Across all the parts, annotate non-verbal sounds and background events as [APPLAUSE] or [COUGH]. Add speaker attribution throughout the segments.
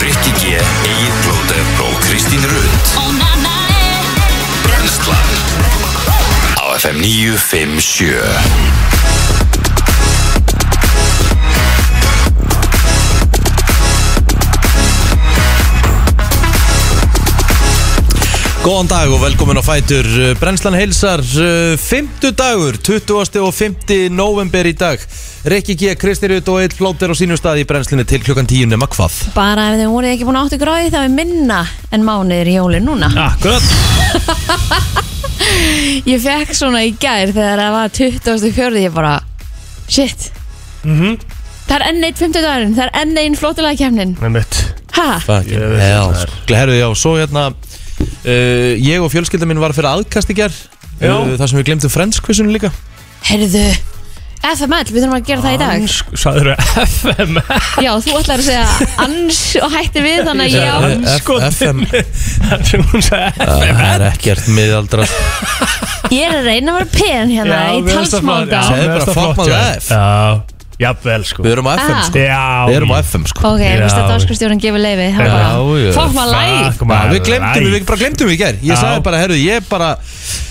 Speaker 1: Rikki G, Egil Blóter og Kristín Rund Brenslan Á FM 957
Speaker 2: Góðan dag og velkomin á Fætur Uh, Brennslan heilsar uh, 50 dagur, 20. og 50. november í dag Rikki G, Kristi Rut og Eitt Blóter á sínum stað í Brennslinni til klukkan 10 nema hvað
Speaker 3: Bara ef þið voruð ekki búin að áttu gráði þá er minna en mánuðir í jólin núna
Speaker 2: Akkurat
Speaker 3: Ég fekk svona í gær þegar það var 24. ég bara Shit Það er enn eitt 50 dagurinn, það er enn einn flottulega kemnin
Speaker 4: Með mitt
Speaker 3: Ha?
Speaker 2: Fucking
Speaker 4: Ég veit
Speaker 2: hell
Speaker 4: það er.
Speaker 2: sko. Herðu, já, svo hérna uh, Ég og fjölskylda mín var fyrir aðkast í ger
Speaker 4: Já.
Speaker 2: uh, Það sem við glemtum frenskvissunum líka
Speaker 3: Herðu FML, við þurfum að gera það í dag
Speaker 4: Sæður FM
Speaker 3: Já, þú ætlar að segja ans og hætti við þannig að ég á
Speaker 2: Eh, F-
Speaker 4: Skotin. [LAUGHS]
Speaker 2: FM
Speaker 4: Sem hún sagði
Speaker 2: Það er ekkert miðaldra
Speaker 3: Ég er að reyna að vera pen hérna í talsmáta
Speaker 2: Segðu bara, fuck my life.
Speaker 4: Já, jafnvel sko
Speaker 2: Við erum á FM
Speaker 3: Ah.
Speaker 2: sko
Speaker 4: Já
Speaker 2: Við erum á FM sko
Speaker 3: Ok,
Speaker 4: Já.
Speaker 3: veist að dagskristjórun gefur leiði
Speaker 4: Já,
Speaker 2: já.
Speaker 3: Fokk maður læg
Speaker 4: Fuck my
Speaker 2: Já, við glemtum,
Speaker 4: life.
Speaker 2: við bara glemtum í ger Ég
Speaker 4: Já.
Speaker 2: sagði bara, herru, ég bara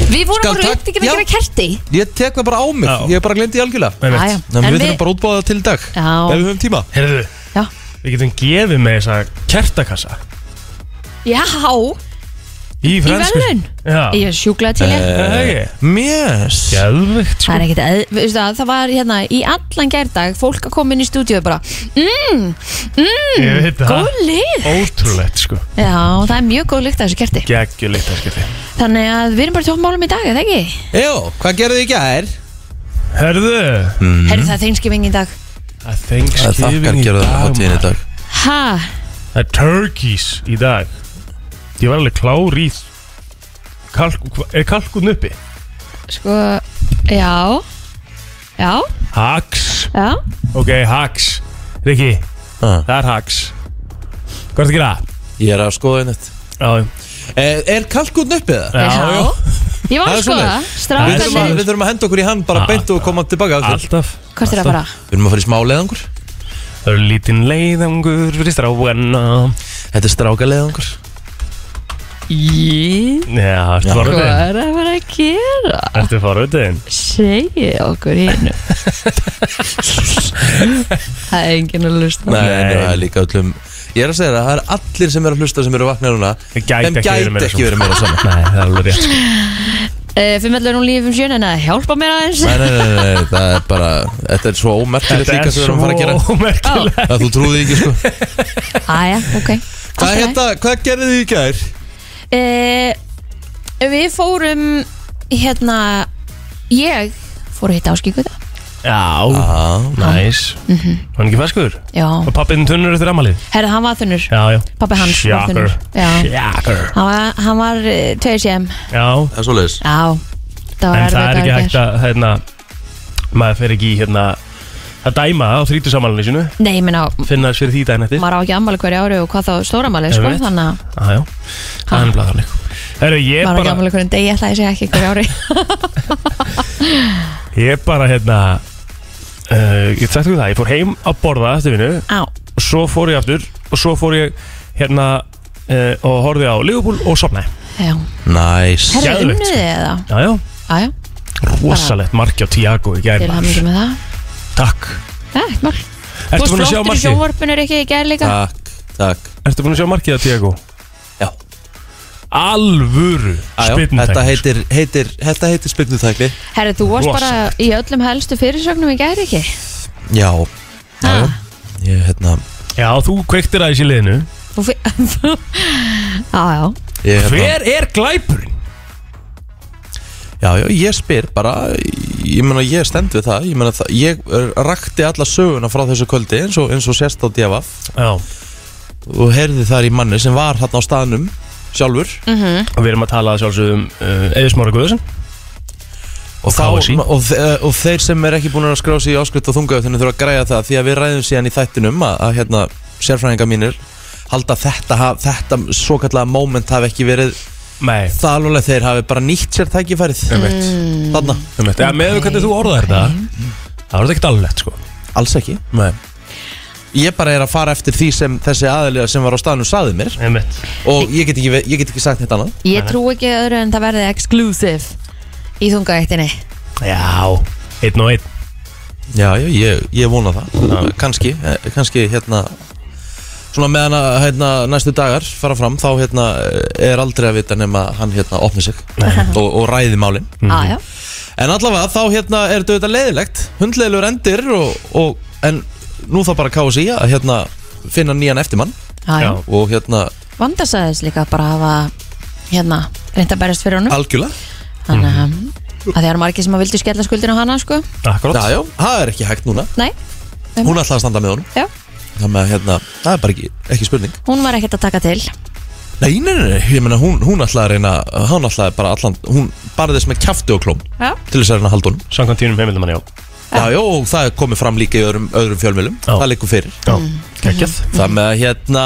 Speaker 3: Við vorum
Speaker 2: Skal
Speaker 3: bara
Speaker 2: tak-
Speaker 3: upptíkin að
Speaker 2: Já.
Speaker 3: gera kerti
Speaker 2: Ég tek það bara á mig,
Speaker 4: Já.
Speaker 2: ég bara glemdi algjörlega
Speaker 4: Með mitt.
Speaker 3: Já, já. En
Speaker 2: Þannig við
Speaker 3: við-
Speaker 2: þurfum bara að útbúa það til í dag
Speaker 3: Já.
Speaker 2: Ef við höfum tíma
Speaker 4: Heyrðu,
Speaker 3: Já,
Speaker 4: við getum gefið með þessa kertakassa
Speaker 3: já
Speaker 4: Í fransku
Speaker 3: verðlaun?
Speaker 4: Já
Speaker 3: ég er sjúklað til
Speaker 2: Eh.
Speaker 3: ég
Speaker 4: Það er ekki
Speaker 2: Mjess
Speaker 4: Gæðvikt
Speaker 3: Það
Speaker 4: sko
Speaker 3: er ekkert, eð, veistu það, það var hérna í allan gærdag, fólk að koma inn í stúdíu bara, mmm,
Speaker 4: Ég veit það
Speaker 3: góð lykt
Speaker 4: Ótrúlegt sko
Speaker 3: Já, það er mjög góð lykt af þessu kerti
Speaker 4: Gægjulegt að skipti
Speaker 3: Þannig að við erum bara í tómmálum í dag, eða ekki?
Speaker 2: Jó, hvað gerðu þið í gær? Hmm.
Speaker 4: Herðu
Speaker 2: Mhm.
Speaker 3: Mm. Herri, það er þeinskiping í dag
Speaker 4: Það Thanksgiving í dag maður.
Speaker 2: dag
Speaker 3: Ha,
Speaker 4: Það er turkeys í dag Ég var alveg klár í kalk, Er kalkun uppi?
Speaker 3: sko, já, já,
Speaker 4: Hax
Speaker 3: já,
Speaker 4: Ok, hax Riki,
Speaker 2: Ah.
Speaker 4: það er hax Hvað er það að gera?
Speaker 2: Ég er að sko- skoða einhvert Er,
Speaker 4: Já,
Speaker 2: Eh, er kalkun uppið það?
Speaker 4: Já, já.
Speaker 3: Ég var
Speaker 2: Það
Speaker 3: að
Speaker 2: er
Speaker 3: skoða,
Speaker 2: svoleiðis. Við þurfum, að,
Speaker 3: strákarnir,
Speaker 2: við þurfum að henda okkur í hann bara
Speaker 4: Ah,
Speaker 2: beint og koma tilbaka að því.
Speaker 4: alltaf
Speaker 3: hvort er það bara?
Speaker 2: Við erum að fara í smá leðangur
Speaker 4: Það eru lítinn leiðangur fyrir stráana
Speaker 2: Þetta er stráka leðangur
Speaker 3: Í,
Speaker 4: Já, ertu
Speaker 3: hvað
Speaker 4: forvitinn?
Speaker 3: er það bara að gera?
Speaker 4: Ertu forvitinn?
Speaker 3: Segji okkur [LAUGHS] hinnu Það er enginn að lusta
Speaker 2: Nei,
Speaker 4: Nei.
Speaker 2: það er líka öllum Ég er að segja það, það er allir sem eru að hlusta sem eru vaknað núna
Speaker 4: Þeir gæti
Speaker 2: Þeim
Speaker 4: ekki verið meira
Speaker 2: ekki verið meira saman
Speaker 4: Nei, það er alveg rétt sko.
Speaker 3: uh, Fimm ellur hún lífum sjön en að hjálpa mér aðeins
Speaker 2: Nei, nei, nei, nei, nei, það er bara Þetta er svo ómerkilegt líka sem við erum að fara að gera
Speaker 4: ómerkilegt
Speaker 2: að þú trúði ekki sko
Speaker 3: Æja, Ah, ok
Speaker 2: Hvað, hérna, hvað gerði þið í gær?
Speaker 3: uh, Við fórum hérna Ég fór að hitta áskíkuða
Speaker 4: Já,
Speaker 2: Ah,
Speaker 4: næs Var hann ekki feskur?
Speaker 3: Mhm. Já,
Speaker 4: Og pappin tunnur eftir amalið?
Speaker 3: herra, hann var þunnur
Speaker 4: Já, já
Speaker 3: Pabbi hans var
Speaker 4: Shocker.
Speaker 3: þunnur Já,
Speaker 4: Sjakur
Speaker 3: hann var, hann var uh, tveir sem
Speaker 4: Já,
Speaker 2: það er svoleiðis
Speaker 3: Já, það var
Speaker 4: en það
Speaker 3: erfitt
Speaker 4: er ekki
Speaker 3: dagur
Speaker 4: hægt
Speaker 3: gær.
Speaker 4: að, hérna Maður fer ekki í, hérna Að dæma á þrítusamalinu sínu
Speaker 3: Nei, ég meina,
Speaker 4: Finna þess fyrir því daginn eftir
Speaker 3: maður á ekki ammali hverju ári og hvað þá stóramali, sko,
Speaker 4: Einmitt.
Speaker 3: þannig að
Speaker 4: Já, já Það er blæðan líka Herru, ég
Speaker 3: maður á ekki
Speaker 4: bara
Speaker 3: ammali hverju degi, ég ætla að ég segja ekki
Speaker 4: [LAUGHS]
Speaker 3: hverju ári
Speaker 4: Ég bara, hérna uh, Ég sagt ekki það, ég fór heim að borða eftir vinnu
Speaker 3: Á,
Speaker 4: Og svo fór ég aftur Og svo fór ég, hérna uh, Og horfði á Liverpool og sopnaði
Speaker 3: já
Speaker 2: Næs
Speaker 4: Herra-
Speaker 3: Herra,
Speaker 4: Geðveikt,
Speaker 3: unnuðið
Speaker 4: sko.
Speaker 3: þið eða?
Speaker 4: Já, já
Speaker 3: Æja,
Speaker 4: Rosalegt marki á Tiago í
Speaker 3: til
Speaker 4: gæri
Speaker 3: hann ekki með það
Speaker 4: Takk
Speaker 3: Já, ekkert mál
Speaker 4: Ertu búin að
Speaker 3: Þú varst flottur
Speaker 4: sjá
Speaker 3: í
Speaker 4: markið?
Speaker 3: sjónvarpinu er ekki í gær líka
Speaker 2: Takk, takk
Speaker 4: Ertu búin að sjá markið á Tiago?
Speaker 2: Já,
Speaker 4: Alvöru
Speaker 2: já,
Speaker 4: spinnutækni,
Speaker 2: þetta
Speaker 4: sko.
Speaker 2: heitir, heitir, þetta heitir spinnutækli
Speaker 3: Herri, þú varst bara
Speaker 4: Rosalegt.
Speaker 3: í öllum helstu fyrirsögnum í gær ekki
Speaker 2: Já, já,
Speaker 3: Ha?
Speaker 2: já Ég, hérna,
Speaker 4: Já, þú kveiktir aðeins í liðinu
Speaker 3: Þú fi- [LAUGHS] Já, já
Speaker 2: ég, hérna
Speaker 4: Hver er glæpurinn?
Speaker 2: Já, já, ég spyr bara Ég meina, ég stend við það Ég meina, það, ég er- rakti alla söguna frá þessu kvöldi eins og, eins og sérst á DFF
Speaker 4: Já,
Speaker 2: og heyrði þar í manni sem var hérna á staðnum sjálfur
Speaker 4: og við erum að tala að sjálfsögum uh, Eður Smára Guðarsson
Speaker 2: og, þá,
Speaker 4: KSÍ.
Speaker 2: og, þe- og þeir sem er ekki búin að skrá sig í áskrift og þunga þenni þurfa að græja það því að við ræðum síðan í þættinum að, að hérna, sérfræðinga mínir halda að þetta, ha- þetta svo kallega moment hafi ekki verið
Speaker 4: Nei,
Speaker 2: það alveg þeir hafi bara nýtt sér tækifærið
Speaker 4: Einmitt.
Speaker 2: þarna,
Speaker 4: um eitt Eða með hvernig þú orðar þetta Það var þetta ekkert alveg lett, sko
Speaker 2: alls ekki
Speaker 4: Nei
Speaker 2: Ég bara er að fara eftir því sem þessi aðalega sem var á staðnum saði mér
Speaker 4: einmitt
Speaker 2: Og ég get ekki, ve- ég get ekki sagt neitt annað
Speaker 3: Ég trú ekki öðru en það verði exclusive í þungaættinni
Speaker 4: Já, einn og einn
Speaker 2: Já, já, ég, ég vona það Kanski, eh, kannski hérna Svona meðan að hérna, næstu dagar fara fram Þá hérna er aldrei að vita nema hann hérna opni sig og, og ræði málin
Speaker 4: Mhm.
Speaker 3: Aja,
Speaker 2: En allavega þá hérna er þetta auðvitað leiðilegt Hundleilur endir og, og En nú þá bara kási í að hérna finna nýjan eftirmann
Speaker 3: aja
Speaker 4: Já.
Speaker 2: og hérna
Speaker 3: Vandasæðis líka bara að hafa hérna, reynd að berjast fyrir honum
Speaker 2: algjörlega
Speaker 3: Hm? Þannig
Speaker 4: Mhm.
Speaker 3: að að það eru margir sem að vildu skella skuldinu á hana sko
Speaker 4: Akkurát
Speaker 2: Já, já, það er ekki hægt núna
Speaker 3: Nei,
Speaker 2: Hún ætlaði að standa með honum
Speaker 3: já,
Speaker 2: Þannig að hérna, það er bara ekki, ekki spurning
Speaker 3: hún var ekkert að taka til
Speaker 2: Nei, nei, nei, nei, ég meina hún, hún ætlaði að reyna Hún ætlaði bara allan, hún barði þess með kjafti og klóm
Speaker 3: Já,
Speaker 2: Til þess að reyna að halda honum
Speaker 4: Samkvæmt tínum heimildamann, já
Speaker 2: Já, já, og það er komið fram líka í öðrum, öðrum fjölmjölum
Speaker 4: Já.
Speaker 2: Það liggur fyrir
Speaker 4: Já, geggjað
Speaker 2: Þannig að hérna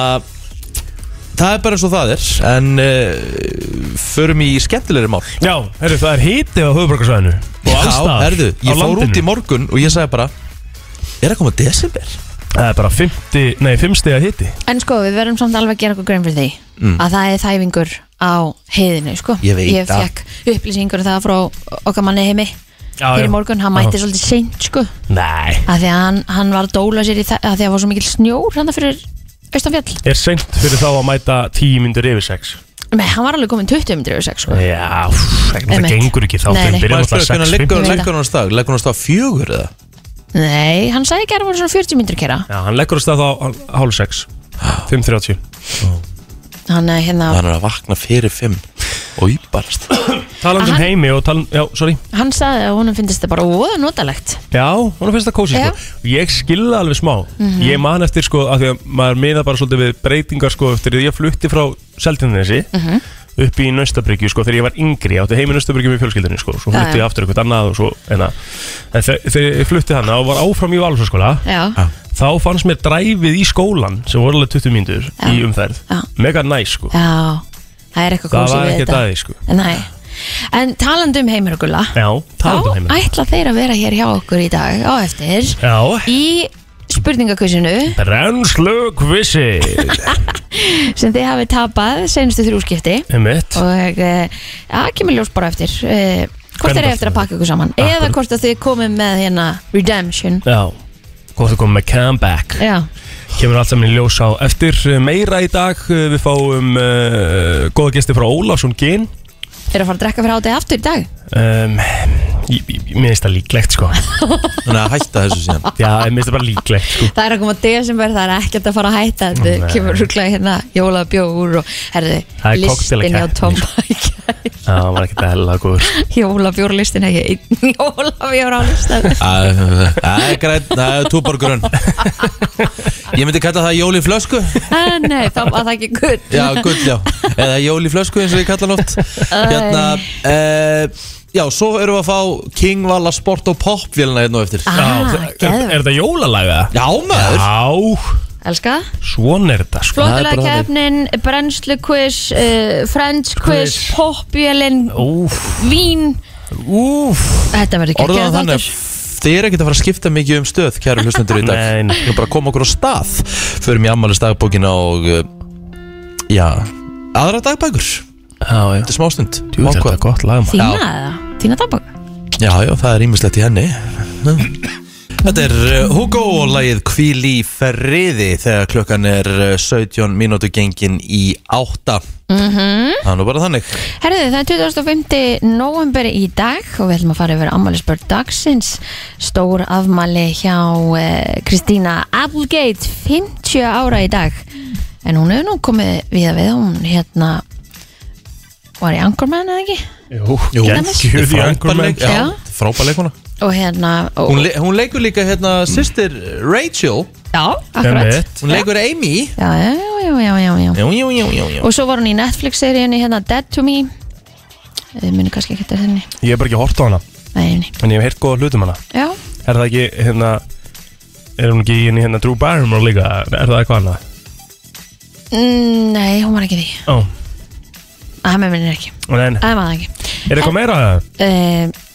Speaker 2: Það er bara eins og það er En uh, förum í skemmtilegri mál
Speaker 4: Já, herru, það er hítið á höfuborgarsvæðinu Og alls
Speaker 2: Já,
Speaker 4: staðar
Speaker 2: herðu,
Speaker 4: á
Speaker 2: ég fór
Speaker 4: landinu.
Speaker 2: út í morgun og ég sagði bara [LAUGHS] Er að koma desember?
Speaker 4: Það er bara 50, nei, 5 stiga hiti
Speaker 3: en sko við verðum samt alveg að gera okkur grein fyrir því
Speaker 4: Mm.
Speaker 2: Mm.
Speaker 3: að það er þæfingur á heiðinu sko
Speaker 2: Ég veit
Speaker 3: Ég
Speaker 2: það.
Speaker 3: fekk upplýsingur um það frá okkar manni heimi
Speaker 4: Já,
Speaker 3: fyrir morgun, hann mætti svolítið seint sko
Speaker 4: Nei
Speaker 3: að því að hann, hann var að dóla sér í það að því að það var svo mikil snjór hann fyrir austanfjall
Speaker 4: Er seint fyrir þá að mæta 10 myndur yfir 6
Speaker 3: Nei, hann var alveg komin 20 myndir yfir 6 sko
Speaker 4: Já, úff, það
Speaker 3: Einmitt.
Speaker 4: gengur ekki þá
Speaker 3: Nei,
Speaker 4: Þegar
Speaker 3: nei.
Speaker 4: byrjum alltaf 6
Speaker 3: Ég veit
Speaker 2: Leggur hann á stað? Leggur hann á stað fjögur eða?
Speaker 3: Nei, hann sagði ekki að það voru svona 40 myndir kera
Speaker 4: Já, hann leggur að stað á á hálf 6 5.30
Speaker 3: Hann er hérna,
Speaker 2: Hann er að vakna fyrir fimm Og íbarast
Speaker 4: Talandi um
Speaker 3: Hann-
Speaker 4: heimi og talan, já, sorry
Speaker 3: hann sagði að honum finnst þetta bara óða notalegt
Speaker 4: Já, hún finnst það kósi
Speaker 3: Já. Mhm.
Speaker 4: sko. Ég skilða alveg smá Ég man eftir sko að því að maður miða bara svolítið við breytingar sko eftir því að ég flutti frá Seltjarnanesi
Speaker 3: Mhm.
Speaker 4: upp í Naustabrykju sko þegar ég var yngri ég átti heim í Naustabrykju með fjölskyldunni sko svo
Speaker 3: Já,
Speaker 4: flutti ég
Speaker 3: já.
Speaker 4: aftur eitthvað annað og svo en, að- en þe- þegar ég flutti hana og var áfram í Valhúsaskóla
Speaker 3: Já,
Speaker 4: þá fannst mér dræfið í skólan sem voru alveg 20 mínútur í umferð
Speaker 3: Já.
Speaker 4: mega næs sko
Speaker 3: já, það er eitthvað
Speaker 4: það
Speaker 3: kósi
Speaker 4: var
Speaker 3: við
Speaker 4: ekki
Speaker 3: þetta
Speaker 4: dæði sko
Speaker 3: Nei, en talandi um heimir og gulla
Speaker 4: Já, talandi um
Speaker 3: Þá
Speaker 4: heiminn
Speaker 3: ætla þeir að vera hér hjá okkur í dag á eftir
Speaker 4: Já,
Speaker 3: Í spurningakvísinu
Speaker 4: brennslu kvissi
Speaker 3: sem þið hafi tapað senustu þrjúskipti
Speaker 4: Emitt
Speaker 3: og eh, ja, kemur ljós bara eftir eh, hvort þeir
Speaker 4: Hvernig bara
Speaker 3: eru eftir að pakka ykkur saman eða
Speaker 4: Akkurat.
Speaker 3: hvort að þið komið með hérna redemption
Speaker 4: Já, hvort þú komum með comeback
Speaker 3: já,
Speaker 4: Kemur allt saman í ljós á eftir eh, meira í dag eh, Við fáum uh, góða gesti frá Ólafsson Ginn
Speaker 3: þeir eru að fara að drekka fyrir átið aftur í dag
Speaker 4: um, ég- ég- ég- Mér finnst það líklegt
Speaker 2: [LAUGHS]
Speaker 4: sko
Speaker 2: Þannig að hætta þessu síðan
Speaker 4: Já, mér finnst það bara líklegt sko
Speaker 3: það er að koma desember, það er ekkert að fara að hætta þetta
Speaker 4: Nei.
Speaker 3: kemur rúglega hérna jólabjór og herðu,
Speaker 4: Það er
Speaker 3: listin hjá
Speaker 4: cocktailkeppni.
Speaker 3: Tomba
Speaker 4: Já, það var ekkert að hella góður
Speaker 3: jólabjór listin ekki einn jólabjór á
Speaker 2: [LAUGHS]
Speaker 3: listan
Speaker 2: Það er græn, það er túborgrunn Ég myndi kalla það jóli flösku
Speaker 3: Ah, nei, þá var það ekki gutt
Speaker 2: Já, gull, já Eða jóli flösku eins og ég kalla hann oft Hérna e, Já, svo erum við að fá King Vala Sport og Pop Vélina hérna á eftir
Speaker 3: Ah,
Speaker 4: Já, það- er,
Speaker 3: geðveikt.
Speaker 4: er þetta jólalaga?
Speaker 2: Já, maður
Speaker 4: Já,
Speaker 3: Elska
Speaker 4: svona er þetta sko
Speaker 2: Það er
Speaker 3: Flottulega
Speaker 2: bara
Speaker 3: kefnin, brennslu quiz, uh, french quiz,
Speaker 4: Quiz.
Speaker 3: popjölin,
Speaker 4: Úf,
Speaker 3: vín
Speaker 4: úf
Speaker 3: Þetta verður ekki
Speaker 2: Orðan þannig að þið er ekkert að fara að skipta mikið um stöð kæru hlustendur í dag
Speaker 4: Nei, nei.
Speaker 2: Við erum bara að koma okkur á stað Förum í ammælis dagbókina og uh, Já, aðra dagbækur Þetta
Speaker 4: Já, já
Speaker 2: er smástund
Speaker 4: Jú, þetta er gott lag maður.
Speaker 3: Þína eða? Þína dagbók?
Speaker 2: Já, já, það er ímislegt í henni Þetta er uh, Hugo og lagið Kvíl í ferriði þegar klukkan er uh, 17 mínútu gengin í 8 -hmm. Það er nú bara þannig
Speaker 3: Herðu, það er 25. november í dag og við ætlum að fara yfir afmælisbörn dagsins Stór afmæli hjá eh, Kristína Applegate 50 ára í dag En hún hefur nú komið við að við hún hérna var í Anchorman eða ekki?
Speaker 4: Jú,
Speaker 2: Jú,
Speaker 4: geggjuð í Anchorman.
Speaker 2: frábærleik
Speaker 3: Já.
Speaker 2: Frábærleikuna
Speaker 3: Og hérna og,
Speaker 2: hún, le hún leikur líka hérna sýstir Rachel
Speaker 3: Já, akkurat
Speaker 4: Einmitt.
Speaker 2: Hún leikur Amy
Speaker 3: Já, já, já, já, já, já
Speaker 2: Jú, jú, jú, jú, jú.
Speaker 3: Og svo var hún í Netflix-seríunni hérna Dead to Me Þið munu kannski ekki eftir þenni
Speaker 4: Ég hef bara ekki hort á hana
Speaker 3: Nei, nei,
Speaker 4: En ég hef heyrt góða hlutum hana
Speaker 3: já
Speaker 4: Er það ekki, hérna Er hún ekki í henni, hérna Drew Barrymore líka Er það eitthvað annað?
Speaker 3: mm, Nei, hún var ekki í því
Speaker 4: Ó, oh.
Speaker 3: Það með minnir ekki,
Speaker 4: en
Speaker 3: það er maður ekki Eh,
Speaker 4: Er eitthvað meira?
Speaker 3: uh,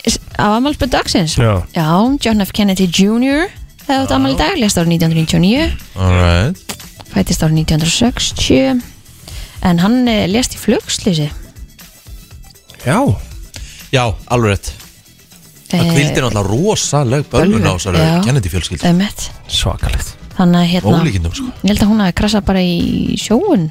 Speaker 3: Á amalsbyrð dagsins
Speaker 4: Já
Speaker 3: Já, John F. Kennedy Jr. þegar þú ert ammali dag, lest árið 1999
Speaker 2: Alright
Speaker 3: fættist árið 1960 en hann eh, lést í flugslýsi
Speaker 4: Já,
Speaker 2: Já, alveg rétt Það kvildi náttúrulega rosaleg bölvun á þessari
Speaker 3: Eh, Já.
Speaker 2: Kennedy fjölskyld
Speaker 3: Ömmet
Speaker 4: svakalegt
Speaker 3: Þannig að hérna,
Speaker 2: Ólíkindum sko
Speaker 3: ég held að hún hafi krassað bara í sjóun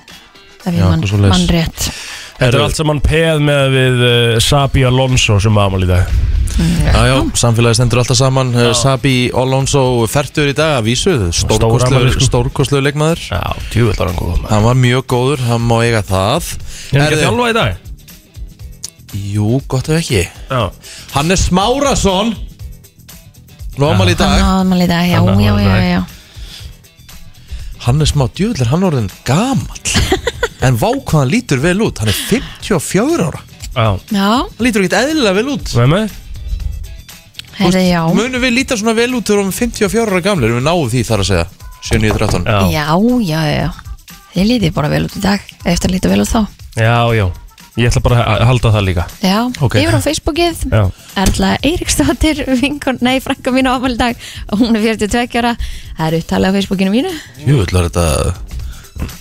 Speaker 3: ef ég
Speaker 2: Já,
Speaker 3: mann
Speaker 2: eitthvað svoleiðis.
Speaker 3: man rétt
Speaker 4: Þetta er allt saman peð með við uh, Sabi Alonso sem aðmál í dag
Speaker 2: Já, já, samfélagi stendur alltaf saman já. Sabi Alonso fertur í dag að vísu
Speaker 4: afmæli,
Speaker 2: Stórkostlegu
Speaker 4: sko.
Speaker 2: stórkostlegu leikmaður
Speaker 4: Já, djúvöld var hann góð maður.
Speaker 2: Hann var mjög góður, hann má eiga það
Speaker 4: Er hann ekki að
Speaker 2: Herðu,
Speaker 4: þjálfa í dag?
Speaker 2: Jú, gott ef ekki
Speaker 4: Já
Speaker 2: Hannes Smárasson Normal í
Speaker 3: Hann
Speaker 2: dag
Speaker 3: hafa ammali dag, já,
Speaker 4: Hann á
Speaker 3: já, já,
Speaker 4: afmæli í dag.
Speaker 3: já, já.
Speaker 2: Hannes Má djöðlir, hann orðin
Speaker 3: [LAUGHS]
Speaker 2: gamall En vá hvað hann lítur vel út Hann er 54 ára Hann
Speaker 4: Já
Speaker 3: Já,
Speaker 2: lítur ekkit eðlilega vel út
Speaker 4: Hvað er með?
Speaker 3: heyrðu, já
Speaker 2: Munum við líta svona vel út Þegar við erum 54 ára gamlir Við náum því þar að segja 7.13
Speaker 4: Já
Speaker 3: Já, já, já, já Þið lítið bara vel út í dag, eftir að líta vel út þá
Speaker 4: Já, já Ég ætla bara að halda það líka
Speaker 3: Já,
Speaker 2: Ok.
Speaker 3: yfir á Facebookið
Speaker 4: Já
Speaker 3: Erla Eiríksdóttir, [LAUGHS] vinkon, nei, frænka mín á afmæli í dag Hún er 42 ára, það er upptalið á Facebookinu mínu
Speaker 2: Djöðlir var þetta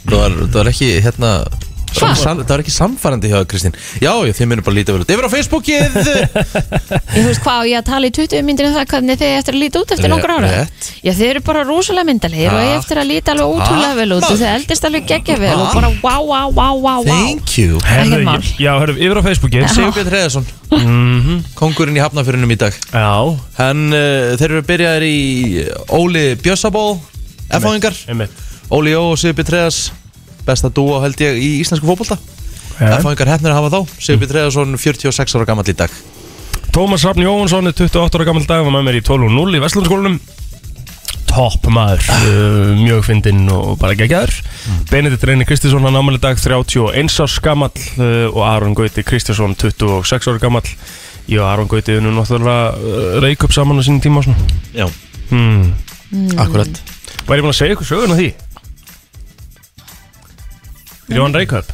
Speaker 2: Það var, það var ekki hérna
Speaker 3: Hva?
Speaker 2: sam, Það var ekki samfærandi hjá Kristín Já, já, þið munum bara líta vel út Yfir á Facebookið
Speaker 3: Ég veist hvað, á ég að tala í 20 myndir um það hvernig þið eigi eftir að líta út
Speaker 2: [LAUGHS]
Speaker 3: eftir
Speaker 2: Rétt.
Speaker 3: nokkur ára Já, þið eru bara rosalega myndalegir og eigi
Speaker 2: Takk.
Speaker 3: eftir að líta alveg ótrúlega
Speaker 2: Takk,
Speaker 3: vel út og
Speaker 2: maður.
Speaker 3: þið eldist alveg geggja vel og
Speaker 2: Takk.
Speaker 3: bara wow, wow, wow, wow, wow
Speaker 2: Thank you
Speaker 4: Herðu,
Speaker 3: Ekkert mál.
Speaker 4: ég- Já, herðu, yfir á Facebooki
Speaker 2: Sigurbjörn Hreðarsson Kongurinn í hafnafyrinum í dag
Speaker 4: Já
Speaker 2: Hann, uh, þeir eru byrjaðir í Óli Bjössaból F-áðingar
Speaker 4: Einmitt
Speaker 2: Óli Jó og Sigur Bitreðas Besta dúo held ég í íslensku fótbolta
Speaker 4: Já.
Speaker 2: F-áðingar hefnir að hafa þá Sigur Bitreðarsson 46 ára gammal í dag
Speaker 4: Mm. Tómas Rafn Jóhansson er 28 ára gammal dag var með mér í 12.0 í Vestlundskólanum topp maður uh, mjög fyndinn og bara geggjaður
Speaker 2: Mm.
Speaker 4: Benedikt Reyni Kristinsson hann ámæli dag 31 árs gammal uh, og Aron Gauti Kristinsson 26 ára gammal ég og Aron Gauti erum náttúrulega uh, reik upp saman á sínum tíma og svona
Speaker 2: Já,
Speaker 4: hmm.
Speaker 2: akkurat
Speaker 4: Var ég búin að segja ykkur söguna því? Þegar hann reik upp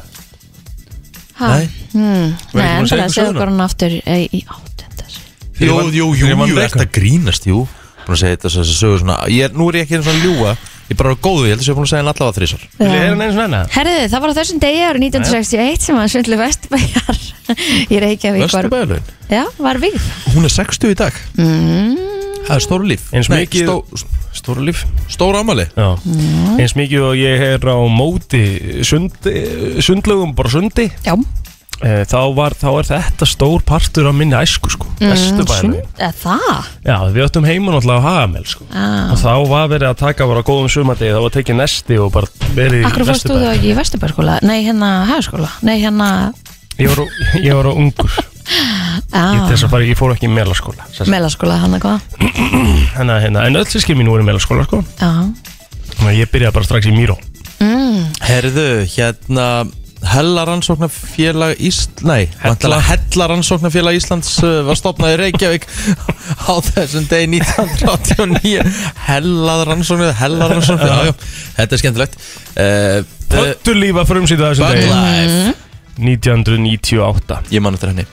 Speaker 3: Ha?
Speaker 2: Nei.
Speaker 3: hmm.
Speaker 4: Var
Speaker 3: Nei,
Speaker 4: ekki búin að
Speaker 3: en
Speaker 4: segja
Speaker 3: bara
Speaker 4: ykkur
Speaker 3: að segja
Speaker 4: söguna?
Speaker 3: okkur hann aftur e, í áttundar
Speaker 2: Jú, jú, jú,
Speaker 4: Fyrir mann
Speaker 2: jú,
Speaker 4: Beckham.
Speaker 2: ert að grínast, jú Búin að segja þetta þess að sögur svona ég, er- Nú er ég ekki eins og að ljúga Ég er bara góðu, ég held að ég er búin að segja hann allavega þrísar
Speaker 4: Vil ég heyra hann eins og
Speaker 2: hérna?
Speaker 4: enna?
Speaker 3: Herðið, það var á þessum degi árið 1961 sem að svindlu Vesturbæjar [LAUGHS] í Reykjavík var,
Speaker 2: Vesturbæðalögin
Speaker 3: já, var við
Speaker 2: Hún er 60 í dag
Speaker 3: Mm.
Speaker 2: Mm-hmm. Það er stóru líf
Speaker 4: Eins
Speaker 2: Nei,
Speaker 4: mikið-
Speaker 2: stó,
Speaker 4: Stóra líf
Speaker 2: Stóra ámali
Speaker 4: Já.
Speaker 3: Mm.
Speaker 4: eins mikið og ég er á móti sund, sundlögum, bara sundi
Speaker 3: Já,
Speaker 4: eh, þá, var, þá er þetta stór partur af minni æsku sko, vesturbæðinu
Speaker 3: Mm. sund, Mm-hmm. eða það
Speaker 4: Já, við áttum heima náttúrulega á Hagamel sko.
Speaker 3: Ah.
Speaker 4: og þá var verið að taka bara á góðum sumardegi þá var tekið nesti og bara verið
Speaker 3: Akkur fórst þú þá
Speaker 4: Vesturbæ.
Speaker 3: ekki í Vesturbæjarskóla? Nei, hérna hagaskóla? Nei, hérna...
Speaker 4: Ég var, á- ég var á ungur ég,
Speaker 3: Ah,
Speaker 4: þess að bara, ég fór ekki í melaskóla sem sagt.
Speaker 3: Melaskóla, hann að hvað?
Speaker 4: Þannig að, hérna, en öll sískir mín voru í melaskóla sko.
Speaker 3: Já, Mm,
Speaker 4: Þannig að ég byrjaði bara strax í Míró
Speaker 2: Herðu, hérna Hellaransóknarfélag Ísland Nei, vantala Hellaransóknarfélag Íslands uh, var stopnað í Reykjavík [LAUGHS] á þessum degi 1989 Hellaransóknar Hellaransóknar, já, já, þetta er skemmtilegt uh, uh,
Speaker 4: Pöttulífa frumsýta þessum
Speaker 2: Bud
Speaker 4: degi
Speaker 2: Life
Speaker 4: 1998
Speaker 2: Ég man eftir henni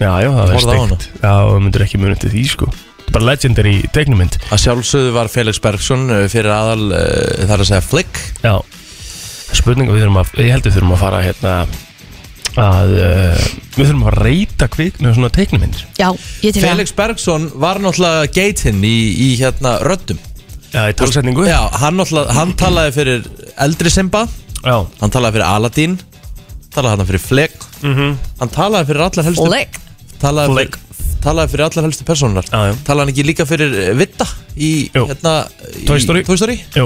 Speaker 4: Já, já, það er
Speaker 2: Horfðu á hana.
Speaker 4: steikt Já, það myndur ekki munið til því, sko Bara legendary teiknumynd
Speaker 2: Að sjálfsögðu var Felix Bergson uh, fyrir aðal uh, þar að segja Flick
Speaker 4: Já Spurning, við þurfum að, ég held við þurfum að fara hérna að uh, við þurfum að reyta kvik með svona teiknumyndir
Speaker 3: já ég til
Speaker 2: Felix Bergson var náttúrulega geitinn í, í hérna röddum
Speaker 4: Já, í talsetningu
Speaker 2: Já, hann, náttúrulega- hann talaði fyrir eldri Simba
Speaker 4: já,
Speaker 2: Hann talaði fyrir Aladdin Talaði hann fyrir Flick
Speaker 4: Mhm.
Speaker 2: Hann talaði fyrir allar helstu
Speaker 3: það Leik
Speaker 2: talaði,
Speaker 4: Flick.
Speaker 2: Fyrir, talaði fyrir allar helstu personar
Speaker 4: Já, já.
Speaker 2: Talaði hann ekki líka fyrir eh, Vitta Í
Speaker 4: Jú.
Speaker 2: hérna í-
Speaker 4: Toy Story.
Speaker 2: Toy Story
Speaker 4: já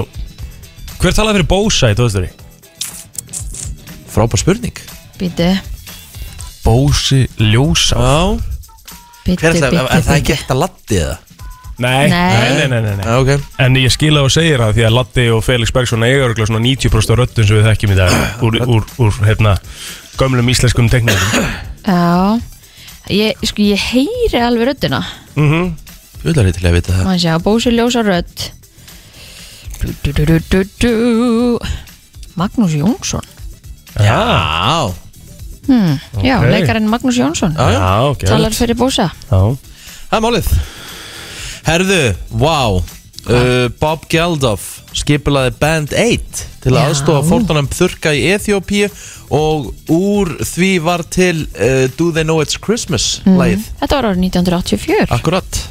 Speaker 4: Hver talaði fyrir Bósa í tóðstöri?
Speaker 2: Frábær spurning
Speaker 3: Bítu,
Speaker 4: Bósi Ljósá
Speaker 2: Já
Speaker 3: bítu,
Speaker 2: Hver er
Speaker 3: bítu,
Speaker 2: það, er það
Speaker 3: bítu
Speaker 2: ekki eftir að laddi eða?
Speaker 4: nei.
Speaker 3: Nei.
Speaker 4: nei, nei, nei, nei
Speaker 2: Já, ok
Speaker 4: En ég skil að þú segir það því að Latti og Felix Bergson eiga örgulega svona 90% af röddun sem við þekkjum í dag úr, úr, úr hérna, gömlum íslenskum tekningum
Speaker 3: Já, ég, sko, ég heyri alveg röddina
Speaker 4: mm
Speaker 2: Þú ætlar ég til að vita það
Speaker 3: Má sjá, Bósi ljósa rödd du, du, du, du, du, du. Magnús Jónsson
Speaker 4: Já,
Speaker 2: Já
Speaker 3: Hmm, Já,
Speaker 4: Ok.
Speaker 3: leikarinn Magnús Jónsson
Speaker 2: Já, já
Speaker 4: já, ok
Speaker 3: Talar fyrir Bósa
Speaker 4: Já,
Speaker 2: Það er málið Herðu, vá uh, Bob Geldof skipulaði Band 8 til
Speaker 3: Já.
Speaker 2: að aðstofa fórtunum þurka í Ethiopíu og úr því var til uh, Do They Know It's Christmas
Speaker 3: Mhm.
Speaker 2: mm. lagið
Speaker 3: Hmm, Þetta var árið 1984
Speaker 2: Akkurat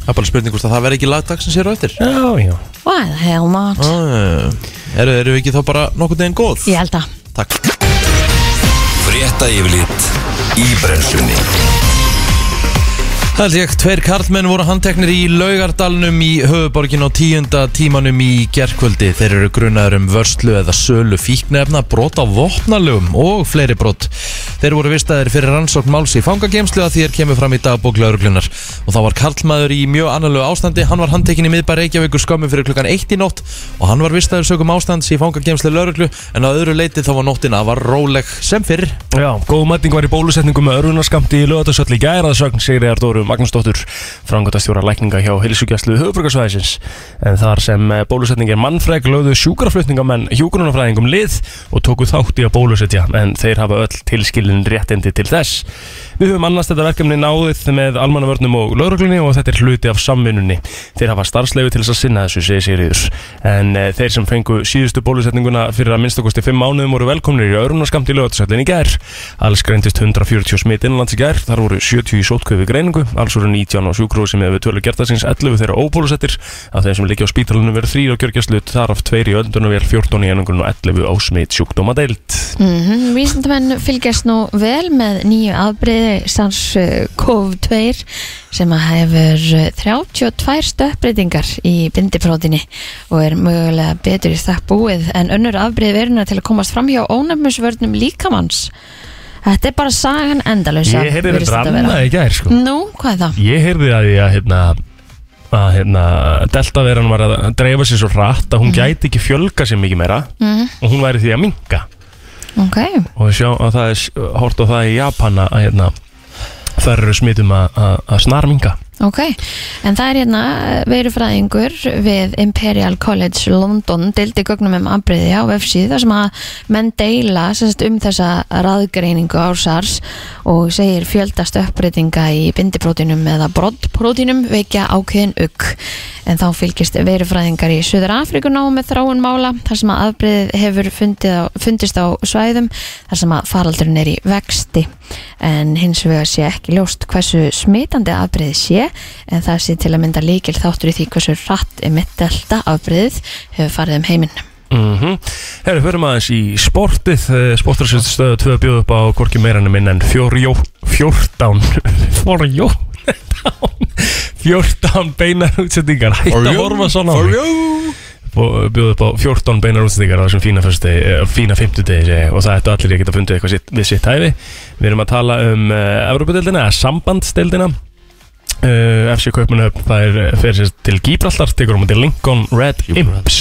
Speaker 2: Það er bara spurning hvort að það verði ekki lagdagsins hér á eftir
Speaker 4: Já, já
Speaker 3: Why the hell not
Speaker 2: ah, Eru eru við ekki þá bara nokkuð neginn góð?
Speaker 3: Ég held að
Speaker 2: Takk
Speaker 1: Frétta yfirlit í brennslunni
Speaker 2: Það held ég, tveir karlmenn voru handteknir í laugardalnum í höfuborgin á tíunda tímanum í gerkvöldi. Þeir eru grunaður um vörslu eða sölu fíknefna, brot á vopnalögum og fleiri brot. Þeir voru vistaðir fyrir rannsókn máls í fangagemslu að því er kemur fram í dagbók lauruglunar. Og þá var karlmaður í mjög annarlegu ástandi, hann var handtekinn í miðbæri Reykjavíkur skömmu fyrir klukkan 1 í nótt og hann var vistaður sögum ástands í fangagemslu lauruglu en að öðru leiti þá var nóttina var róleg sem fyrr.
Speaker 4: Já, góð mæting var í bólusetningu með örfunarskamti í lögatarsöll í gæra að sögn Sigriðar Dóru Magnúsdóttur, frangatastjóra lækninga hjá Hilsugjastlu höfbrukarsvæðisins. En þar sem eh, bólusetning er mannfreg lögðu sjúkraflutningamenn hjúgrunafræðingum lið og tóku þátt í að bólusetja, en þeir hafa öll tilskilin réttindi til þess. Við höfum annast þetta verkefni náðið með almannavörnum og lauruglunni og þetta er hluti af samvinnunni. Þeir hafa starfsleifi til þess að sinna þessu, segir Sigriður. En e, þeir sem fengu síðustu bólusetninguna fyrir að minnstakosti fimm mánuðum voru velkomnir í örunaskamt í lögatisöllin í gær. Alls greindist 140 smitt innanlands í gær, þar voru 70 í sótköfi greiningu, alls voru 19 á sjúkrúi sem hefur tölur gertasins 11 þeirra óbólusettir. Af þeim sem liggja á spítalunum verið þrýr á kjörgjastlu, þar af tveir í öldunum 14 í einangrun og 11 á smitt
Speaker 3: mm Vísindamenn fylgjast nú vel með nýju afbreyði sans eh, COVID-2 sem að hefur eh, 32 stöppbreytingar í bindiprótinni og er mögulega betur í stakk búið en önnur afbreyði veruna til að komast fram hjá ónefnusvörnum líkamanns Þetta er bara sagan endalösa
Speaker 4: Ég heyrði þetta annað í gær, sko.
Speaker 3: Nú, hvað er það?
Speaker 4: Ég heyrði að því að hérna að hérna, deltaveran var að dreifa sér svo hratt að hún gæti ekki fjölga sér mikið meira
Speaker 3: Mm,
Speaker 4: og hún væri því að minka
Speaker 3: ok,
Speaker 4: og við sjá að það er hórt á það í Japana að hérna þar eru smitum að, að, að snarminga
Speaker 3: ok En það er hérna eh, verufræðingur við Imperial College London deildi gögnum um afbreyði á FSI þar sem að menn deila semst, um þessa raðgreiningu ársars og segir fjöldast uppbreytinga í bindiprótinum eða broddprótinum vekja ákveðin ugg en þá fylgist verufræðingar í Suður Afriku ná með þráun mála þar sem að afbreyðið hefur fundið á, fundist á svæðum þar sem að faraldurinn er í vexti en hins vegar sé ekki ljóst hversu smitandi afbreyðið sé en það sé til að mynda líkil þáttur í því hversu rætt er mitt delta afbreyðið hefur farið um heiminn
Speaker 4: Mm -hmm. Herru, förum aðeins í sportið Eh, Sportarsjóðstöðu 2 bjóð upp á hvorki meiranum minn en 14 [LAUGHS] 14 14 beinar útsendingar Hætt að horfa svona á mig.
Speaker 2: you
Speaker 4: bjóð upp á 14 beinar útsendingar á þessum fína, föstudegi, eh, fína fimmtudegi segi ég, og það ættu allir að geta fundið eitthvað sitt, við sitt hæfi við erum að tala um uh, Evropadeildina eða sambandsdeildina uh, FC Kaupmannhöfn það er eh, fer sér til Gibraltar tekur um til Lincoln Red Imps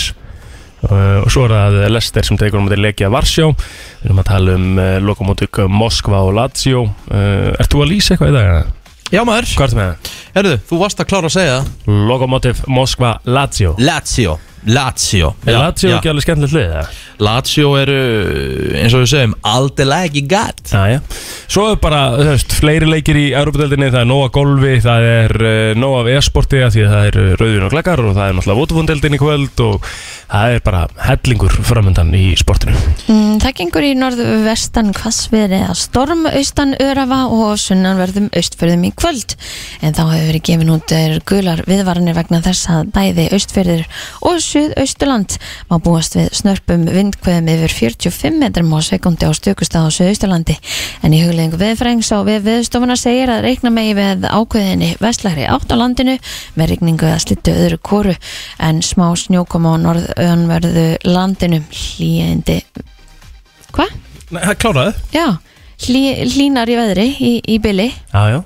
Speaker 4: uh, og svo er það Lester sem tekur um til Legia Varsjó við erum að tala um uh, lokomótik Moskva og Lazio uh, Ert þú að lýsa eitthvað í dag? eða?
Speaker 2: Já maður,
Speaker 4: Hvað ertu með það?
Speaker 2: herðu, þú varst að klára að segja það
Speaker 4: Lokomotiv Moskva Lazio
Speaker 2: Lazio Lazio
Speaker 4: Er
Speaker 2: Já,
Speaker 4: Lazio
Speaker 2: já.
Speaker 4: ekki alveg skemmtilegt lið? eða?
Speaker 2: Lazio eru, eins og við segjum, aldilega ekki gætt
Speaker 4: Jæja. Svo er bara þú veist, fleiri leikir í Európa-deldinni, það er nóg af golfi, það er uh, nóg af e-sporti af því að það er uh, rauðin og glekar og það er náttúrulega votafóndeldin í kvöld og það er bara hellingur framöndan í sportinu.
Speaker 3: Mm, Það gengur í norðvestan hvassviðri að storm austan örafa og sunnanverðum austfyrðum í kvöld en þá hefur verið gefin út eh, gular viðvaranir vegna þess að bæði austfyrðir og suðausturland má búast við snörpum vindkveðum yfir 45 metrum á sekundi á stökustað á suðausturlandi en í hugleðingu viðfrængs á við viðstofuna segir að reikna megi við ákveðinni vestlæri átt á landinu með rigningu að slittu öðru kóru en smá snjókoma á norðanverðu landinu hlýjandi Hva?
Speaker 4: Nei, það kláraði.
Speaker 3: Já, hlý, hlínar í veðri í, í byli
Speaker 4: Já, já.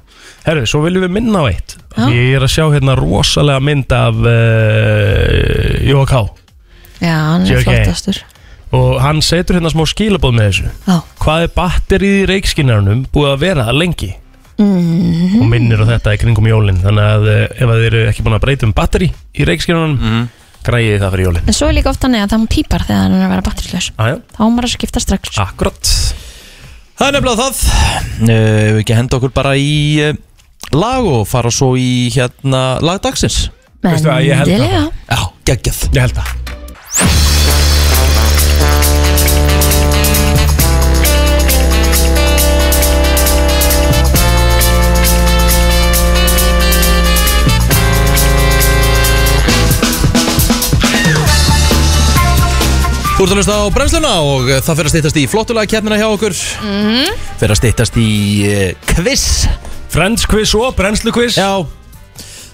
Speaker 4: Herru, svo viljum við minna á eitt.
Speaker 3: Já.
Speaker 4: Ég er að sjá hérna rosalega mynd af uh, Jóa K.
Speaker 3: Já, hann er
Speaker 4: JK.
Speaker 3: flottastur
Speaker 4: Og hann setur hérna smá skilabóð með þessu.
Speaker 3: Já,
Speaker 4: Hvað er batterið í reikskinnarnum búið að vera lengi?
Speaker 3: mm,
Speaker 4: og minnir á þetta í kringum jólin þannig að eh, ef að þið eru ekki búin að breyta um batteri í reikskjörnunum
Speaker 2: Mhm.
Speaker 4: mm. græði það fyrir jólin
Speaker 3: En svo er líka ofta neða að hann pípar þegar hann er að vera batterislaus
Speaker 4: aðja,
Speaker 3: Þá á maður að skipta strax
Speaker 4: akkurat
Speaker 2: Það er nefnilega það Eh, Ef við ekki að henda okkur bara í eh, lag og fara svo í hérna lag dagsins
Speaker 4: Veistu að ég held það
Speaker 3: Endilega.
Speaker 2: Já, geggjað
Speaker 4: Ég held það
Speaker 2: Þú ert að hlusta á brennsluna og eh, það fyrir að stýttast í flottulega keppnina hjá okkur mm -hmm. Fyrir að stýttast í eh, quiz
Speaker 4: Friends quiz og brennslu quiz
Speaker 2: Já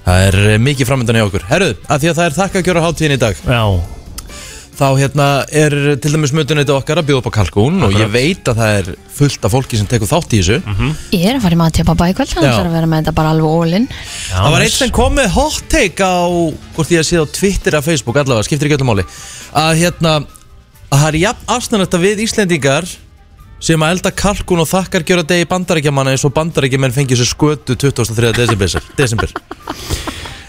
Speaker 2: Það er eh, mikið framöndan hjá okkur Herru, að því að það er þakka að gjöra hátíðin í dag
Speaker 4: Já. Þá
Speaker 2: Hérna er til dæmis mötuneytið okkar að bjóða upp á kalkún Og ég veit að það er fullt af fólki sem tekur þátt í þessu
Speaker 4: Mhm.
Speaker 3: Ég er að fara í maður til pappa í kvöld Þannig
Speaker 2: Já.
Speaker 3: þarf að vera með þetta bara alveg ólinn
Speaker 2: Það var einn sem kom með hot take á Hvort ég að séð á Twitter eða Facebook allavega Skiptir ekki öllum máli Að hérna Að það er jafn afstæðanlegt að við Íslendingar Sem að elda kalkun og þakkar gjöra degi bandaríkjamanna Eins og bandaríkjamenn fengi sér skötu 23. desember, [LAUGHS] desember.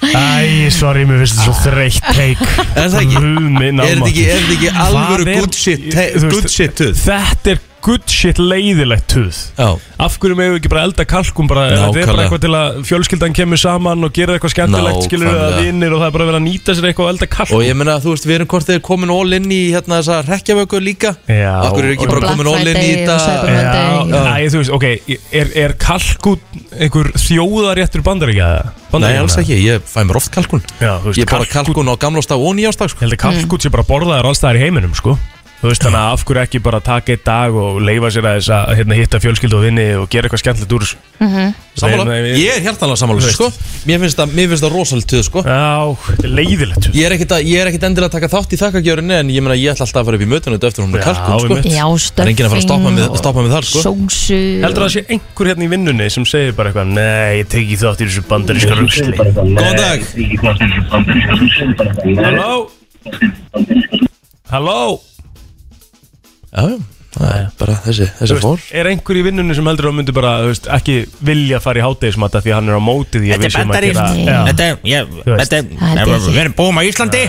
Speaker 4: Æ, sorry, mér finnst þetta svo þreytt teik
Speaker 2: Er það ekki?
Speaker 4: Hugminn
Speaker 2: Er þetta ekki, er þetta ekki alvöru
Speaker 4: Hvað er-
Speaker 2: good shit te-
Speaker 4: Þú veist-
Speaker 2: Good shit tuð
Speaker 4: Þetta er good shit leiðilegt tuð
Speaker 2: Já,
Speaker 4: Af hverju megum við ekki bara elda kalkum bara, Þetta er bara
Speaker 2: Nákvæmlega.
Speaker 4: eitthvað til að fjölskyldan kemur saman og gera eitthvað skemmtilegt skilur við að
Speaker 2: Nákvæmlega.
Speaker 4: vinnir og það er bara að vera að nýta sér eitthvað og elda
Speaker 2: og
Speaker 4: kalkum
Speaker 2: ég meina að þú veist Við erum hvort þeir komin all in í hérna þessa rekkjavöku líka
Speaker 4: Já.
Speaker 2: Akkur er ekki
Speaker 4: Og
Speaker 2: bara
Speaker 3: Black
Speaker 2: komin all in í
Speaker 3: Friday og
Speaker 2: þetta
Speaker 3: Cyber-
Speaker 4: Já,
Speaker 3: Monday.
Speaker 4: næ, þú veist, ok Er, er kalkun einhver þjóðaréttur bandaríkja?
Speaker 2: Nei, alls ekki, ég fæ mér oft kalkun
Speaker 4: Já, þú veist,
Speaker 2: Ég bara kalkun á sko. gamlástag og nýjástag
Speaker 4: Ég held að kalkun sé bara borðaðar alls staðar í heiminum, sko Þú veist, þannig að af hverju ekki bara taka eitt dag og leifa sér að þess að hérna, hitta fjölskyldu og vinni og gera eitthvað skemmtilegt úr þessu
Speaker 2: Sammála,
Speaker 4: Nei, nei,
Speaker 2: ég er hjartanlega sammála
Speaker 4: Þú
Speaker 2: þessu,
Speaker 4: veist.
Speaker 2: sko. Mér finnst það, mér finnst það rosalega tuð sko.
Speaker 4: Já, þetta er leiðilegt
Speaker 2: Ég er ekkit að, ég er ekkit endilega að taka þátt í þakkagjörunni En ég meina ég ætla alltaf að fara upp í mötunum Eftir hún er
Speaker 4: Já,
Speaker 2: kalkun sko.
Speaker 4: einmitt.
Speaker 3: Já,
Speaker 2: Það er enginn að fara að stoppa mig- stoppa mig þar, sko.
Speaker 3: Mm. Sósu
Speaker 4: Heldur það að sé einhver hérna í vinnunni sem segir bara eitthvað Nei, ég teki þátt í þessu bandaríska rugsli
Speaker 2: Góðan dag,
Speaker 4: Halló Halló
Speaker 2: já, já, það er bara þessi,
Speaker 4: Þú
Speaker 2: þessi fór
Speaker 4: veist, Er einhver í vinnunni sem heldur að hann myndi bara þú veist, ekki vilja fara í hátegismat af því að hann er á móti því að við séum að gera Já,
Speaker 5: er, ég,
Speaker 4: Þú veist.
Speaker 3: Það er ekki.
Speaker 5: erum búum á Íslandi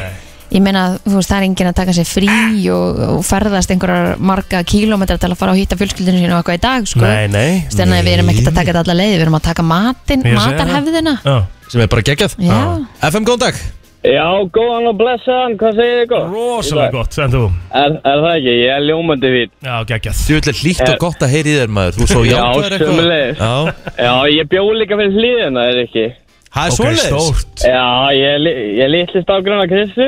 Speaker 3: Ég meina, þú veist, það er enginn að taka sér frí og, og ferðast einhverjar marga kílómetra til að fara og hitta fjölskyldinu sínu og eitthvað í dag, sko.
Speaker 4: Nei, nei
Speaker 3: Þannig að við erum ekkert að taka þetta alla leið, við erum að taka matin,
Speaker 4: Ég segi það.
Speaker 3: matarhefðina.
Speaker 4: Já.
Speaker 2: Sem er bara geggjað
Speaker 3: Já.
Speaker 2: FM, góðan dag
Speaker 6: Já, góðan og blessaðan, hvað segir þið gott?
Speaker 4: Rosalega gott, en þú
Speaker 6: Er, er það ekki? Ég er ljómandi fýtt.
Speaker 4: Já, geggjað
Speaker 2: Þú ætla hlýtt og gott að heyri þér maður Þú svo
Speaker 6: Já,
Speaker 2: jákvæður
Speaker 6: sömuleiðis.
Speaker 2: Já,
Speaker 6: Já, ég bjó líka fyrir hliðina, er ekki?
Speaker 2: það er
Speaker 4: Ok,
Speaker 2: svoleiðis
Speaker 4: stórt
Speaker 6: Já, ég er, li- ég er litli stafgrunna
Speaker 4: [LAUGHS]
Speaker 6: Kristu.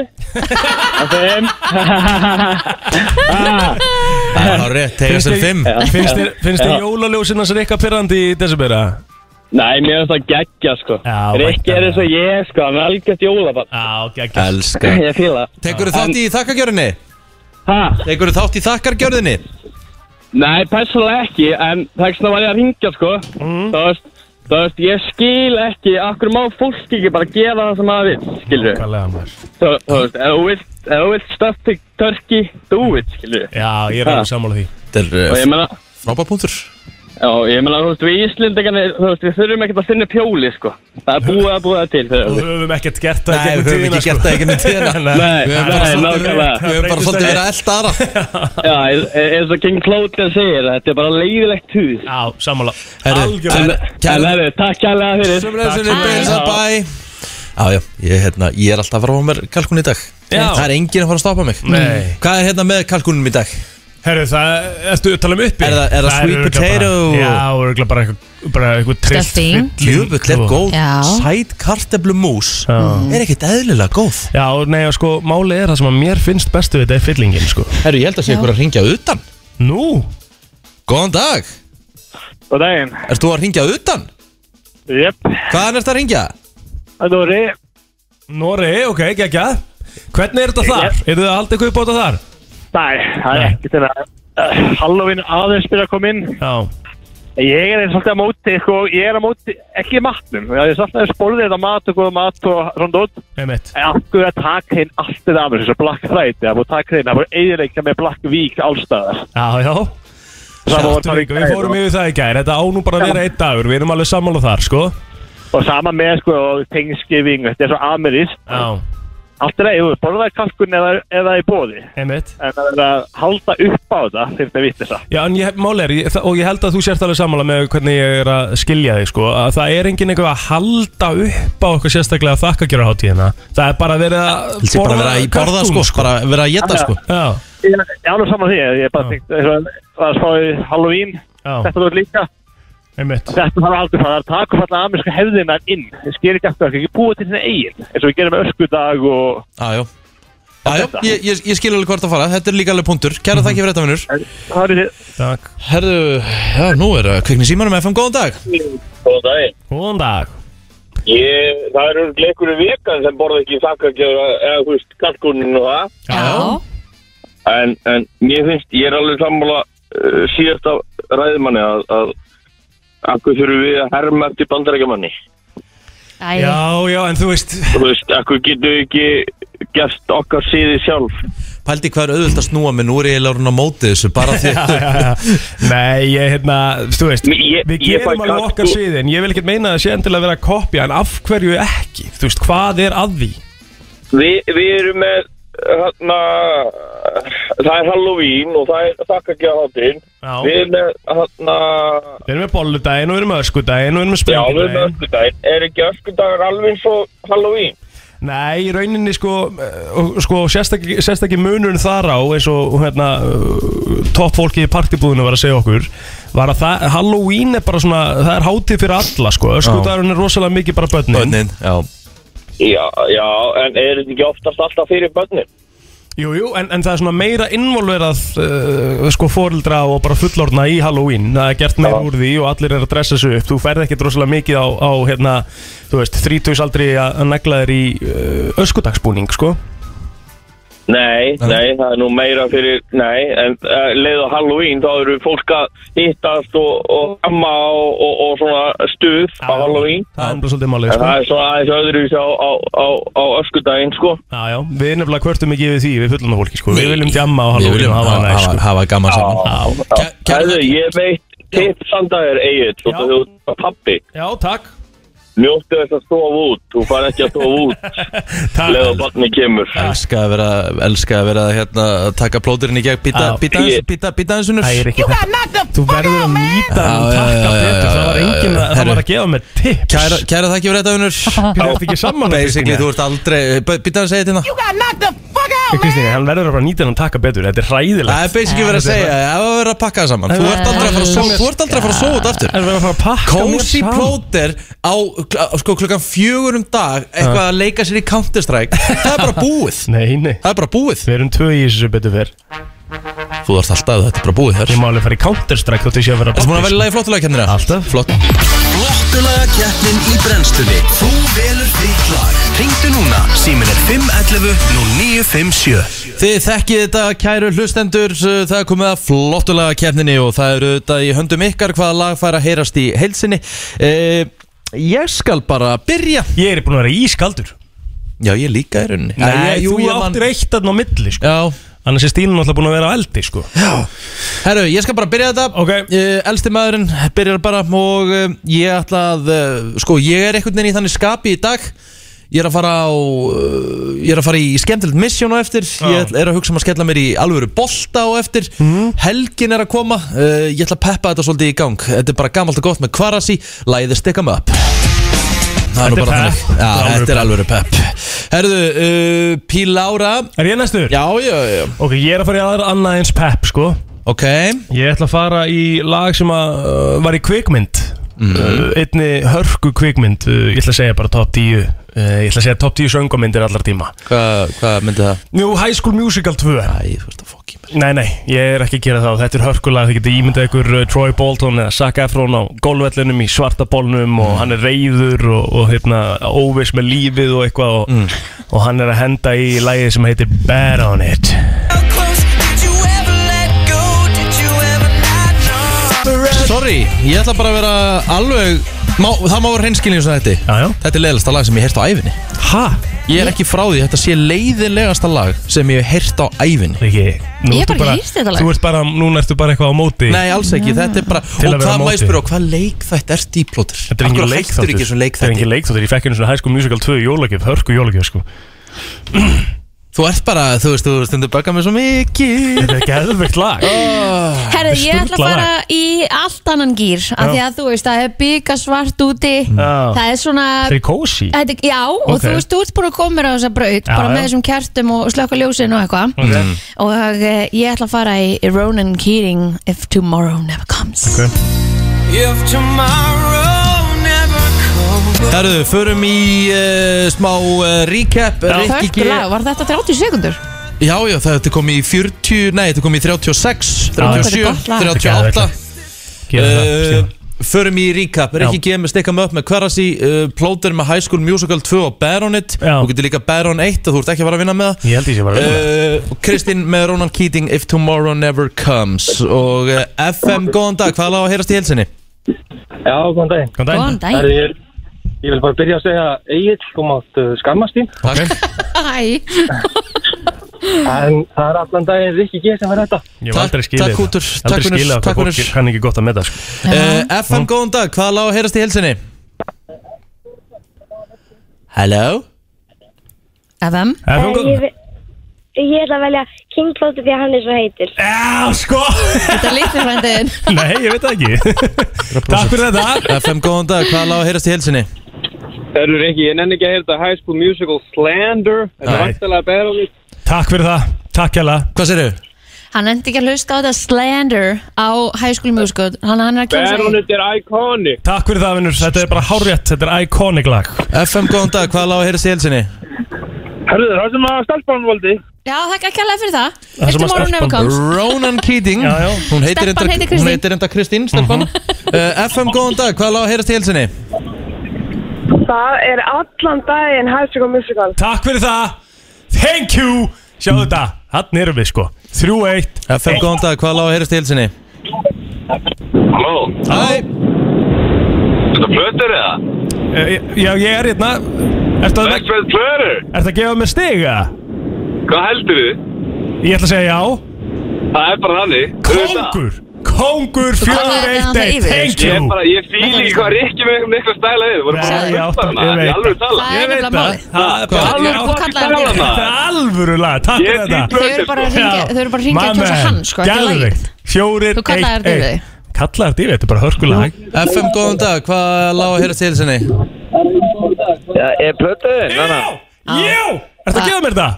Speaker 6: Það er þeim. [LAUGHS] Ah,
Speaker 2: Það er á rétt, tegast
Speaker 4: Finnst
Speaker 2: en
Speaker 4: þér-
Speaker 2: fimm
Speaker 4: Finnst þér- finnst þér
Speaker 6: Já.
Speaker 4: jólaljósinn hans Rikka Pirrandi í desibera?
Speaker 6: Nei, mér finnst það geggja, sko.
Speaker 4: Já,
Speaker 6: Rikki er
Speaker 4: væntanlega.
Speaker 6: eins og ég, sko, hann er algjört jólabann.
Speaker 4: Já, geggjað
Speaker 2: Elskar
Speaker 6: Ég fýla það.
Speaker 2: Tekur þú þátt í þakkagjörunni?
Speaker 6: Ha?
Speaker 2: Tekur þú þátt í þakkargjörðinni?
Speaker 6: Nei, persónulega ekki, en þess vegna var ég að ringja, sko.
Speaker 2: Mhm.
Speaker 6: Þú veist, þú veist, ég skil ekki, akkur má fólk ekki bara gera það sem maður vil, skilur við.
Speaker 4: Nákvæmlega, maður.
Speaker 6: Þú þú veist, ef þú vilt, ef þú vilt stuff til turkey, do it, skilur við.
Speaker 4: Já, ég er
Speaker 6: Ha.
Speaker 4: alveg sammála því
Speaker 2: Þetta
Speaker 6: Og
Speaker 2: er
Speaker 6: ég meina,
Speaker 2: frábæðpuntur
Speaker 6: já, ég meina, þú veist, við Íslendingarnir, þú veist, við þurfum ekkert að finna pjóli, sko. Það er búið að búið það til fyrir
Speaker 4: Og
Speaker 6: okkur.
Speaker 4: við höfum ekkert gert það í
Speaker 2: Nei,
Speaker 4: gegnum
Speaker 2: við höfum
Speaker 4: tíðina, sko.
Speaker 2: ekki gert það í gegnum tíðina.
Speaker 4: [LAUGHS] Nei,
Speaker 6: Nei,
Speaker 2: Við höfum bara
Speaker 6: nei,
Speaker 2: svolítið-
Speaker 6: nákvæmlega.
Speaker 2: Við höfum bara svolítið verið að elda aðra
Speaker 6: Já, e- e- eins og King Clóten segir, þetta er bara leiðilegt hús.
Speaker 4: Já, sammála
Speaker 2: Herru,
Speaker 4: Algjörlega
Speaker 2: en-
Speaker 6: En það er, takk kærlega fyrir.
Speaker 2: Sumræðisinn
Speaker 4: Takk.
Speaker 2: Bils að bæ Já, já, ég, hérna, ég er alltaf að fara á mér kalkun í dag
Speaker 4: Já.
Speaker 2: Það er enginn að fara að stoppa mig
Speaker 4: Nei.
Speaker 2: Hvað er hérna með kalkunum í dag?
Speaker 4: Herru, það, ertu að tala um uppi?
Speaker 2: Er það- er það sweet
Speaker 4: örugglega
Speaker 2: potato?
Speaker 4: Bara, já, örgulega bara eitthvað, bara eitthvað trist
Speaker 3: Stuffing.
Speaker 2: Jöfull er góð
Speaker 3: Já.
Speaker 2: Sæt karteblu mús Mm.
Speaker 4: Já.
Speaker 2: Er ekkert eðlilega góð
Speaker 4: Já, nei, og sko, máli er það sem að mér finnst bestu við þetta er fyllingin, sko
Speaker 2: Herru, ég held að sé ykkur að ringja utan
Speaker 4: Nú,
Speaker 2: Góðan dag,
Speaker 6: Og daginn,
Speaker 2: ert þú að ringja utan?
Speaker 6: jöp,
Speaker 2: Hvaðan ert að ringja?
Speaker 6: það voru,
Speaker 4: Nóri, ok, geggja Hvernig er þetta þar? Eru þið að halda eitthvað upp á þetta þar?
Speaker 6: næ, það
Speaker 4: Nei.
Speaker 6: ekki til að, eh, Halloween aðeins byrja að koma inn.
Speaker 4: Já,
Speaker 6: Ég er eins svolítið á móti, sko, ég er á móti, ekki matnum. Já, ég er svolítið að spórði þetta mat og góða mat og svona dótt.
Speaker 4: einmitt
Speaker 6: En af hverju að taka hinn allt þetta af þessu, svo Black Friday, það búið að taka hinn, það búið eðilegja með Black Week allstaðar.
Speaker 4: Já, já
Speaker 6: Sama var
Speaker 4: Sáttu
Speaker 6: það í
Speaker 4: ykkur, við
Speaker 6: gær
Speaker 4: fórum
Speaker 6: og-
Speaker 4: yfir það í gær Þetta á nú bara að vera einn dagur, við erum alveg sammála þar, sko
Speaker 6: Og sama með sko Thanksgiving, þetta er svo amirist,
Speaker 4: Já,
Speaker 7: Allt er að ég borðaði kalkun eða, eða í bóði
Speaker 4: Einmitt.
Speaker 7: En að vera að halda upp á þetta Fyrir þetta vitið það
Speaker 4: Já, en ég, máli er, ég, þa- og ég held að þú sért alveg sammála með hvernig ég er að skilja þig, sko, að það er enginn eitthvað að halda upp á eitthvað sérstaklega að þakka gera hátíðina. Það er bara verið að
Speaker 2: Þessi bara vera í borða sko, bara vera að geta sko
Speaker 4: Já,
Speaker 7: Ég ég er alveg saman því Ég er
Speaker 4: Já.
Speaker 7: bara tengt Var að spá í Halloween
Speaker 4: já,
Speaker 7: Þetta þú líka
Speaker 4: einmitt.
Speaker 7: Þetta þarf aldrei að fara að taka falla ameríska hefðina inn Ég skil ekki aftur, ekki búa til þetta eigin eins og við gerum með öskudag og
Speaker 2: Jájó Jájó, ég, ég, ég skil alveg hvort að fara, þetta er líka alveg punktur
Speaker 6: Mhm.
Speaker 2: Kæra þakki fyrir þetta vinnur
Speaker 7: það er þið
Speaker 4: Takk.
Speaker 2: Herðu, já nú er að kvikni símanum FM, góðan dag
Speaker 6: Góðan daginn.
Speaker 4: Góðan dag.
Speaker 6: Ég, það eru leikur í vikan sem borða ekki þakkargjöra eða þú veist, kalkunin og það.
Speaker 8: Já,
Speaker 6: En, en mér finnst, ég er alveg sammála uh, síðast af ræðumanni að, að akkur þurfum við að herma eftir bandarækjumanni.
Speaker 8: Æ,
Speaker 4: Já, já, en þú veist,
Speaker 6: Þú veist, akkur getum við ekki gert okkar síði sjálf.
Speaker 2: Pældi hvað er auðvöld að snúa mig, nú er ég eiginlega orðinn á móti þessu
Speaker 4: [LAUGHS]
Speaker 2: Bara því
Speaker 4: já, já, já. Nei, ég, hérna, þú veist,
Speaker 6: Mér- ég-
Speaker 4: við
Speaker 6: ég fæ
Speaker 4: gerum alveg
Speaker 6: kalkún-
Speaker 4: okkar síðin, ég vil ekkert meina að það sé endilega að vera að kopja, en af hverju ekki? Þú veist, hvað er að því?
Speaker 6: Vi, við erum með, hérna, það er Halloween og það er þakkargjöra
Speaker 4: Já.
Speaker 6: Við erum með, hérna,
Speaker 4: Við erum með bolludaginn og við erum með öskudaginn og við erum með
Speaker 6: Já, við erum með
Speaker 4: springudaginn.
Speaker 6: öskudaginn. Er ekki öskudagur alveg eins og Halloween?
Speaker 4: Nei, í rauninni sko, eh, og- sko sérstakki, sérstakki munurinn þar á eins og hérna, toppfólki í partibúðinu var að segja okkur var að það, Halloween er bara svona það er hátíð fyrir alla sko öskudagurinn er rosalega mikið bara börnin
Speaker 2: Bönnin, já
Speaker 6: Já, já, en er þetta ekki oftast alltaf fyrir börnin?
Speaker 4: Jú, jú, en, en það er svona meira involverað uh, sko fóreldra og bara fullorna í Halloween það er gert meira úr því og allir er að dressa sig upp þú ferð ekkert rosalega mikið á, á hérna, þú veist, þrítugsaldri að að negla þér í uh, öskudagsbúning sko
Speaker 6: Nei, nei, það er nú meira fyrir, nei, en uh, leið á Halloween þá eru fólk að hittast og, og amma og, og, og svona stuð á Halloween.
Speaker 4: Það er bara svolítið málið
Speaker 6: En
Speaker 4: sko
Speaker 6: það er svona aðeins öðruvísi á, á, á, á öskudaginn, sko.
Speaker 4: Já, já, við nefnilega kvörtum ekki við því við fullana fólki sko, við viljum djamma á Halloween
Speaker 2: Við viljum hafa, hafa, hafa gaman saman
Speaker 4: sko.
Speaker 6: Já.
Speaker 2: Kæ- kæra
Speaker 6: Herðu,
Speaker 2: þakkir.
Speaker 6: ég er meitt tipp sandaðir eigið,
Speaker 4: Já.
Speaker 6: svo þú ert pappi.
Speaker 4: já, já, takk
Speaker 6: Njóttu þess að stofa út, þú far ekki að stofa út leið á
Speaker 4: [LAUGHS] Takk,
Speaker 6: barni kemur.
Speaker 2: Elska að vera, elska að vera hérna að taka plóturinn í gegn Býta,
Speaker 4: Já.
Speaker 2: býta, aðeins- býta, býta aðeins unnur
Speaker 4: það er ekki þetta Þú verður að nýta
Speaker 2: Já,
Speaker 4: og
Speaker 2: já, já,
Speaker 4: takka
Speaker 2: já,
Speaker 4: betur,
Speaker 2: já,
Speaker 4: það var
Speaker 2: já,
Speaker 4: enginn
Speaker 2: já,
Speaker 4: að, það
Speaker 2: herru.
Speaker 4: var að gefa mér tips
Speaker 2: Kæra, kæra þakki fyrir þetta unnur
Speaker 4: Þú ert ekki saman
Speaker 2: Basically, þú ert aldrei, býta aðeins að segja þetta hérna
Speaker 4: Kristín, hann verður að bara nýta hann og taka betur, þetta er
Speaker 2: Það
Speaker 4: hræðilegt
Speaker 2: er basically verið að segja, það var verið að pakka það saman Þú ert aldrei að fara að sóa, þú ert aldrei að fara að sóa út aftur
Speaker 4: Það verður að fara að pakka
Speaker 2: Cozy
Speaker 4: mér saman.
Speaker 2: Plóter á kl- sko, klukkan fjögur um dag eitthvað að leika sér í
Speaker 9: [LAUGHS]
Speaker 2: Counter-Strike það er bara búið
Speaker 4: Nei, nei,
Speaker 2: það er bara búið
Speaker 4: við erum tvö í þessu sem betur fyrr
Speaker 2: þú þarfst alltaf þetta er bara búið þér
Speaker 4: Ég má alveg fara í Counter-Strike þótt ég sé að vera sko.
Speaker 2: Erstu múin að velja lagi flottulega kennir
Speaker 4: Alltaf.
Speaker 2: Flott
Speaker 9: Flottulaga keppnin í brennstunni Þú velur þitt lag Ringdu núna, símin er 511 0957
Speaker 2: Þið þekkið þetta kæru hlustendur það er komið að flottulega keppninni og það eru þetta í höndum ykkar hvaða lag fær að heyrast í heilsinni e Ég skal bara byrja
Speaker 4: Ég er búin að vera ískaldur
Speaker 2: Já, ég líka er unni
Speaker 4: Nei, þú áttir eitt að á milli, sko
Speaker 2: Já,
Speaker 4: Annars er Stínu náttúrulega búin að vera á eldi, sko
Speaker 2: Herru, ég skal bara byrja þetta
Speaker 4: Ok.
Speaker 2: uh, Elsti maðurinn byrjar bara og uh, ég ætla að uh, sko, ég er einhvern veginn í þannig skapi í dag Ég er að fara á uh, ég er að fara í skemmtilegt misjón á eftir Ég ætla- er að hugsa um að skella mér í alvöru bolta á eftir
Speaker 4: Mhm.
Speaker 2: Helgin er að koma uh, Ég ætla að peppa þetta svolítið í gang Þetta er bara gamalt og gott með kvarasi Læðið stikka mig upp Það er nú
Speaker 4: Þetta er
Speaker 2: bara
Speaker 4: pepp.
Speaker 2: þannig Já,
Speaker 4: Alvöru
Speaker 2: þetta er alvöru pepp Herðu, uh, Pílára
Speaker 4: Er ég næstur?
Speaker 2: Já, já, já
Speaker 4: Ok, ég er að fara í aðra annað eins pepp, sko
Speaker 2: Ok,
Speaker 4: Ég ætla að fara í lag sem að, uh, var í kvikmynd
Speaker 2: Mhm.
Speaker 4: uh, Einni hörku kvikmynd uh, Ég ætla að segja bara top 10 uh, Ég ætla að segja top 10 söngamyndir allar tíma
Speaker 2: hvað hva myndi það?
Speaker 4: Nú, High School Musical 2
Speaker 2: Æ, þú veist að fokki mér
Speaker 4: Nei, nei, ég er ekki að gera það Þetta er hörkulag, þið getur ímyndað ykkur uh, Troy Bolton eða Zac Efron á golvellunum í svarta bólnum
Speaker 2: Mm.
Speaker 4: og hann er reyður og, og hérna, óviss með lífið og eitthvað og,
Speaker 2: Mm.
Speaker 4: og hann er að henda í lagið sem heitir Bad On It
Speaker 2: Sorry, ég ætla bara að vera alveg má, Það má vera hreinskilning sem þetta
Speaker 4: Já, já.
Speaker 2: Þetta er leiðilegasta lag sem ég hef heyrt á æfinni
Speaker 4: Ha?
Speaker 2: Ég er ekki frá því, þetta sé leiðilegasta lag sem ég hef heyrt á æfinni
Speaker 4: Riki, nú
Speaker 8: Ég
Speaker 4: ertu
Speaker 8: bara hýrst þetta lag. Ah.
Speaker 4: Þú ert bara, núna ertu bara eitthvað á móti
Speaker 2: Nei, alls ekki, þetta er bara
Speaker 4: Til að
Speaker 2: Og
Speaker 4: vera á
Speaker 2: hvað
Speaker 4: móti.
Speaker 2: maður spyrja, og hvað leikþætt er stíplótur?
Speaker 4: Þetta er engin
Speaker 2: Akkur hættur
Speaker 4: leikþáttur
Speaker 2: ekki þessum
Speaker 4: Þetta er
Speaker 2: leikþætti
Speaker 4: engin leikþáttur Ég fekk einu svona High School Musical 2 jólagjöf Hörku jólagjöf sko
Speaker 2: Þú ert bara, þú veist, þú stundur baka mig svo mikið
Speaker 4: Þetta er geðveikt lag Ah,
Speaker 3: Herðu, ég ætla að
Speaker 4: Sturlað
Speaker 3: fara í allt annan gýr af því að þú veist, það er bygga svart úti
Speaker 4: Mm.
Speaker 3: það er svona
Speaker 4: Þetta er kósi
Speaker 3: Þetta, já, og
Speaker 4: Ok.
Speaker 3: þú veist, þú ert búin að koma mér á þessa braut
Speaker 4: Já,
Speaker 3: bara með
Speaker 4: já.
Speaker 3: þessum kertum og slökka ljósin og eitthvað
Speaker 2: Mm.
Speaker 3: og e, ég ætla að fara í Ronan Keating If Tomorrow Never Comes
Speaker 2: Herðu, förum í uh, smá uh, recap Rikki
Speaker 3: Hörku lag, var þetta 30 sekundur?
Speaker 2: Já, já, þetta kom í 40, nei, þetta kom í 36,
Speaker 3: Já,
Speaker 2: 37,
Speaker 3: þetta er gott
Speaker 4: lag.
Speaker 2: 38
Speaker 4: Gera það
Speaker 2: uh,
Speaker 4: Stína.
Speaker 2: Förum í recap Rikki G með Stick 'em Up með Kvarasi uh, Plóter með High School Musical 2 og Baronet
Speaker 4: Já.
Speaker 2: Þú getur líka Baron 1 að þú ert ekki að fara að vinna með það
Speaker 4: Ég held ég sé bara að vinna með
Speaker 2: Uh, og Kristín með Ronan Keating If Tomorrow Never Comes og uh, FM, góðan dag, hvað er lág að heyrast í helsinni?
Speaker 5: Já, góðan daginn.
Speaker 4: Góðan
Speaker 3: Góðan
Speaker 4: daginn.
Speaker 5: Það
Speaker 3: daginn
Speaker 5: er, ég vil bara byrja að segja Egil, þú mátt uh, skammast þín.
Speaker 2: Takk,
Speaker 3: Æ,
Speaker 5: En það er allan daginn Rikki G sem er þetta.
Speaker 4: Ég hef
Speaker 2: Takk-
Speaker 4: aldrei skilið
Speaker 2: takk,
Speaker 4: það.
Speaker 2: Útur. Takk,
Speaker 4: Aldrei
Speaker 2: Unnur.
Speaker 4: skilið
Speaker 2: Takk,
Speaker 4: hvað fólk
Speaker 2: Unnur.
Speaker 4: kann ekki gott að með það sko.
Speaker 2: uh, FM, góðan dag, hvað er lág að heyrast í helsinni? Hello?
Speaker 3: FM
Speaker 4: FM,
Speaker 10: Eh,
Speaker 4: góðan-
Speaker 10: Ég, ve- ég ætla að velja King Plóti því að hann er svo heitur.
Speaker 4: Já, sko
Speaker 3: Þetta er litli frændin
Speaker 4: Nei, ég veit það ekki Takk fyrir þetta
Speaker 2: FM, góðan dag, hvað er lág að heyrast í helsinni?
Speaker 6: Herru Rikki, ég nenni ekki að heyrta High School Musical Slander Þetta er
Speaker 4: Nei.
Speaker 6: vantilega berum
Speaker 4: Takk fyrir það Takk hella
Speaker 2: Hvað sérðu?
Speaker 3: Hann endi ekki að hlusta á þetta Slander á High School Musical Hann, hann er að kjósa í-
Speaker 6: Baronet er iconic
Speaker 4: Takk fyrir það, vinnur Þetta er bara hárjætt Þetta er iconic lag
Speaker 2: FM, góðan dag, hvað er lág að heyrast í helsinni?
Speaker 5: Herðu, það sem að stelpann valdi.
Speaker 3: Já, þakka ekki alveg fyrir það
Speaker 4: Það
Speaker 3: If
Speaker 4: sem að
Speaker 3: Tomorrow Never
Speaker 4: stelpan-
Speaker 3: Comes
Speaker 2: Ronan Keating
Speaker 4: Já, Mhm. já.
Speaker 2: Hún heitir
Speaker 3: Stelpan heitir
Speaker 2: enda-
Speaker 3: Kristín.
Speaker 2: hún heitir enda Kristín Stefan uh, FM, góðan dag, hvað er lág að heyrast í helsinni?
Speaker 11: Það er allan daginn High School Musical.
Speaker 4: Takk fyrir það Thank you Sjáðu þetta Hann erum við sko 3-1
Speaker 2: FM, góðan dag, hvað er lág að heyrast í helsinni?
Speaker 12: Halló,
Speaker 2: Æ,
Speaker 12: þetta plötur eða?
Speaker 4: Eh, Já, ég er hérna Ertu að, ertu
Speaker 12: Vestfjöld plötur?
Speaker 4: að gefa mér stiga?
Speaker 12: Hvað heldur þið?
Speaker 4: Ég ætla að segja já
Speaker 12: Það er bara þannig
Speaker 4: Kongur Kongur
Speaker 3: talaðir við hann það
Speaker 4: 4-1
Speaker 3: yfir.
Speaker 4: Thank
Speaker 12: Ég
Speaker 4: you
Speaker 12: er bara, ég fíl ekki hvað Rikki með einhvern eitthvað stæla við Við vorum bara að
Speaker 4: Já, já,
Speaker 12: hlusta
Speaker 4: ég
Speaker 12: hana,
Speaker 4: veit
Speaker 12: ég alveg tala
Speaker 3: Það er
Speaker 4: Ég veit
Speaker 3: nefnilega málið.
Speaker 4: Það er bara
Speaker 3: Alvöru
Speaker 4: já,
Speaker 3: fólk kallaði hann
Speaker 12: fyrir.
Speaker 4: Þetta er alvöru lag, takk
Speaker 12: Ég
Speaker 4: fyrir
Speaker 12: er
Speaker 4: þetta
Speaker 12: dýr-
Speaker 3: Þau eru bara að ringja, þau eru bara að ringja að kjósa hann sko, ekki lagið.
Speaker 4: Gæðvegt, fjórið,
Speaker 3: Þú kallaðir þetta yfir þig.
Speaker 4: Kallaðir þetta yfir, þetta er bara hörkulag
Speaker 2: FM, góðan dag, hvað er lág að heyrast í helsinni?
Speaker 5: Er plöturinn
Speaker 4: Já, já, ertu að gefa mér það?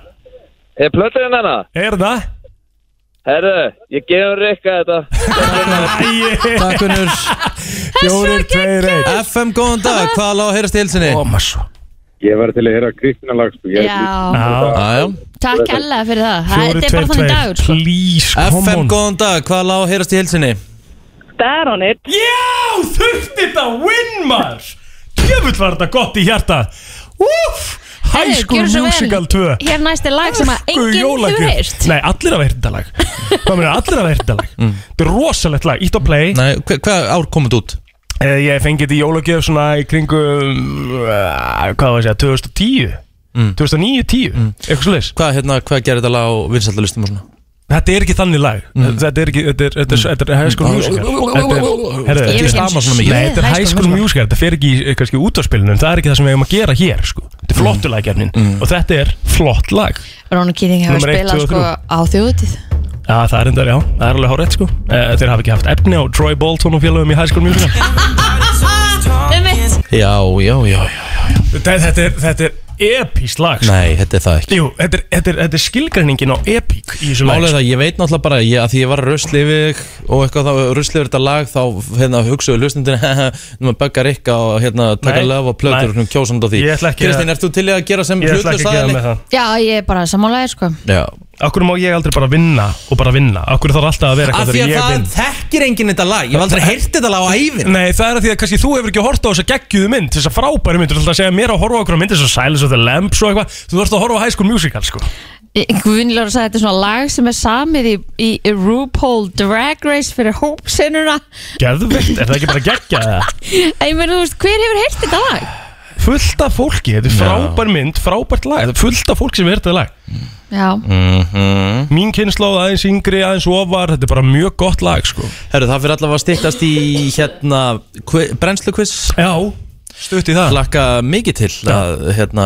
Speaker 5: Er plöturinn hana?
Speaker 4: Er það?
Speaker 5: Herðu, ég gefur Rikka þetta.
Speaker 4: Æ,
Speaker 2: Takk
Speaker 3: [LAUGHS]
Speaker 2: unnur
Speaker 4: fjórið, tveir, einn
Speaker 2: FM, góðan dag, hvað er lág að heyrast í helsinni?
Speaker 4: Óma svo
Speaker 13: Ég var til að heyra Kristina lag sko. Ég-
Speaker 3: Já,
Speaker 4: Já,
Speaker 2: Æjá
Speaker 3: takk hella fyrir það Það
Speaker 4: fjórið,
Speaker 3: þetta er
Speaker 4: tveir,
Speaker 3: bara þannig dagur
Speaker 4: tveir
Speaker 3: sko.
Speaker 4: Please, come
Speaker 2: FM,
Speaker 4: on
Speaker 2: góðan dag, hvað er lág að heyrast í helsinni?
Speaker 11: Baronet.
Speaker 4: Já, þurfti þetta win maður Djöfull var þetta gott í hjarta Úf, High
Speaker 3: Heyrðu,
Speaker 4: School
Speaker 3: gjörðu svo vel.
Speaker 4: Musical 2
Speaker 3: Hér næst er lag sem að
Speaker 4: Guð,
Speaker 3: enginn hefur
Speaker 4: jólagjöf.
Speaker 3: heyrst
Speaker 4: Nei, allir hafa heyrt þetta lag Hvað meina, allir hafa heyrt þetta lag Þetta er rosalegt lag, ítt á play
Speaker 2: Mm. Nei, hve- hvað ár komið út?
Speaker 4: Eh, Ég fengi þetta í jólagjöf svona í kringum uh, Hvað var að segja, 2010
Speaker 2: Mm.
Speaker 4: 2009-10, eitthvað svo
Speaker 2: Hvað, hérna, hvað gerir þetta lág á vinsællalustum og svona?
Speaker 4: Þetta er ekki þannig lag
Speaker 2: Mm.
Speaker 4: Þetta er ekki, þetta er, þetta er, þetta er High School Musical Þetta
Speaker 3: Ég veit
Speaker 2: Ég
Speaker 4: er, herðu, þetta er-
Speaker 3: ekki
Speaker 2: stama svona mikið.
Speaker 4: Nei, þetta er
Speaker 3: High
Speaker 4: High School Musical, þetta fer ekki í eh, kannski útvarspilinu en það er ekki það sem við hefum að gera hér sko.
Speaker 2: Mm.
Speaker 4: Þetta er flottu laggefnin og þetta er flott lag
Speaker 3: Rónu Kýting hefur
Speaker 4: Númer eitt,
Speaker 3: spilað
Speaker 4: tvö og
Speaker 3: sko á þjóðutíð
Speaker 4: Já, það er endar, já, það er alveg hárétt sko eh, Þeir hafa ekki haft efni á Troy Bolton og félagum í High School Musical
Speaker 3: Ummitt
Speaker 2: Já, já, já, já
Speaker 4: þetta, þetta er, þetta er epískt lag sko.
Speaker 2: Nei, þetta er það ekki
Speaker 4: Jú, þetta er, þetta er, þetta er skilgreiningin á epík í þessu lag
Speaker 2: Málega
Speaker 4: sko.
Speaker 2: það, ég veit náttúrulega bara ég, að því ég var að rusli yfir og eitthvað þá rusli yfir þetta lag þá hérna hugsaðu hlustundin [LAUGHS] nú maður baggar ykka og hérna taka
Speaker 4: Nei,
Speaker 2: löf og plötur
Speaker 4: nei.
Speaker 2: og kjósand á því
Speaker 4: Ég ætla ekki að-
Speaker 2: Kristín, ert þú til í að gera sem
Speaker 4: Ég ætla ekki að gera
Speaker 2: hlutlustaðili?
Speaker 4: með það
Speaker 3: Já, ég er bara sammálaðir sko
Speaker 2: Já,
Speaker 4: Akkur má ég aldrei bara vinna og bara vinna Akkur þarf alltaf að vera
Speaker 2: af
Speaker 4: eitthvað
Speaker 2: því að
Speaker 4: þegar ég
Speaker 2: það
Speaker 4: vinn
Speaker 2: þekkir enginn þetta lag ég hef aldrei heyrt þetta lag á æfin
Speaker 4: Nei, það er að því að kannski þú hefur ekki horft á þessa geggjuðu mynd Þessa frábæri mynd, þú ætla að segja mér að horfa á okkur mynd Þessa Silence of the Lambs og eitthvað Þú þarfst að horfa á High School Musical, sko
Speaker 3: Guðnilegur sagði þetta er svona lag sem er samið í, í RuPaul Drag Race fyrir hópsinnuna
Speaker 4: Geðvegt, er það ekki bara geggja það?
Speaker 3: Ég meina, þú veist, hver hefur heyrt þetta lag?
Speaker 4: Fullt af fólki, þetta er frábær mynd, frábært lag Þetta er fullt af fólki sem er þetta lag
Speaker 3: Já,
Speaker 4: Mín kynnslóð, aðeins yngri, aðeins ofar Þetta er bara mjög gott lag, sko
Speaker 2: Herru, það fyrir allavega að styttast í hérna brennslu quiz
Speaker 4: Já, stutt í það
Speaker 2: Laka mikið til að hérna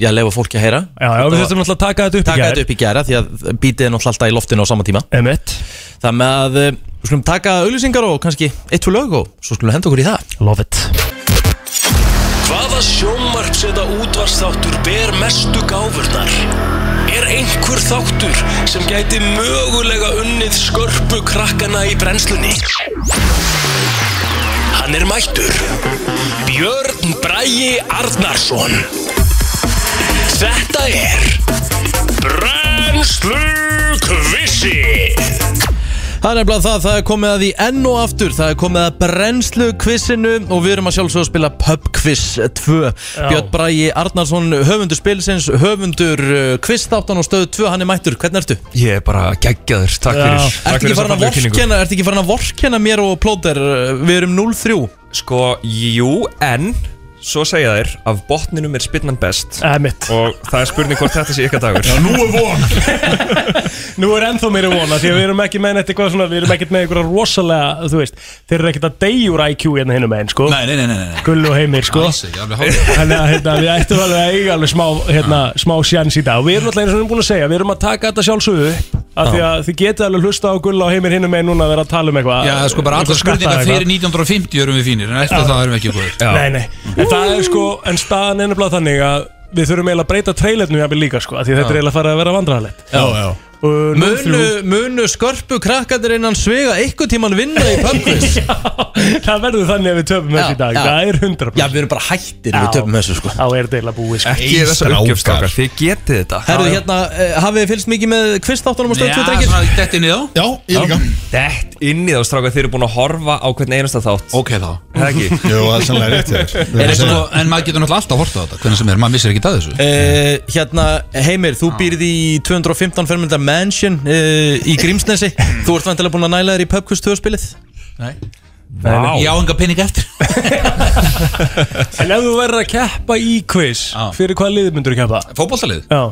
Speaker 2: já, leifa fólki að heyra
Speaker 4: Já, já, við þurfum náttúrulega að taka þetta upp í
Speaker 2: Taka
Speaker 4: gær.
Speaker 2: þetta upp í gæra því að bítið er náttúrulega alltaf í loftinu á sama tíma
Speaker 4: Emmett
Speaker 2: Þannig að eh, við skulum taka auðlýsingar og kannski eitt fyrir lög og svo skulum við henda okkur í það
Speaker 4: Love it
Speaker 1: Hvaða sjónvarps eða útvarstáttur ber mestu gáfurnar? Er einhver þáttur sem gæti mögulega unnið skörpu krakkana í brennslunni? Hann er mættur Björn Bragi Arnarsson Þetta er Brennslu Kvissi
Speaker 2: Það er nefnilega það, það er komið að því enn og aftur Það er komið að brennslu kvissinu Og við erum að sjálfsögðu að spila Pub Quiz 2 Björn Bragi Arnarsson, höfundur spilsins Höfundur uh, quizstáttan og stöðu 2 Hann er mættur, hvernig ertu?
Speaker 14: Ég er bara geggjaður, takk
Speaker 2: Já,
Speaker 14: fyrir
Speaker 2: Ertu ekki farin að vorkenna, ertu ekki farin að vorkenna mér og plóter uh, Við erum 0-3
Speaker 14: Sko, jú, en Svo segja þér, af botninum er spinnan best
Speaker 4: Emmett
Speaker 14: Og það er spurning hvort þetta sé ykkar dagur
Speaker 4: Já, nú er von [LAUGHS] Nú er ennþá meiri vona Því að við erum ekki með neitt eitthvað svona Við erum ekkert með einhverja rosalega, þú veist Þeir eru ekkert að deyjur IQ hérna hinnum einn, sko
Speaker 15: Nei, nei, nei, nei, nei.
Speaker 4: Gull og heimir, sko
Speaker 15: Alls ekki, alveg hárrétt.
Speaker 4: Þannig að hérna, við ættum alveg að eiga alveg smá, hérna, smá sjans í dag Og við erum alltaf eins og við erum búin að segja Við erum að taka þetta sjálfsögðu upp af Því að þið getið alveg hlusta á Gull og heimir hinnum einn núna að vera að tala um eitthvað
Speaker 15: Já, sko bara
Speaker 4: einhver
Speaker 15: allar spurningar
Speaker 4: skatta
Speaker 15: fyrir
Speaker 4: eitthvað.
Speaker 15: 1950 erum við fínir, en eftir
Speaker 4: Já.
Speaker 15: það erum við ekki góðir.
Speaker 4: Nei, nei, en það er sko En staðan er nefnilega þannig að við þurfum eiginlega að breyta trailernu jafnvel líka sko af Því að
Speaker 2: Já.
Speaker 4: þetta er eiginlega að fara að vera vandræðalegt
Speaker 2: Já, já
Speaker 4: Og nú
Speaker 2: Munu, munu skörpu krakkandir innan svega Eitthvað tíman vinna í Pub Quiz Já,
Speaker 4: [LAUGHS] Það verður þannig að við töfum þessu í dag
Speaker 2: já.
Speaker 4: Það er 100%
Speaker 2: Já, við erum bara hættir ef við
Speaker 4: Já.
Speaker 2: töpum þessu sko
Speaker 4: Þá er deila búið sko.
Speaker 14: Ekki þessar uppgjöfstakar, þið getið þetta
Speaker 2: Herru, hérna, eh, hafið þið fylgst mikið með kvistáttunum og stöðu 2 drengir?
Speaker 15: dett inn í þá Já,
Speaker 2: ég líka.
Speaker 14: Dett inn í þá, stráka, þið eru búin að horfa á hvern einasta þátt
Speaker 15: Ok, þá
Speaker 14: Það ekki
Speaker 15: [LAUGHS] Jú, það er sannlega rétt hjá þér. En, sko, en maður getur náttúrulega alltaf að horta á þetta Hvernig sem er, maður missir ekki að þessu
Speaker 2: Uh, hérna, Heimir, þú býrði í 215 fermynda mansion uh, í Grímsnesi Þú ert vantilega búin að næla þér í PubQuest 2 spilið
Speaker 15: Nei
Speaker 14: Vá.
Speaker 15: Ég á enga pening eftir
Speaker 4: En ef þú verður að keppa í quiz Fyrir hvaða lið myndur þú keppa?
Speaker 15: Fótboltalið?
Speaker 4: Já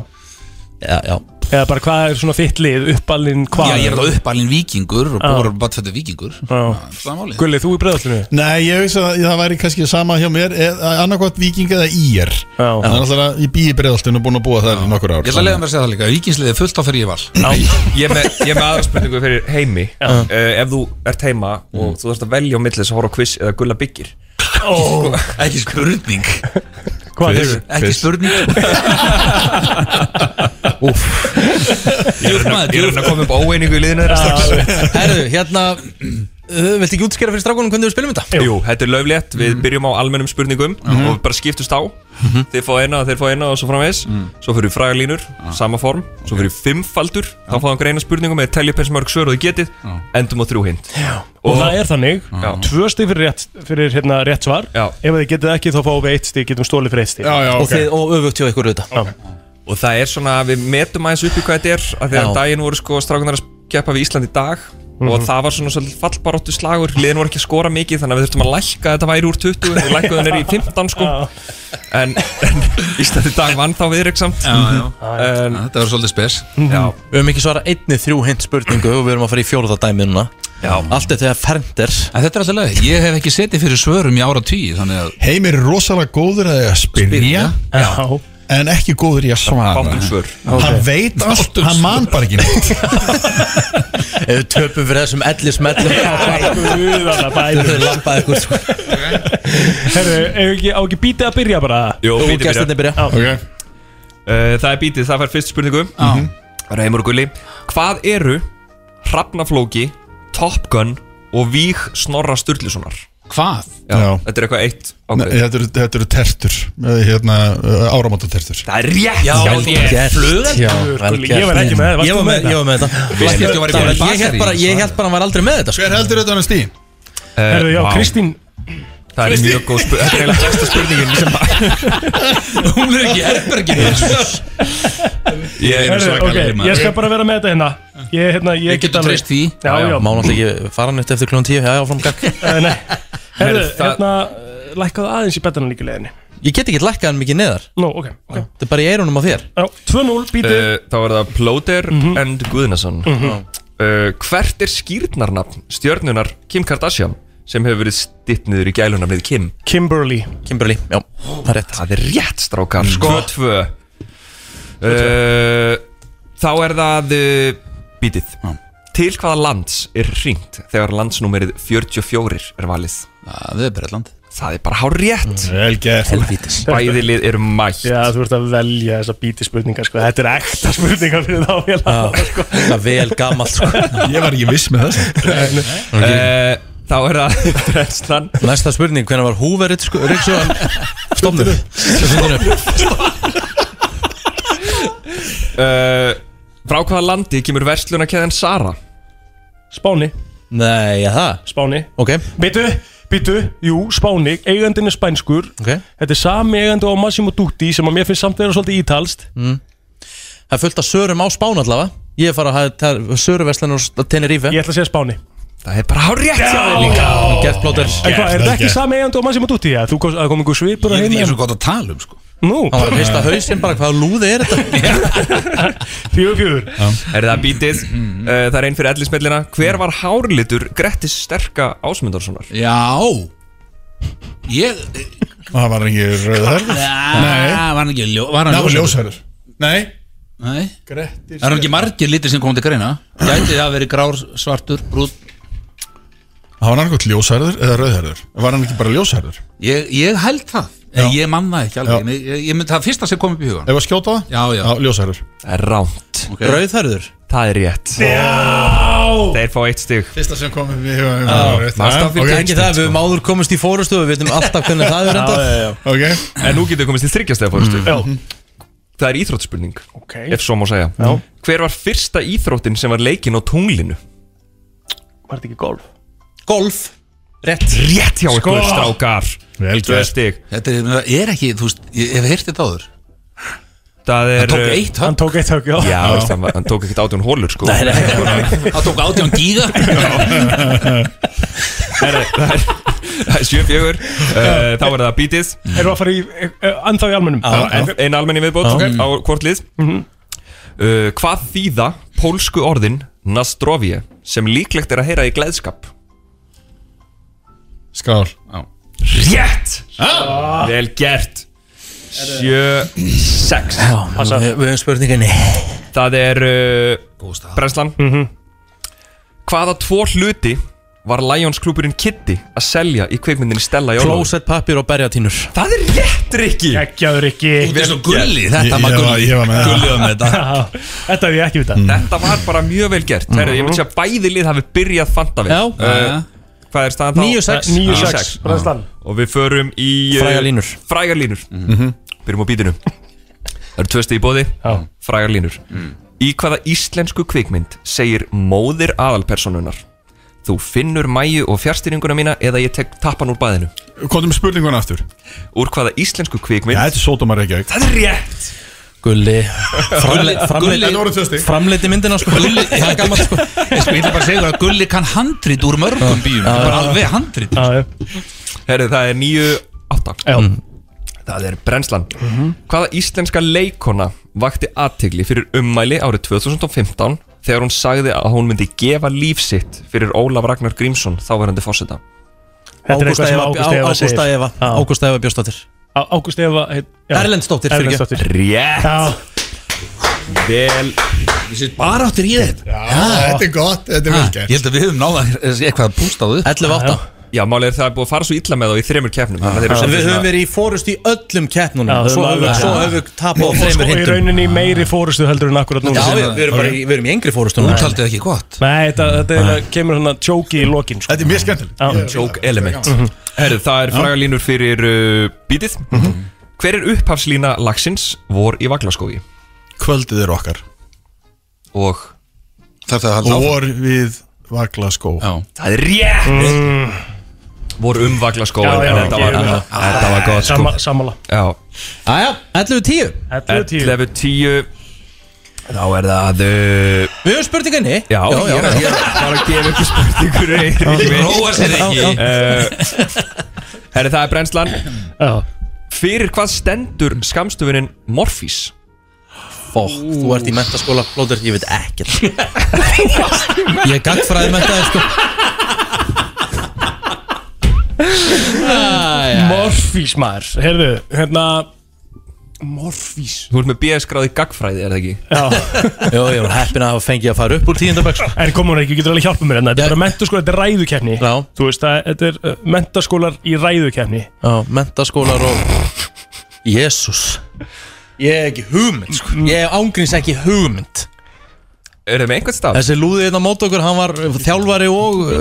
Speaker 2: Já, já
Speaker 4: Eða bara hvað er svona þitt lið, uppalinn hvað
Speaker 15: Já, ég er það uppalinn vikingur og búin að batfættu vikingur
Speaker 4: Já Gulli, þú í breðallinu
Speaker 16: Nei, ég veist að það væri kannski sama hjá mér annarkvæmt viking eða ír en það er alltaf að ég býi breyðaltun og búin að búa það í nokkur ár
Speaker 15: Ég ætla að leiða mér að segja það líka Vikingsliðið er fullt á fyrir ég val
Speaker 14: [LAUGHS] Ég er með, ég er með aðra spurningu fyrir heimi uh, Ef þú ert heima og þú þarfst að velja á milli þess að horfa á quiz eða gulla byggir
Speaker 4: Ó.
Speaker 15: Ekki spurning
Speaker 4: Hvað
Speaker 14: Quiz,
Speaker 4: er
Speaker 15: Ekki
Speaker 14: quiz. [LAUGHS]
Speaker 15: spurning
Speaker 2: Úf
Speaker 14: Ég er að reyna- ég er að reyna að koma upp óeiningu í liðinu þeirra strax.
Speaker 2: Herru, hérna, uh, viltu ekki útskjara fyrir strákunum hvernig við spilum þetta? Mhm.
Speaker 14: Jú, þetta er löflétt, við byrjum á almennum spurningum og við bara skiptust á Þeir fá eina, þeir fá eina og svo framvegis
Speaker 2: Mhm.
Speaker 14: Svo fyrir frægarlínur,
Speaker 2: Ah.
Speaker 14: sama form Svo fyrir fimmfaldur, þá fá einhver eina spurningu með teljupins mörg svör og þið getið Endum á þrjú hint
Speaker 4: Og það er þannig,
Speaker 14: Já.
Speaker 4: tvö stík fyrir, rétt, fyrir hérna, rétt svar
Speaker 14: Já.
Speaker 4: Ef þið getið ekki þá fáum við eitt stík, getum stólið fyrir eitt stík
Speaker 2: og, þið, og öfugt hjá ykkur auðvitað
Speaker 14: Og það er svona, við metum aðeins upp í hvað þetta er af Því að
Speaker 2: Já.
Speaker 14: daginn voru sko strákunar að keppa við Ísland í dag Og
Speaker 2: Mhm.
Speaker 14: það var svona svolítið fallbaróttu slagur Liðin voru ekki að skora mikið Þannig að við þurftum að lækka að þetta væri úr 20 Og lækkaðu nýri í 15 sko en, en Ísland í dag vann þá viðrygg samt Mhm.
Speaker 15: Já, já.
Speaker 14: En, Mhm.
Speaker 15: Þetta var svolítið spes
Speaker 14: já.
Speaker 2: Við höfum ekki svara einni þrjú hint spurningu og við erum að fara í fjóruða dæmi núna
Speaker 14: Já.
Speaker 2: Allt þetta er ferndir
Speaker 15: En þetta er alltaf leið Ég hef ekki setið fyrir svörum í ára tíu Þannig að
Speaker 16: Heimir er rosalega góður að spyrja en ekki góður í að svara
Speaker 15: Bágt um svör.
Speaker 16: Hann
Speaker 15: Ok.
Speaker 16: veit allt,
Speaker 15: Bágt um
Speaker 16: hann man bara ekki
Speaker 15: [LAUGHS]
Speaker 16: neitt
Speaker 2: Ef við töpum fyrir þessum
Speaker 14: [LAUGHS]
Speaker 2: ellismellum
Speaker 4: Guðanna bænum.
Speaker 2: Þau lappa ykkur sko
Speaker 4: Herru, eigum ekki, á ekki bítið að byrja bara
Speaker 14: Jó,
Speaker 2: Og
Speaker 14: bítið byrjar.
Speaker 2: gestirnir byrja
Speaker 16: okay.
Speaker 14: uh, Það er bítið, það fær fyrst spurningu
Speaker 15: Mhm.
Speaker 14: Reymur og Gulli Hvað eru Hrafnaflóki, Top Gun og Víg Snorra Sturlusonar?
Speaker 15: Hvað?
Speaker 14: Já,
Speaker 16: Já.
Speaker 14: Þetta er eitthvað eitt
Speaker 16: Nei,
Speaker 14: ákveðið
Speaker 16: þetta, eru, þetta eru tertur eh, hérna, áramóta tertur
Speaker 14: Það er rétt
Speaker 2: Já,
Speaker 14: hjá
Speaker 2: vel
Speaker 14: þér.
Speaker 2: gert. Já, vel
Speaker 4: Gulli,
Speaker 2: gert.
Speaker 4: ég var ekki með, varstu
Speaker 2: Ég var
Speaker 4: með
Speaker 2: með, ég var með þetta
Speaker 15: Fyrst eftir að vera í
Speaker 2: Ég
Speaker 15: bakarí,
Speaker 2: held bara, ég
Speaker 15: sagði.
Speaker 2: held bara hann var aldrei með þetta sko.
Speaker 16: Hver heldur um þetta hann stí?
Speaker 14: Eh,
Speaker 4: Herru, já,
Speaker 14: vá.
Speaker 4: Kristín
Speaker 14: Það er mjög góð spurning Þetta er
Speaker 2: [LAUGHS]
Speaker 14: eiginlega besta spurningin sem
Speaker 15: Hún er ekki herbergin
Speaker 14: ég
Speaker 4: Herru, ok, ég skal bara vera með þetta hérna Ég, hérna, ég
Speaker 15: Við getum
Speaker 4: alveg-
Speaker 15: treyst því.
Speaker 4: Já, já,
Speaker 2: Má náttúrulega ekki fara hann eftir kljóðan tíu Já, já, fram gagg
Speaker 4: Eh, Nei, herru,
Speaker 14: það-
Speaker 4: hérna Lækkaðu aðeins í betana líka leiðinni
Speaker 2: Ég get ekki lækkað hann mikið neðar
Speaker 4: Nú, ok, ok
Speaker 2: Þetta er bara í eirunum á þér
Speaker 4: Já, 2-0, bítið Mhm.
Speaker 14: Eh, Þá er það Plóter and Guðnason Eh, Hvert er skýrnarnafn stjörnunar Kim Kardashian sem hefur verið stittniður í gælunafnið Kim?
Speaker 4: Kimberly
Speaker 2: Kimberly, já, það er rétt
Speaker 14: Það er rétt strákar Sko tvö uh, Þá er það uh, Bítið Til hvaða lands er hringt Þegar landsnúmerið 44 er valið Það er Bretland Það er bara hár Mm, rétt Helvítis Bæði lið eru [LAUGHS] mætt
Speaker 4: Já, þú ert að velja þessa bíti spurningar sko. Þetta er ekta spurningar fyrir þá félag sko.
Speaker 2: Það vel gammalt sko.
Speaker 16: Ég var ekki viss
Speaker 2: [LAUGHS]
Speaker 16: með þess
Speaker 14: uh, Þá er
Speaker 4: [LAUGHS]
Speaker 14: það Breslan
Speaker 2: Eh, Næsta spurning, hvernig var Húver Ríksjóðan Stofnur
Speaker 4: [LAUGHS]
Speaker 14: uh, Frá hvaða landi kemur verslunarkæðan Sara?
Speaker 4: Spáni
Speaker 2: Nei, já það
Speaker 4: Spáni
Speaker 2: Ok
Speaker 4: Býtu, býtu, jú, Spáni Eigandinn er spænskur
Speaker 2: Ok.
Speaker 4: Þetta er sami eigandi á Massimo Dutti sem að mér finnst samt vera svolítið ítalst
Speaker 2: mm. Það er fullt af sörum á Spán allavega Ég er fara að hafa söruverslanur á Tenerife Ég
Speaker 4: ætla að segja Spáni
Speaker 14: Það er bara hár rétt hjá þér
Speaker 2: líka Gert blóttir
Speaker 4: En hvað, er þetta ekki sami eigandi á Massimo Dutti? Ja? Þú komst- það kom einhver svipur
Speaker 2: Ég veit ekki
Speaker 4: svo
Speaker 15: gott að tala um sko
Speaker 4: Nú
Speaker 2: Hann var að hrista hausinn bara hvaða lúði er þetta
Speaker 4: Fjögur, fjögur
Speaker 14: Er það bítið? Uh, það er einn fyrir ellismellina Hver var hárlitur Grettis sterka Ásmundarssonar?
Speaker 15: Já Ég
Speaker 16: Það var ekki rauðhörður
Speaker 15: Nei Var hann ekki ljó- var hann
Speaker 16: Það var
Speaker 15: ljóshærður?
Speaker 16: ljósherður Nei
Speaker 15: Nei
Speaker 16: Grettir
Speaker 15: Það eru ekki margir litir sem kom til greina Gæti það verið grár, svartur, brún
Speaker 16: Það var annarkot ljósherður eða rauðhörður Var hann ekki bara ljósherður?
Speaker 15: Ég, ég held það En Ég mann það ekki alveg Ég, ég, ég myndi það fyrsta sem kom upp í hugan
Speaker 16: Ef að skjóta það?
Speaker 15: Já, já,
Speaker 16: ljósherður
Speaker 14: Það er rámt
Speaker 15: okay.
Speaker 2: Rauðhörður?
Speaker 14: Það er rétt Þeir fá eitt stig
Speaker 16: Fyrsta sem kom upp í
Speaker 2: Það er ekki það, við höfum áður komist í fórustu Við veitum alltaf hvernig það er enda
Speaker 16: okay.
Speaker 14: En nú getur við komist í þryggjastega fórstu
Speaker 4: mm.
Speaker 14: Það er íþróttspurning
Speaker 4: okay.
Speaker 14: Ef svo má segja
Speaker 4: Já.
Speaker 14: Hver var fyrsta íþróttin sem var leikin á tunglinu?
Speaker 4: Var þetta ekki golf?
Speaker 2: Golf Rétt
Speaker 14: Rétt hjá
Speaker 15: Sko.
Speaker 14: ykkur strákar
Speaker 16: Vel
Speaker 14: Tvö stig
Speaker 15: Þetta er, það er ekki, þú veist, ég hef heyrt þetta áður
Speaker 14: Það er
Speaker 15: Hann tók eitt högg
Speaker 4: Hann tók eitt högg, já
Speaker 14: Já, veist, hann, var- hann tók ekkert átjón hólur sko Nei, nei
Speaker 15: Það tók átján gíga
Speaker 14: Það er sjö fjögur uh, Þá er það bítið
Speaker 4: Erum við að fara í, eh, eh, ennþá í almennum
Speaker 14: En Ein almenni viðbót á hvort lið
Speaker 4: Mhm.
Speaker 14: uh, Hvað þýða pólsku orðin Nastrovje sem líklegt er að heyra í gleðskap
Speaker 16: Skál
Speaker 14: Rétt Ah!
Speaker 4: Ah.
Speaker 14: Vel gert Sjö Sex Passa.
Speaker 2: Við höfum spurninginni
Speaker 14: Það er uh, Breslan
Speaker 4: Mhm.
Speaker 14: Hvaða tvo hluti var Lions klúburinn Kitty að selja í kveikmyndinni Stella í Ólafur?
Speaker 2: Closet pappir og berjatínur
Speaker 14: Það er rétt, Rikki
Speaker 4: Gekkjaður ekki
Speaker 14: Þú ert svo gulli, þetta
Speaker 16: var
Speaker 14: Ég-
Speaker 16: ég var- gulli. ég var með það. Mm. Gulli var með
Speaker 4: þetta Þetta hef ég ekki Mhm. vita
Speaker 14: Þetta var bara mjög vel gert Herru, ég vil sé að bæði lið hafi byrjað fanta vel
Speaker 4: Já.
Speaker 14: uh, Hvað er staðan þá? Ah.
Speaker 4: 9-6. 9-6, Bræðslan.
Speaker 14: Og við förum í eh,
Speaker 2: Frægar línur. Mhm.
Speaker 14: Frægar línur Byrjum á bítinu Það eru tvö stið í bóði Frægar línur Í hvaða íslensku kvikmynd segir móðir aðalpersonunar Þú finnur mæju og fjárstýringuna mína eða ég tek tappan úr baðinu
Speaker 16: Kontum spurninguna aftur
Speaker 14: Úr hvaða íslensku kvikmynd
Speaker 16: Já, þetta er sótumar ekki
Speaker 14: Það er rétt
Speaker 2: Gulli
Speaker 15: Gulli- Gulli- Þetta voru tvö
Speaker 16: framleiti
Speaker 2: Framleiti myndina sko Gulli, [LAUGHS] það er gammalt sko
Speaker 15: Ég sko, ég ætla bara að segja ykkur að Gulli kann handrit úr mörgum bíum Það er bara alveg handrit
Speaker 14: Herru, það er 9-8
Speaker 4: Mm.
Speaker 14: Það er brennslan Hvaða íslenska leikona vakti aðtegli fyrir ummæli árið 2015 þegar hún sagði að hún myndi gefa líf sitt fyrir Ólaf Ragnar Grímsson þáverandi fósita
Speaker 4: Þetta er eitthvað sem Ágústa Eva
Speaker 2: Ágústa
Speaker 4: segir.
Speaker 2: Eva
Speaker 4: Já.
Speaker 2: Ágústa Eva Björnsdóttir
Speaker 4: Ágúst Eva heit- já.
Speaker 2: Erlendsdóttir, fyrirgefðu.
Speaker 4: Erlendsdóttir
Speaker 14: Rétt
Speaker 4: Já.
Speaker 14: Vel
Speaker 15: Bara áttir í þetta
Speaker 16: Þetta er gott, þetta er vel gert
Speaker 15: Ég held að við höfum náða eitthvað að pústa á þau
Speaker 2: 11-8
Speaker 14: Já, málið er það er búið að fara svo illa með þá í þreymur kefnum ah,
Speaker 2: En við höfum verið í fórust í öllum keppnunum
Speaker 4: Já,
Speaker 2: og Svo höfum
Speaker 4: höfum alveg-
Speaker 2: svo höfum við tapað á
Speaker 4: Og sko
Speaker 2: þreymur
Speaker 4: í
Speaker 2: hindum
Speaker 4: rauninni í meiri fórustu heldur en akkurat núna
Speaker 2: Já, við, við, erum bara, í- við erum í yngri fórustu
Speaker 15: Úthaldið ekki gott
Speaker 4: Nei, þetta, þetta er, kemur hann að tjóki í lokin sko. Mhm.
Speaker 16: Þetta er mjög skemmtilegt
Speaker 14: Joke element Herru, það er frægalínur fyrir uh, bítið
Speaker 4: Mhm.
Speaker 14: Hver er upphafslína lagsins vor í Vaglaskógi?
Speaker 16: Kvöldið er okkar
Speaker 14: Og
Speaker 15: Þetta
Speaker 14: halda áfram.
Speaker 16: Vor við vagla skó
Speaker 14: Það er rétt
Speaker 2: Mm.
Speaker 14: Vor um Vaglaskói
Speaker 4: Já, já,
Speaker 14: en þetta var,
Speaker 4: já, já.
Speaker 14: þetta var gott sko.
Speaker 4: Samma, Sammála
Speaker 14: Já
Speaker 2: Æja, 11-10
Speaker 4: 11-10
Speaker 14: 11.10 Þá er það uh,
Speaker 2: Við höfum spurninginni
Speaker 14: Já,
Speaker 2: Já, já.
Speaker 14: ég er að- ég er að- bara að gefa ekki spurningur
Speaker 2: [LAUGHS]
Speaker 15: Róa sér ekki.
Speaker 14: Eh, Herri, það er brennslan
Speaker 4: Já.
Speaker 14: Fyrir hvað stendur skamstöfunin Morfís?
Speaker 2: Fokk, þú ert í mentaskóla Blóður, ég veit ekkert
Speaker 14: [LAUGHS]
Speaker 2: Ég er gagfræði mentaði sko
Speaker 4: Morfís maður Herðu, hérna Morfís
Speaker 14: Þú ert með BS gráði gagfræði, er það ekki?
Speaker 4: Já
Speaker 2: Jó, ég var heppin að hafa fengið að fara upp úr sko. tíundabæks
Speaker 4: En komum hún ekki, getur alveg hjálpað mér hérna Þetta er bara mentaskóla, þetta er ræðukeppni Já Þú veist að þetta er uh, mentaskólar í ræðukeppni
Speaker 2: Já, mentaskólar og Jésús Ég hef ekki hugmynd, sko Ég hef ángríns ekki hugmynd
Speaker 14: Er það með einhvern stað?
Speaker 2: Þessi lúði hérna á mót okkur, hann var þjálfari og uh,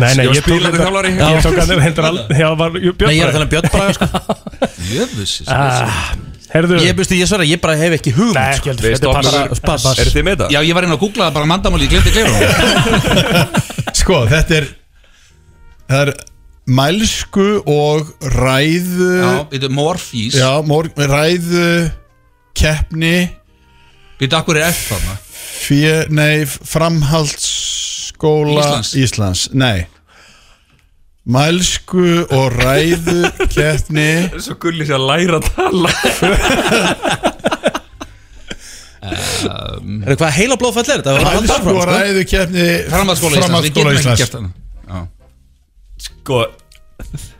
Speaker 4: Nei, nei, ég tók þetta Ég tók hann hendur aldrei Já, var Björn
Speaker 2: Nei, ég er að tala um Björn
Speaker 4: [LAUGHS]
Speaker 2: Braga,
Speaker 4: sko
Speaker 2: Jöfus
Speaker 4: Ah, Herðu
Speaker 2: Ég byrstu, ég sverra, ég bara hef ekki hugmynd sko.
Speaker 4: Nei, ekki heldur, Við þetta er stoppum. bara- pass. Eruð þið með þetta?
Speaker 15: Já, ég var inn að googla það bara mandamál, ég glemdi
Speaker 4: [LAUGHS]
Speaker 15: glerum
Speaker 16: Sko, þetta er Það er mælsku og ræðu
Speaker 15: Já, þetta er morfís
Speaker 16: Já, mor, ræðu Keppni
Speaker 15: Býttu, akkur er F þarna?
Speaker 16: fjö, Nei, framhaldsskóla
Speaker 15: Íslands.
Speaker 16: Íslands, nei Mælsku og ræðu Keppni
Speaker 15: [LAUGHS]
Speaker 14: Það er svo gullis að læra að tala
Speaker 2: Eh. Er hvað heila blóðfall er þetta? Það var haldið
Speaker 16: Mælsku
Speaker 2: áfram,
Speaker 16: og
Speaker 2: sko.
Speaker 16: ræðu Keppni
Speaker 15: Framhaldsskóla Íslands, við getum
Speaker 16: framhaldsskóla
Speaker 15: ekki
Speaker 16: Íslands
Speaker 15: gert þarna. Já.
Speaker 14: Sko,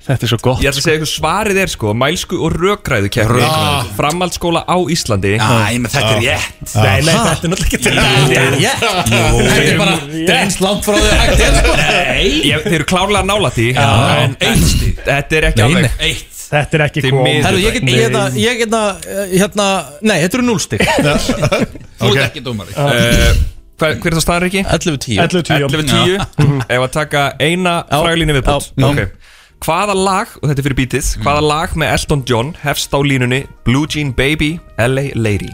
Speaker 4: Þetta er svo gott
Speaker 14: Ég ætla að segja eitthvað svarið er sko Mælsku og rökræðu kemur
Speaker 15: Rökræðu.
Speaker 14: Framhaldsskóla á Íslandi
Speaker 15: Já, ég með þetta er rétt
Speaker 4: Nei, nei, þetta er náttúrulega
Speaker 14: Þetta
Speaker 4: ekki
Speaker 14: er
Speaker 2: rétt Þetta er bara Drens langt frá því að hægt er sko
Speaker 14: Nei Ég- Þeir eru klárlega nála því
Speaker 4: Já.
Speaker 14: En eitt Þetta er ekki
Speaker 2: Nei,
Speaker 14: alveg
Speaker 2: nei.
Speaker 14: Eitt
Speaker 4: Þetta er ekki
Speaker 14: Þið
Speaker 4: kom
Speaker 14: miður.
Speaker 2: Herru, ég get, ég get, ég get, eh, hérna, nei, þetta eru núlstig
Speaker 14: Þú
Speaker 15: ert ekki dómari
Speaker 14: Eh, Hver hver er það staðan, Riki?
Speaker 2: 11-10
Speaker 4: 11-10.
Speaker 14: 11-10 Mhm. Ef að taka eina fræglínu viðbútt
Speaker 2: já.
Speaker 14: Ok Hvaða lag, og þetta er fyrir bítið
Speaker 15: Mhm.
Speaker 14: Hvaða lag með Elton John hefst á línunni Blue Jean Baby, LA Lady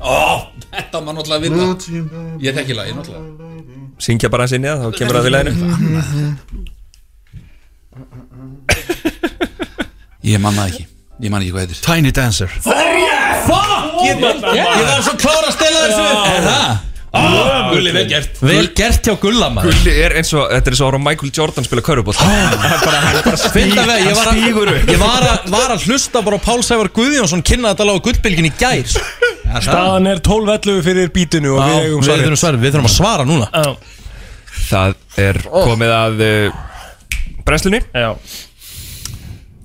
Speaker 15: Ó, Þetta var náttúrulega að vinna Ég þekki lagi náttúrulega
Speaker 14: Syngja bara hans inni eða þá kemur það við læginu
Speaker 15: Ég manna ekki Ég manna ekki hvað heitir
Speaker 16: Tiny Dancer
Speaker 2: Fuck, ég ég var svo klára að stela þessu Er það?
Speaker 14: Ah, Gulli, vel gert
Speaker 2: Vel gert hjá Gulla maður
Speaker 14: Gulli er eins og, þetta er svo ára Michael Jordan spila körubóll
Speaker 2: Ah.
Speaker 14: Hann [LAUGHS] bara, hann bara stíg,
Speaker 2: Fynda veg, ég
Speaker 14: hann
Speaker 2: var
Speaker 14: stígur
Speaker 2: að,
Speaker 14: upp
Speaker 2: ég var að, var að hlusta bara á Pál Sævar Guðjónsson kynna þetta lag á gullbylgin í gær sko.
Speaker 4: [LAUGHS] Staðan er 12-11 fyrir bítinu og
Speaker 2: Já,
Speaker 4: við eigum
Speaker 2: við
Speaker 4: svarið
Speaker 2: þurfum svar, við þurfum að svara núna
Speaker 4: Já.
Speaker 14: Það er komið að uh, brennslunni
Speaker 4: Oh. Já.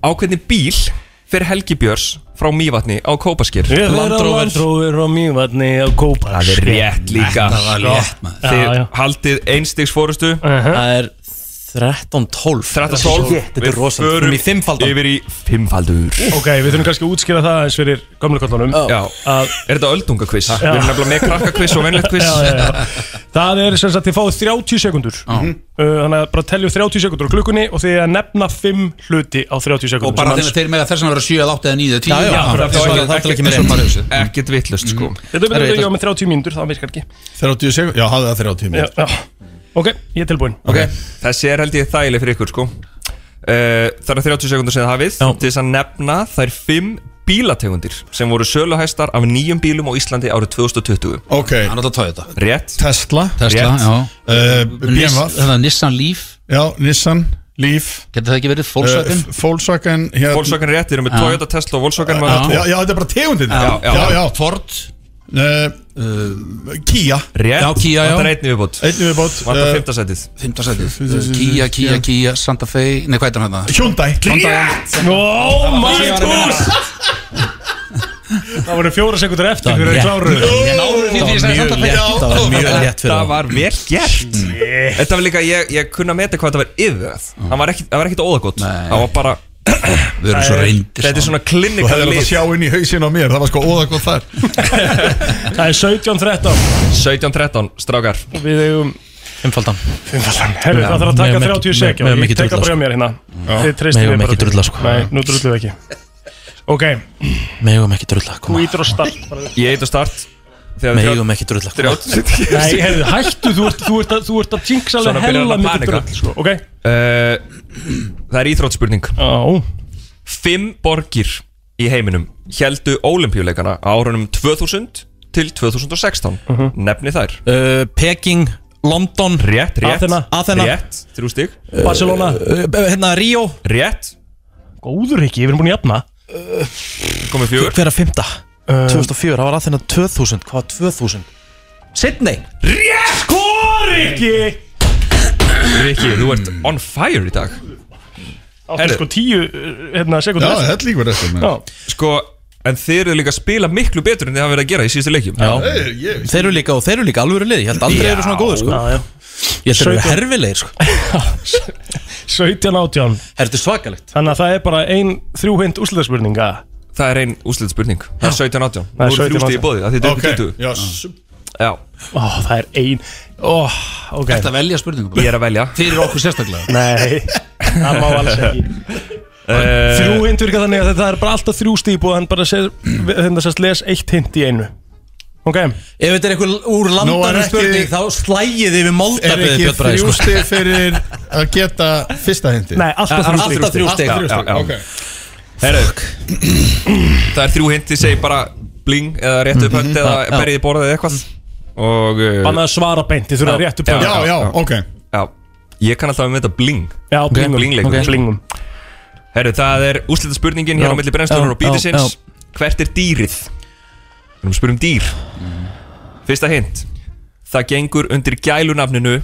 Speaker 14: Á hvernig bíl fer Helgi Björns frá Mývatni á Kópaskir?
Speaker 4: Við erum
Speaker 14: Land Rover.
Speaker 4: landróður og mývatni á kópa
Speaker 14: Það er rétt líka
Speaker 15: Þetta var létt, maður.
Speaker 14: Þið
Speaker 4: Sko. Já, já.
Speaker 14: haldið einstigs fórustu
Speaker 2: Það er 13-12
Speaker 14: 13-12
Speaker 2: Shit, Þetta er rosalega Við
Speaker 14: förum
Speaker 2: erum í fimmfaldan
Speaker 14: Yfir í fimmfaldur
Speaker 4: Ok, við þurfum kannski að útskýra það eins fyrir gamla kollunum
Speaker 14: Já, er þetta öldungakviss? Við erum nefnilega með krakkakviss og vennlegt kviss
Speaker 4: Já, já, já. Það er sem sagt, þið fáið 30 sekundur uh, Þannig að bara telju 30 sekundur á klukkunni og þið er að nefna 5 hluti á 30 sekundur
Speaker 15: Og bara þegar þeir með að þess að vera 7, 8 eða 9, 10
Speaker 2: Já, já,
Speaker 14: Það
Speaker 2: það
Speaker 14: er
Speaker 2: er
Speaker 14: ekki-
Speaker 2: ekki með
Speaker 14: ekkert-
Speaker 2: rétt
Speaker 14: ekkert- Ekkert vittlust sko
Speaker 4: Mm. Þetta
Speaker 2: Herra,
Speaker 4: er
Speaker 2: ég
Speaker 4: ég með 30 mínútur, það virkar ekki
Speaker 16: 30 sekund, já, hafði það 30
Speaker 4: já,
Speaker 16: mínútur
Speaker 4: já. Ok, ég er tilbúinn
Speaker 14: Ok, þessi er held ég þægileg fyrir ykkur sko uh, Það eru 30 sekundur sem þið hafið til þess að nefna þær 5 bílategundir sem voru söluhæstar af nýjum bílum á Íslandi árið 2020
Speaker 16: Ok,
Speaker 15: Hann átt að tója þetta
Speaker 14: Rétt,
Speaker 16: Tesla
Speaker 15: Tesla,
Speaker 14: Rétt.
Speaker 15: já
Speaker 16: uh,
Speaker 15: Nis-
Speaker 16: BMW
Speaker 15: Þetta er Nissan Leaf
Speaker 16: Já, Nissan, Leaf
Speaker 15: Getur það ekki verið
Speaker 16: uh,
Speaker 15: Volkswagen? Ah.
Speaker 16: Volkswagen hérna-
Speaker 14: Volkswagen rétt, þeir eru með
Speaker 15: Já.
Speaker 14: Toyota, Tesla og Volkswagen
Speaker 16: Já,
Speaker 14: maður.
Speaker 16: já, já, þetta er bara tegundin
Speaker 14: Já, já.
Speaker 15: Ford
Speaker 16: Uh, Kia
Speaker 14: Rétt,
Speaker 15: Já, Kia, já.
Speaker 14: þetta er einnig viðbót
Speaker 16: Einnig við bótt
Speaker 14: Var þetta fymtasætið
Speaker 15: Fymta sætið Kia, Kia, Kia, Santa Fe Nei, hvað heitir hann það?
Speaker 16: Hyundai
Speaker 4: Oh my gosh Það voru fjóra sekundur eftir fyrir að kláru
Speaker 2: Mjög létt, það var mjög létt fyrir
Speaker 14: Þetta
Speaker 2: það
Speaker 14: var vel gert Þetta var líka, ég, ég kunna meta hvað þetta var yfirveð Það var ekkit- það var ekkit óðagótt
Speaker 15: Nei.
Speaker 14: Það var bara,
Speaker 15: Við erum svo reyndir
Speaker 14: þetta er svona
Speaker 16: Þú
Speaker 14: klinikal
Speaker 16: hefði látt að sjá inn í hausin á mér, það var sko óðagóð þar
Speaker 4: [LAUGHS] Það er 17-13
Speaker 14: 17-13, strákar
Speaker 4: og Við eigum
Speaker 2: Fimmfaldan
Speaker 4: Herru, það þarf að taka
Speaker 2: megum ekki-
Speaker 4: 30 sekja
Speaker 2: megum- megum
Speaker 4: og
Speaker 2: ekki
Speaker 4: ég teka
Speaker 2: drulla, sko.
Speaker 4: bara hjá mér hérna Þið treystum
Speaker 2: Megum
Speaker 4: mér bara
Speaker 2: ekki
Speaker 4: til-
Speaker 2: drulla, sko.
Speaker 4: Nei, nú drullum við ekki Ok,
Speaker 2: Megum ekki drulla,
Speaker 4: þú
Speaker 2: koma
Speaker 4: ítur og start bara.
Speaker 14: Ég eit að start Þegar þrjá-
Speaker 2: Megum ekki drulla, sko. koma
Speaker 14: þrjá-
Speaker 4: Nei, herru, hættu, þú ert, þú ert, að- þú ert að jinxa
Speaker 14: Svona
Speaker 4: alveg
Speaker 14: byrjar hann
Speaker 4: hella
Speaker 14: að
Speaker 4: mikið
Speaker 14: panika.
Speaker 4: drull sko. Ok,
Speaker 14: Eh, Það er íþróttspurning
Speaker 4: já,
Speaker 14: Fimm borgir í heiminum Hjeldu ólimpíuleikana á árunum 2000 til 2016 Nefni þær
Speaker 2: Uh, Mhm. Peking, London
Speaker 14: Rétt, rétt
Speaker 4: Aþena.
Speaker 2: Aþena.
Speaker 14: Rétt, þrjú stig
Speaker 4: Eh, Barcelona
Speaker 2: uh, Hérna, Ríó
Speaker 14: Rétt,
Speaker 4: Góður ekki, við erum búin að jafna
Speaker 2: Eh,
Speaker 4: Eh,
Speaker 14: komið fjögur
Speaker 2: Hver að fymta? 2004, það var að þennan 2000 Hvað var 2000? Sydney
Speaker 4: Skor ekki
Speaker 14: Rikki, þú ert on fire í dag
Speaker 4: Áttu sko tíu uh, hérna, sekundur
Speaker 16: líkur eftir
Speaker 4: Já.
Speaker 14: Sko, en þeir eru líka að spila miklu betur en þið hafa verið að gera í síðustu leikjum
Speaker 2: Já. Hey, Þeir eru líka og þeir eru líka alvöru lið Ég held aldrei þeir eru svona góður sko.
Speaker 4: já, já.
Speaker 2: Ég held þeir eru
Speaker 4: 17.
Speaker 2: herfilegir
Speaker 4: [LAUGHS]
Speaker 2: sko.
Speaker 4: 17 átján
Speaker 2: Þetta er svakalegt
Speaker 4: Þannig að það er bara ein þrjúhind úrslitaspurninga
Speaker 14: Það er ein úrslitaspurning Það er 17-18
Speaker 4: Það er
Speaker 14: Nú eru
Speaker 4: 17-18.
Speaker 14: þrjústi í bóði, það
Speaker 16: Ok,
Speaker 14: þið er upp í 20
Speaker 16: yes.
Speaker 14: Já
Speaker 4: Ó, það er ein Ó, ok
Speaker 15: Þetta velja spurningum bara.
Speaker 14: Ég er að velja
Speaker 15: Fyrir okkur sérstaklega
Speaker 4: Nei, [LAUGHS] það má alls ekki
Speaker 14: Eh,
Speaker 4: Eh, Þrjú hint virka þannig að þetta er bara alltaf þrjú stípu en bara sér, þeim þess að les eitt hint í einu Ok
Speaker 2: Ef þetta er einhver úr
Speaker 16: Nú er
Speaker 2: landanum
Speaker 16: ekki-
Speaker 2: spurning Þá slægið yfir
Speaker 16: Er
Speaker 2: moldaböði
Speaker 16: ekki
Speaker 2: Björn Bræði sko.
Speaker 16: þrjústi fyrir að geta fyrsta hindi?
Speaker 4: Nei,
Speaker 14: Eh,
Speaker 4: alltaf þrjú stig.
Speaker 2: Alltaf þrjú stig.
Speaker 16: Alltaf þrjú
Speaker 14: Já, já,
Speaker 16: stig,
Speaker 14: já.
Speaker 16: ok
Speaker 14: Herru, [CLEARS THROAT] það er þrjú hindi, segi bara bling eða rétt upp hönd eða
Speaker 4: Já.
Speaker 14: berið í borðið eða eitthvað og uh,
Speaker 4: Bannað að svara beint, þið þurfa að réttu
Speaker 16: Já, já, ok
Speaker 14: Já, ég kann alltaf að mynda bling
Speaker 4: Já, blingum,
Speaker 14: Blingleikum
Speaker 4: ok. Blingum.
Speaker 14: Herru, það er úrslita spurningin hér
Speaker 4: Já,
Speaker 14: á milli brennslunar
Speaker 4: já,
Speaker 14: og bítisins
Speaker 4: já,
Speaker 14: Hvert er dýrið? Við erum að spyrja um dýr Fyrsta hint Það gengur undir gælunafninu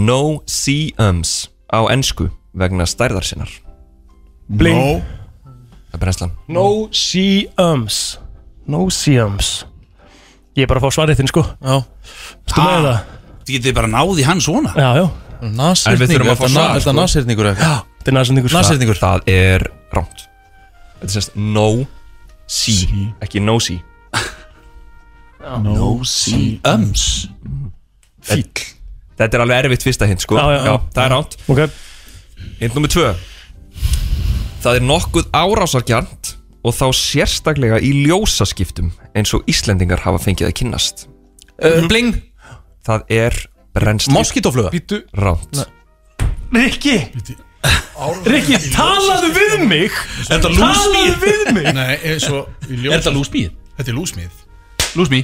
Speaker 14: No Seums á ennsku vegna stærðar sinnar
Speaker 4: Bling.
Speaker 16: No.
Speaker 14: Það er brennslan
Speaker 4: No see-ums No see-ums Ég er bara að fá svarriðin sko Já Stu með það?
Speaker 15: Þið Ah, getið bara náði hann svona
Speaker 4: Já, já
Speaker 14: En við þurfum að fá svar,
Speaker 2: Þetta
Speaker 14: sko.
Speaker 2: er nasirningur
Speaker 4: Já, þetta er sko. nasirningur
Speaker 2: Nasirningur
Speaker 14: Það er rámt Þetta er sérst no see Ekki no
Speaker 4: [LAUGHS]
Speaker 14: see
Speaker 15: No see öms
Speaker 14: Fýll Þetta er alveg erfitt fyrsta hint sko
Speaker 4: Já, já, já.
Speaker 14: Það er rámt
Speaker 4: Ok
Speaker 14: Hint nummer tvö Það er nokkuð árásargjant og þá sérstaklega í ljósaskiptum eins og Íslendingar hafa fengið að kynnast
Speaker 2: uh, Bling
Speaker 14: Það er brennsli
Speaker 2: Moskítofluga
Speaker 4: Býtu
Speaker 14: Rámt
Speaker 4: Rikki Rikki, talaðu við mig
Speaker 15: Þetta
Speaker 4: Talaðu við
Speaker 15: [LAUGHS]
Speaker 4: mig
Speaker 16: Nei,
Speaker 15: eh,
Speaker 16: eins og í ljós-
Speaker 15: Er þetta lúsmíð?
Speaker 16: Þetta er lúsmið
Speaker 15: Lúsmí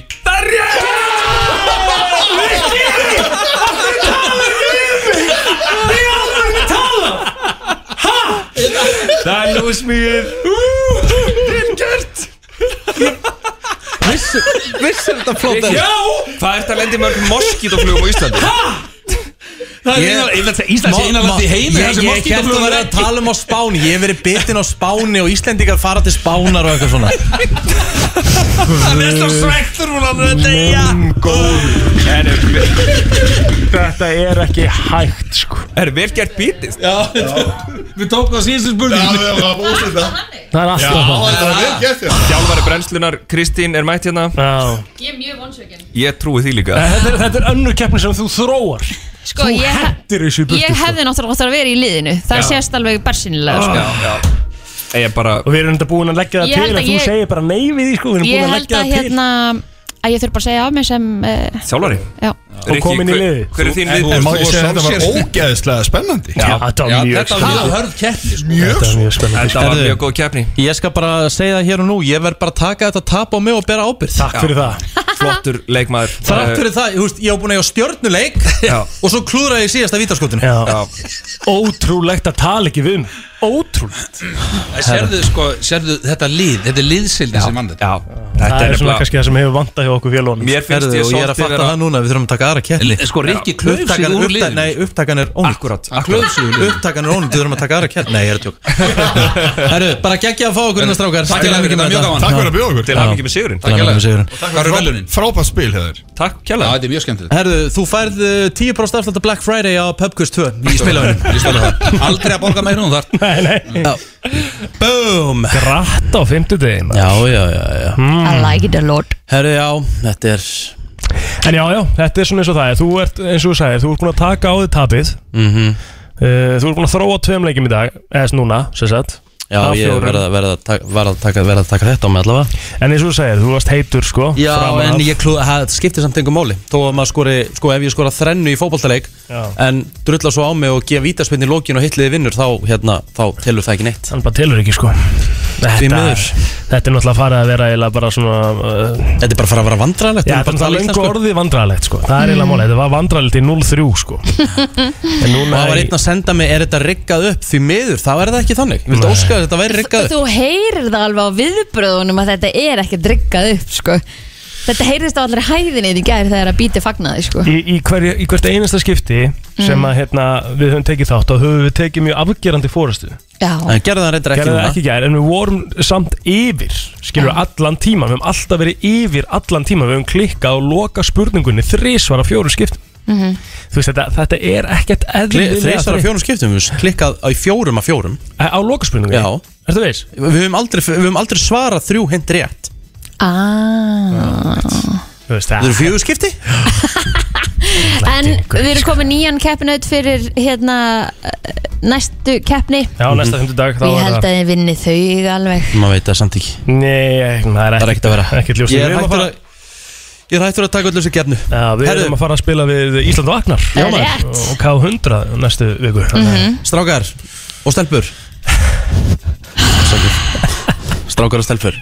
Speaker 14: Það er ljósmíð
Speaker 2: Vissir þetta flóta
Speaker 14: Já Hvað er þetta að lendi mörgum moskítoflugum á Íslandi?
Speaker 15: Það
Speaker 2: Ég-
Speaker 15: er eina Íslands
Speaker 2: Má-
Speaker 15: eina
Speaker 2: má-
Speaker 15: landi í heimi
Speaker 2: Ég, ég kætti að vera að tala um á Spáni Ég hef verið bitin á Spáni og Íslendingar fara til Spánar og eitthvað svona
Speaker 15: Það er svo svektur hún að deyja
Speaker 4: Þetta er ekki hægt sko
Speaker 14: Er vel gert bítið?
Speaker 15: Við tókum það
Speaker 16: Já,
Speaker 15: síðustu spurning
Speaker 16: það var úrslita
Speaker 4: Það er
Speaker 16: Já,
Speaker 4: alltaf það
Speaker 16: þetta var vel gert hérna. þér
Speaker 14: Þjálfari brennslunar, Kristín er mætt hérna
Speaker 4: Já
Speaker 3: Ég er mjög vonsvökin
Speaker 14: Ég trúi því líka
Speaker 4: Nei, Þetta er, þetta er önnur keppni sem þú
Speaker 3: [LAUGHS]
Speaker 4: þróar
Speaker 3: Sko,
Speaker 4: Þú
Speaker 3: ég,
Speaker 4: hendir þessu í burtu,
Speaker 3: ég
Speaker 4: sko.
Speaker 3: hefði náttúrulega átt að vera í liðinu Það
Speaker 14: Já.
Speaker 3: sést alveg bersinilega sko.
Speaker 14: Já, já Ég er bara
Speaker 4: Ah. Og við erum þetta búin að leggja það
Speaker 3: Ég held
Speaker 4: til
Speaker 3: að
Speaker 4: En þú
Speaker 3: ég-
Speaker 4: segir bara nei við því sko Við erum
Speaker 3: Ég
Speaker 4: búin að
Speaker 3: held
Speaker 4: leggja
Speaker 3: að
Speaker 4: það til
Speaker 3: hérna að ég þurf bara að segja af mig sem uh,
Speaker 14: Þjálfari
Speaker 3: já.
Speaker 14: Rikki,
Speaker 4: komin í
Speaker 14: hver-
Speaker 4: liðið.
Speaker 14: Hver er þín
Speaker 16: En
Speaker 14: lið?
Speaker 16: Má ég segja að þetta var ógeðslega spennandi
Speaker 4: Já, þetta var mjög
Speaker 15: Þetta var
Speaker 4: spennandi
Speaker 15: mjög hörð keppni sko.
Speaker 16: Mjög
Speaker 4: Þetta var mjög
Speaker 14: Þetta
Speaker 4: spennandi
Speaker 14: var
Speaker 2: Herðu.
Speaker 14: mjög góð keppni
Speaker 2: Ég skal bara segja það hér og nú Ég verð bara að taka þetta tap á mig og bera ábyrð
Speaker 4: Takk fyrir það Eh,
Speaker 14: Flottur leikmaður
Speaker 2: Þrátt fyrir það, þú veist, ég hef búin að eiga stjörnuleik
Speaker 14: Já.
Speaker 2: Og svo klúðra ég síðasta vítaskotinu
Speaker 4: Já.
Speaker 14: Já.
Speaker 4: Ótrúlegt að tala ekki við um Ótrúlegt
Speaker 15: Sérðu sko, sérðu þetta lið Þetta er liðsildin sem mann þetta
Speaker 14: Já, þetta
Speaker 4: Það
Speaker 14: er
Speaker 4: er svona
Speaker 14: nefnilega
Speaker 4: kannski það sem hefur vantað hjá okkur félónum
Speaker 14: Mér finnst
Speaker 2: Herðu,
Speaker 14: ég
Speaker 2: og ég er að
Speaker 14: svolítið
Speaker 2: fatta
Speaker 14: vera
Speaker 2: það núna Við þurfum að taka aðra keppni
Speaker 15: En sko, Rikki klauf sig
Speaker 2: Upptakan,
Speaker 15: úr
Speaker 2: uppta,
Speaker 15: liðinu.
Speaker 2: nei, upptakan er ónýtt
Speaker 14: Akkurát,
Speaker 2: Hann klauf sig úr liðinu. Upptakan er ónýtt, við þurfum að taka aðra keppni Nei, ég er
Speaker 15: [LAUGHS]
Speaker 2: að tjók Herru, bara geggja að fá okkur innan strákar
Speaker 15: Takk
Speaker 2: Til
Speaker 15: fyrir, þetta er
Speaker 2: hamingju með
Speaker 15: mjög
Speaker 2: þetta.
Speaker 15: gaman
Speaker 16: Takk fyrir að bjóða okkur
Speaker 14: Til hafingi með sigurinn
Speaker 2: Til hamingju með sigurinn.
Speaker 15: Hvað eru velunin?
Speaker 16: Frábært spil hefur
Speaker 14: Takk
Speaker 15: Já,
Speaker 14: kjærlega
Speaker 15: þetta er mjög skemmtilegt
Speaker 2: Herru, þú færð eh, 10% afslátt á Black Friday á Pubquiz 2 í spilaunum
Speaker 15: Ég stóla það. Aldrei að borga meira hún þar
Speaker 4: Nei, nei
Speaker 2: Boom
Speaker 4: Gratt á Hmm. fimmtudegin
Speaker 2: Já, já, já, já
Speaker 4: Mm.
Speaker 3: I like it a lot
Speaker 2: Herru, já, þetta er
Speaker 4: En já, já, þetta er svona eins og það er Þú ert, eins og þú sagðir, þú ert búin að taka á þig tapið
Speaker 2: Mhm.
Speaker 4: uh, Þú ert búin að þróa tveim leikjum í dag Eða núna, sem sagt
Speaker 2: Já,
Speaker 4: Af
Speaker 2: ég
Speaker 4: fjórum.
Speaker 2: verða verð að, taka- verð að, taka- verð að taka þetta á mig allavega
Speaker 4: En eins og þú sagðir, þú varst heitur sko
Speaker 2: Já,
Speaker 4: framan af.
Speaker 2: en ég klúða, það skiptir samt engum máli Þó að maður skori, sko ef ég skora þrennu í fótboltaleik
Speaker 4: Já.
Speaker 2: En drulla svo á mig og gefa vítaspinn í lokin og hitliði vinnur Þá, hérna, þá telur það ekki neitt
Speaker 4: Hann bara telur ekki sko
Speaker 2: Því
Speaker 4: Þetta,
Speaker 2: miður.
Speaker 4: þetta er náttúrulega farið að vera eiginlega bara svona uh,
Speaker 2: Þetta er bara að fara að vera um vandrarlegt
Speaker 4: Já, þetta er náttúrulega lengur orðið vandræðalegt sko Það er
Speaker 2: Mm.
Speaker 4: eiginlega málið, þetta var vandræðalegt í 0-3 sko En
Speaker 2: Og
Speaker 4: núna
Speaker 2: það var
Speaker 4: í-
Speaker 2: einn að senda mig, er þetta riggað upp? Því miður, þá er það ekki þannig Ég vildi
Speaker 4: Nei.
Speaker 2: óska að þetta væri riggað upp
Speaker 3: Þú heyrir það alveg á viðbröðunum að þetta er ekki drikkað upp sko. Þetta heyrðist á allri hæðinni í gær þegar að býti fagnaði sko.
Speaker 4: í, í, hverja, í hvert einasta skipti
Speaker 2: Mm.
Speaker 4: sem að hérna, við höfum tekið þátt og höfum við tekið mjög afgerandi fórustu
Speaker 3: Já.
Speaker 2: En gerði það reyndar ekki
Speaker 4: Gerði það
Speaker 2: núna. Mm.
Speaker 4: ekki gær, en við vorum samt yfir skilur allan tíma, við höfum alltaf verið yfir allan tíma, við höfum klikkað og loka spurningunni þrísvar af fjóru skipt
Speaker 3: Mhm.
Speaker 4: þú veist þetta, þetta er ekkert eðlilega
Speaker 2: Þreistar af fjórum skiptum, við höfum klikkað á í fjórum af fjórum
Speaker 4: Á lokaspurningu?
Speaker 2: Já
Speaker 4: Ertu veist?
Speaker 2: Við höfum aldrei, við höfum aldrei svarað þrjú hend rétt
Speaker 3: Ah.
Speaker 4: Þetta
Speaker 2: eru fjögur skipti
Speaker 3: En við erum komið nýjan keppinaut fyrir hérna eh, næstu keppni
Speaker 4: Já, næsta fymtudag
Speaker 3: Ég held að þið vinni þau alveg
Speaker 2: Maður veit það samt ekki
Speaker 4: Nei, það er
Speaker 2: ekkert að vera
Speaker 4: Ekkert ljóst.
Speaker 2: Ég
Speaker 4: Við
Speaker 2: er
Speaker 4: erum að
Speaker 2: hættur
Speaker 4: fara-
Speaker 2: að Ég er hættur að taka öllu þessu gefnu
Speaker 4: Já, við
Speaker 2: Herðu.
Speaker 4: erum að fara að spila við Ísland Vagnar
Speaker 2: Það er rétt.
Speaker 4: og K100 næstu viku
Speaker 2: Mhm. Strákar og stelpur Afsakið. Strákar og stelpur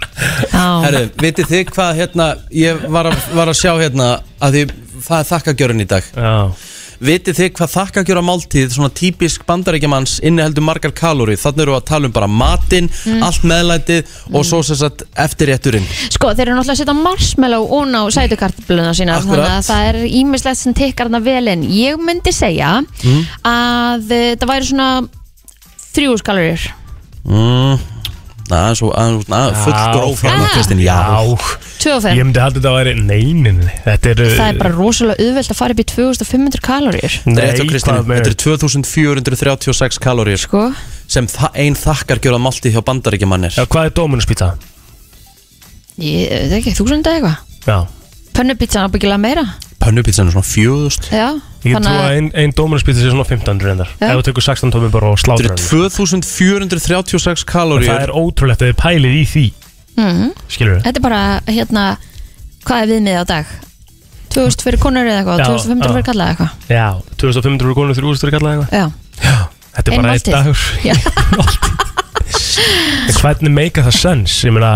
Speaker 2: Herru, vitið þið hvað hérna Ég var að, var að sjá hérna að því það er þakkagjörun í dag
Speaker 4: Já.
Speaker 2: Vitið þið hvað þakkagjörra máltíð svona típisk bandaríkjamanns inniheldur margar kalóri Þannig eru að tala um bara matinn,
Speaker 3: Mm.
Speaker 2: allt meðlætið og svo sem sagt eftirrétturinn
Speaker 3: Sko, þeir eru náttúrulega að setja marshmallow ón á sætukartbluna sína
Speaker 2: Akkurat.
Speaker 3: Þannig að það er ímislegt sem tikkar hana vel en Ég myndi segja
Speaker 2: Mm.
Speaker 3: að eh, það væri svona þrjúskalorir
Speaker 2: mm. Það er svo aðeins full gróf frá
Speaker 3: Ah.
Speaker 2: Kristinn, já
Speaker 3: Tvö og fimm.
Speaker 4: Ég myndi halda þetta að væri neynin Þetta er
Speaker 3: Það er bara rosalega auðvelt að fara upp í 2500 kalorir
Speaker 2: Þetta er rétt hjá
Speaker 4: Nei,
Speaker 2: Kristínu.
Speaker 4: hvað með-
Speaker 2: Þetta er 2436 kalórir
Speaker 3: sko?
Speaker 2: sem þa- ein þakkar gjöra malti hjá bandaríkjamannir Já,
Speaker 4: hvað er dómunuspítsa?
Speaker 3: Ég veit ekki, þú senda eitthvað
Speaker 4: Já
Speaker 3: Pönnupizzan ábyggilega meira
Speaker 2: Pönnupítsan er svona fjöðust
Speaker 3: Já,
Speaker 4: Ég get trú að ein, ein dómunuspítsa sé svona 1500 reyndar
Speaker 3: Já.
Speaker 4: Ef þú tekur 16 tómið bara og slátur
Speaker 2: Þetta er 2436 kalórir
Speaker 4: Það er ótrúlegt að þið pælið í því
Speaker 3: Mhm.
Speaker 4: Skilur
Speaker 3: Þetta er bara, hérna, hvað er viðmið á dag? 2000 fyrir konur eða eitthvað,
Speaker 4: Já,
Speaker 3: 2500
Speaker 4: já.
Speaker 3: fyrir kalla eða eitthvað
Speaker 4: Já, 2500 konur 3000 fyrir kallað eitthvað
Speaker 3: Já,
Speaker 4: Þetta er
Speaker 3: Ein
Speaker 4: bara eitt
Speaker 3: máltíð.
Speaker 4: dagur
Speaker 3: Já.
Speaker 4: En Hvernig make það sens? Ég meina,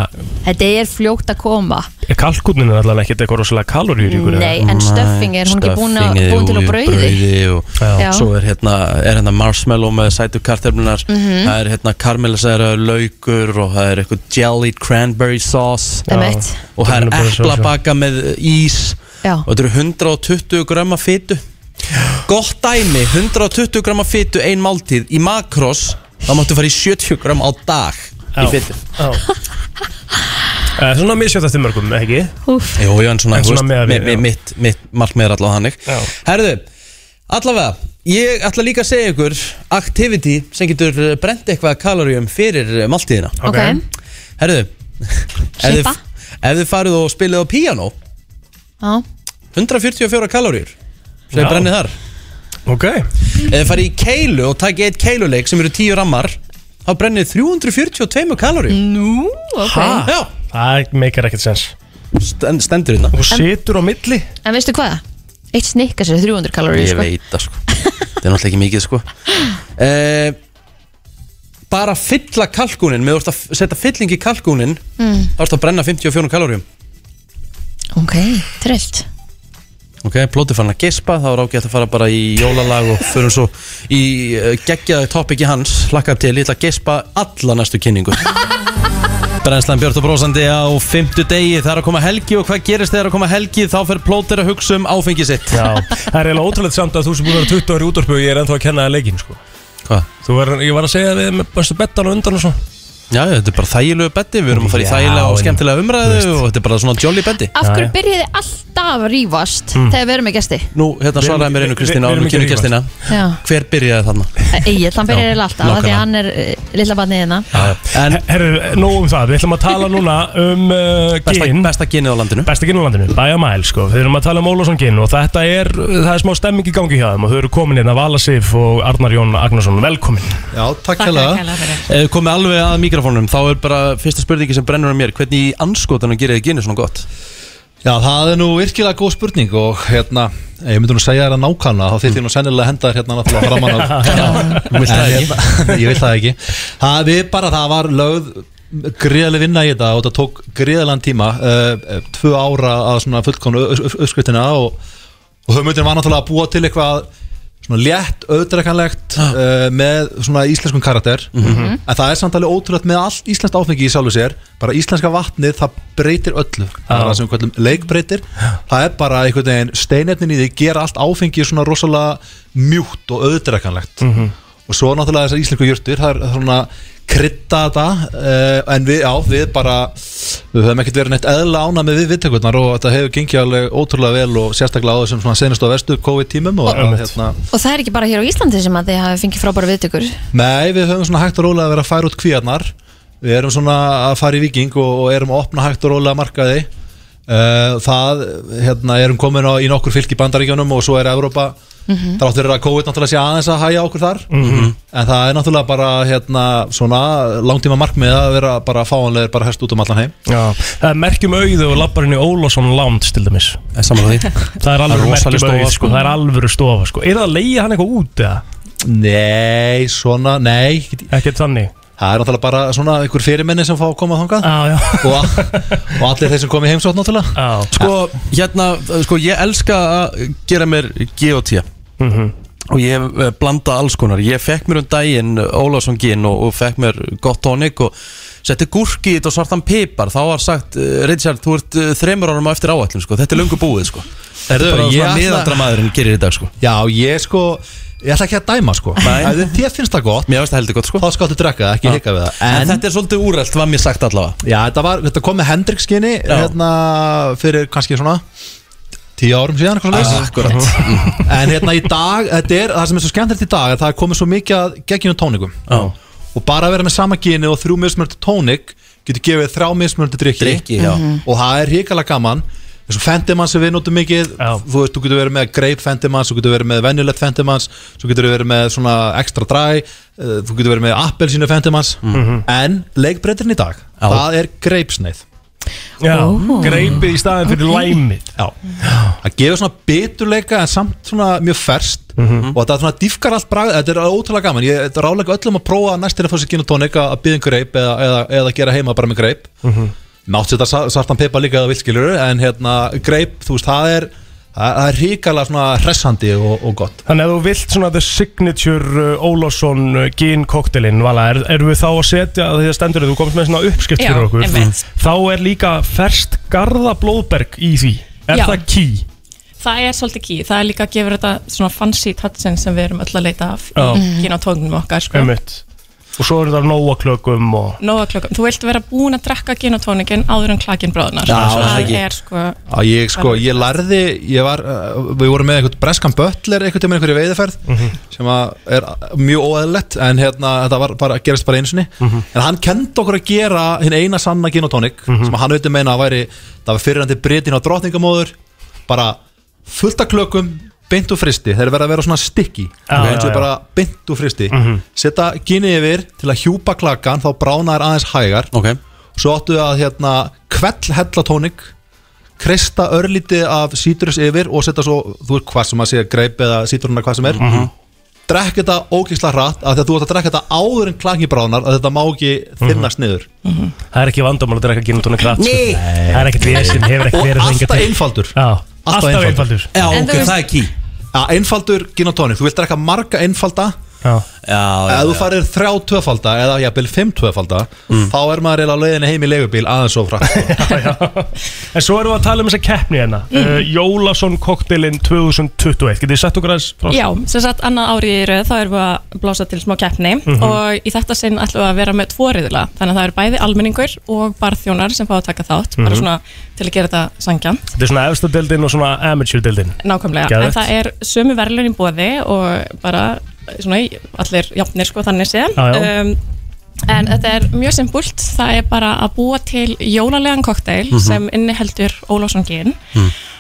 Speaker 3: þetta er fljótt að koma
Speaker 4: kalkunin er allavega ekkert eitthvað rosalega kaloríuríkur eða?
Speaker 3: Nei, en stuffing er hún ekki búin, að,
Speaker 2: Stuffingið,
Speaker 3: búin til
Speaker 2: jú,
Speaker 3: á
Speaker 2: jú,
Speaker 3: brauði
Speaker 2: og
Speaker 3: Já.
Speaker 2: svo er hérna, er hérna marshmallow með sætu kartöflunar
Speaker 3: Mhm.
Speaker 2: það er hérna karmelisæra laukur og það er eitthvað jelly cranberry sauce
Speaker 3: Einmitt.
Speaker 2: og það er
Speaker 4: Cranberry sauce, já.
Speaker 2: eplabaka með ís
Speaker 3: Já.
Speaker 2: og þetta eru 120 gröma fytu gott dæmi 120 gröma fytu ein máltíð í makros þá máttu fara í 70 gröma á dag í
Speaker 4: Já.
Speaker 2: fytu
Speaker 4: Já. Eh, Svona misjótt eftir mörgum, ekki?
Speaker 3: Úf.
Speaker 2: Jó, jú, en svona,
Speaker 4: En
Speaker 2: þú
Speaker 4: svona
Speaker 2: veist,
Speaker 4: miðað
Speaker 2: mi-
Speaker 4: við,
Speaker 2: mi-
Speaker 4: já.
Speaker 2: mitt, mitt markmið er allavega hannig
Speaker 4: Já.
Speaker 2: Herðu, allavega Ég ætla líka að segja ykkur Activity sem getur eh, brennt eitthvað kaloríum fyrir eh, máltíðina
Speaker 3: Ok. Ok.
Speaker 2: Herðu ef þið-
Speaker 3: Sippa.
Speaker 2: Ef þið farið og spilið á piano
Speaker 3: Já,
Speaker 2: 144 kaloríur sem
Speaker 4: Já.
Speaker 2: þið brennið þar
Speaker 4: Ok
Speaker 2: Ef þið farið í keilu og takið eitt keiluleik sem eru 10 rammar þá brennið 342 kaloríur
Speaker 3: Nú, ok
Speaker 2: Ha? Já.
Speaker 4: Það meikar ekkert sens
Speaker 2: Stend, Stendur hérna
Speaker 4: Og situr á milli
Speaker 3: En veistu hvað? Eitt snikka sér 300 kalorir
Speaker 2: Ég
Speaker 3: sko.
Speaker 2: veit það sko Það er náttúrulega ekki mikið sko uh, Bara fylla kalkúnin Með þú ert að f- setja fylling í kalkúnin
Speaker 3: mm,
Speaker 2: Þá ertu að brenna 54 kaloríum
Speaker 3: Ok, trillt
Speaker 2: Ok, plótið fann að gespa Þá er ágætt að fara bara í jólalag Og förum svo í uh, geggjaði topiki hans Hlakka til, ég ætla að gespa alla næstu kynningu Brennslan Björn og Brósandi á fymtu degi Það er að koma helgi og hvað gerist þegar að koma helgi Þá fer plótið að hugsa um áfengi sitt
Speaker 4: Já, það er eiginlega ótrúlegt samt að þú sem búin að vera 20 ári útvarpu Ég er ennþá að kenna það leikinn, sko
Speaker 2: Hvað?
Speaker 4: Ég var að segja við með bestu bettan og undan og svo
Speaker 2: Já, þetta er bara þægilegu betti Við erum að fara í
Speaker 4: Já,
Speaker 2: þægilega og
Speaker 4: en-
Speaker 2: skemmtilega umræðu Og þetta er bara svona jolly betti
Speaker 3: Af hverju byrjiði alltaf að rýfast
Speaker 2: Mm.
Speaker 3: þegar við erum með gesti?
Speaker 2: Nú, hérna
Speaker 4: Við erum
Speaker 2: svaraði
Speaker 4: ekki-
Speaker 2: mér einu
Speaker 4: við-
Speaker 2: Kristín
Speaker 4: við
Speaker 2: árum
Speaker 4: erum
Speaker 2: kynnu
Speaker 4: ekki að
Speaker 2: Kristína
Speaker 3: Já,
Speaker 2: Hver byrjaði þarna?
Speaker 3: Egil, hann byrjar eiginlega alltaf af því
Speaker 2: nákvæmlega.
Speaker 3: að hann er eh, lilla barnið hérna
Speaker 4: En, herru, nóg um það, við ætlum að tala núna um uh,
Speaker 2: Besta-
Speaker 4: gin
Speaker 2: Besta ginið á landinu
Speaker 4: Besta ginið á landinu, bæja mæl sko Við erum að tala um Ólásson gin og þetta er Það er smá stemming í gangi hjá þeim og þau eru komin hérna Vala Sif og Arnar Jón Agnarsson, velkomin
Speaker 16: Já, takk hérlega.
Speaker 2: Ef þið komið alveg að mikrofónum Þá er bara fyrsta spurningi sem brennur á mér Hvernig í anskotunum gerir þið ginið svona gott?
Speaker 16: Já, það er nú virkilega góð spurning og hérna, ég myndi nú segja þér að nákvæmna þá þyrfti ég nú sennilega að henda þér hérna náttúrulega framan
Speaker 4: [LAUGHS]
Speaker 16: af [LAUGHS]
Speaker 2: Þú vilt
Speaker 16: En
Speaker 2: það ekki?
Speaker 16: hérna,
Speaker 17: [LAUGHS]
Speaker 16: ég vil það ekki það er bara, það var lögð gríðarlega vinna í þetta og það tók gríðarlegan tíma
Speaker 17: eh,
Speaker 16: uh, tvö ára að svona fullkonu uppskritina og, og höfmyndin var náttúrulega að búa til eitthvað svona
Speaker 17: svona létt, auðdrekkanlegt uh, með svona íslenskum karakter
Speaker 18: Mhm.
Speaker 17: en það er samt alveg ótrúlegt með allt íslenskt áfengi í sjálfu sér, bara íslenska vatnið það breytir öllu, það er það sem við kallum leikbreytir, það er bara einhvern veginn steinefnin í því gera allt áfengi svona rosalega mjúkt og auðdrekkanlegt
Speaker 18: Mhm.
Speaker 17: og svo náttúrulega þessar íslensku jurtir, það er svona krydda þetta, uh, en við, já, við bara við höfum ekkert verið neitt eðla ána með við viðtökurnar og þetta hefur gengið alveg ótrúlega vel og sérstaklega á þessum svona senast og vestu COVID-tímum og, og hérna,
Speaker 3: Og það er ekki bara hér á Íslandi sem að þið hafi fengið frábæra viðtökur
Speaker 17: Nei, við höfum svona hægt og rólega að vera að færa út kvíarnar Við erum svona að fara í viking og, og erum að opna hægt og rólega markaði uh, Það, hérna, erum komin á, í nokkur fylki bandaríkjunum og svo er Evrópa
Speaker 18: Mhm.
Speaker 17: Mm. Þrátt fyrir að COVID náttúrulega sé aðeins að hæja okkur þar
Speaker 18: Mhm.
Speaker 17: En það er náttúrulega bara, hérna, svona langtíma markmið að vera bara fáanlegir bara herst út um allan heim
Speaker 4: Já, það er merkjum auðu og labbar inn í Ólásson Lounge til dæmis
Speaker 17: Samanlega því
Speaker 4: Það er alvöru merkjum auðu, sko. það er alvöru stofa sko. Er það að leiða hann eitthvað út eða?
Speaker 17: Nei, svona, nei
Speaker 4: Ekkert þannig
Speaker 17: Það er náttúrulega bara svona einhver fyrirmenni sem fá að koma þangað
Speaker 4: ah,
Speaker 17: og, og allir þeir sem kom í heimsótt náttúrulega
Speaker 4: ah.
Speaker 2: Sko, hérna, sko, ég elska að gera mér GOT
Speaker 4: Mhm.
Speaker 2: og ég eh, blanda alls konar ég fekk mér um daginn Ólafsson gin og, og fekk mér gott tónik og setti gúrki í þetta og svartan pipar þá var sagt, eh, Richard, þú ert eh, þremur árum á eftir áætlun, sko, þetta er löngu búið, sko þetta er bara svona miðaldra maðurinn gerir í dag, sko
Speaker 17: Já, ég sko, ég ætla ekki að dæma, sko Ef þið- þér finnst það gott
Speaker 2: Mér finnst það heldur gott, sko
Speaker 17: Þá skáttu drekka það, ekki
Speaker 2: Já.
Speaker 17: hika við það
Speaker 2: En þetta er svolítið úrælt, var mér sagt allavega
Speaker 17: Já, þetta, var, þetta kom með Hendrikskinni
Speaker 2: Já.
Speaker 17: hérna, fyrir kannski svona tíu árum síðan eitthvað svoleiðis.
Speaker 2: Akkurat.
Speaker 17: [LAUGHS] En hérna í dag, þetta er það sem er svo skemmtilegt í dag er að það er komið svo mikið að geggjum tónikum
Speaker 2: Já.
Speaker 17: og bara að vera með sama gini og þrjú mismöndu tónik getur gefið þrjá mismöndu drikki,
Speaker 2: Drykki, já. Mhm.
Speaker 17: og það er hrikalega gaman eins og Fendimann sem við notum mikið þú veist, þú getur verið með Grape Fendimanns þú getur verið með venjulegt Fendimanns þú getur verið með svona extra dry uh, þú getur verið með appelsínu Fendimanns
Speaker 2: Mhm.
Speaker 17: en leikbreytirinn í dag það er greipsneið
Speaker 4: Já, greipið í staðin fyrir læmið
Speaker 17: Já, það gefur svona biturleika en samt svona mjög ferskt og þetta svona dýfkar allt bragð, þetta er ótrúlega gaman ég þetta ráðlega öllum að prófa næstir að fá sér gin og tónik að að byggja um greip eða, eða, eða gera heima bara með greip Mátt setja sa- svartan pepa líka eða vilskilur en hérna greip, þú veist, það er það það er ríkala svona hressandi og, og gott
Speaker 4: Þannig að þú vilt svona The Signature uh, Ólásson uh, Gin Cocktailinn Vala, er, erum við þá að setja því að stendur þú komst með svona uppskrift
Speaker 19: Já,
Speaker 4: fyrir okkur
Speaker 19: einmitt.
Speaker 4: Þá er líka ferst Garða Blóðberg í því Er
Speaker 19: Já.
Speaker 4: það ký?
Speaker 19: Það er svolítið ký, það er líka að gefa þetta svona fancy touchin sem við erum öll að leita af
Speaker 4: Já.
Speaker 19: í
Speaker 3: Mhm.
Speaker 19: kyn og tóknum okkar sko.
Speaker 4: Einmitt Og svo eru það nóaklökum og
Speaker 19: Nóa klokkum, þú vilt vera búin að drekka gin og tónikin áður en klakin bróðnar
Speaker 17: Já, það
Speaker 19: það
Speaker 17: ekki.
Speaker 19: er sko
Speaker 17: Já, ég sko, ég lærði, ég var, uh, við vorum með einhvern breskan bötler einhvern tíma einhverju veiðiferð
Speaker 4: Mhm.
Speaker 17: sem að er uh, mjög óæðlegt en hérna, þetta var bara, gerist bara einu sinni
Speaker 4: Mhm.
Speaker 17: en hann kendi okkur að gera hinn eina sanna gin og tonic
Speaker 4: Mhm.
Speaker 17: sem að hann auðvitað meina að væri, það var fyrirandi britin á drottningamóður bara fullt af klökum, beint úr fristi þeir verða að vera svona stikki
Speaker 4: Já,
Speaker 17: eins og
Speaker 4: já, já.
Speaker 17: bara beint úr fristi
Speaker 4: Mhm.
Speaker 17: setja ginið yfir til að hjúpa klakan þá brána þær aðeins hægar
Speaker 2: okay.
Speaker 17: svo áttu að hérna kvell hella tónik kreista örlítið af sítrus yfir og setja svo, þú veist hvað sem að segja greip eða sítruna hvað sem er mm -hmm. drekk þetta ógeðslega hratt af því að þú átt að drekka þetta áður en klaki bránar að þetta má ekki þinnast niður
Speaker 19: Mhm.
Speaker 4: Það er ekki vandamál að drekka gin og tónik rætt
Speaker 17: Nei.
Speaker 4: Það er ekkert vesinn, hefur ekkert
Speaker 17: Og
Speaker 4: verið
Speaker 17: alltaf einfaldur
Speaker 4: Já, alltaf einfaldur
Speaker 17: En þú veist-
Speaker 2: key
Speaker 17: Já, einfaldur gin og tónik, þú vilt drekka marga einfalda
Speaker 4: Já Mm.
Speaker 17: Ef þú farir þrjá tvöfalda eða jafnvel fimm tvöfalda þá er maður eiginlega á leiðinni heim í leigubíl aðeins sko. og frá
Speaker 4: [LAUGHS] En svo erum við að tala um þessa keppni hérna
Speaker 19: Mhm.
Speaker 4: mm. uh, Jólasson Cocktailinn 2021 Getið þið sett okkur aðeins frá
Speaker 19: Já, sem sagt annað árið í röð þá erum við að blása til smá keppni
Speaker 4: Mhm.
Speaker 19: og í þetta sinn ætlum við að vera með tvo riðla þannig að það eru bæði almenningur og barþjónar sem fá að taka þátt bara
Speaker 4: Mhm.
Speaker 19: svona til að gera þetta sangja
Speaker 4: Þetta er svona efsta deildin og svona amateur deildin
Speaker 19: Nákvæmlega, en það er sömu verðlun í bóði og bara svona, í- allir jafnir sko þannig séð
Speaker 4: Já, já.
Speaker 19: um, En þetta er mjög simpult, það er bara að búa til jólalegan kokteil
Speaker 4: Mhm. Mm.
Speaker 19: sem inniheldur Ólásson gin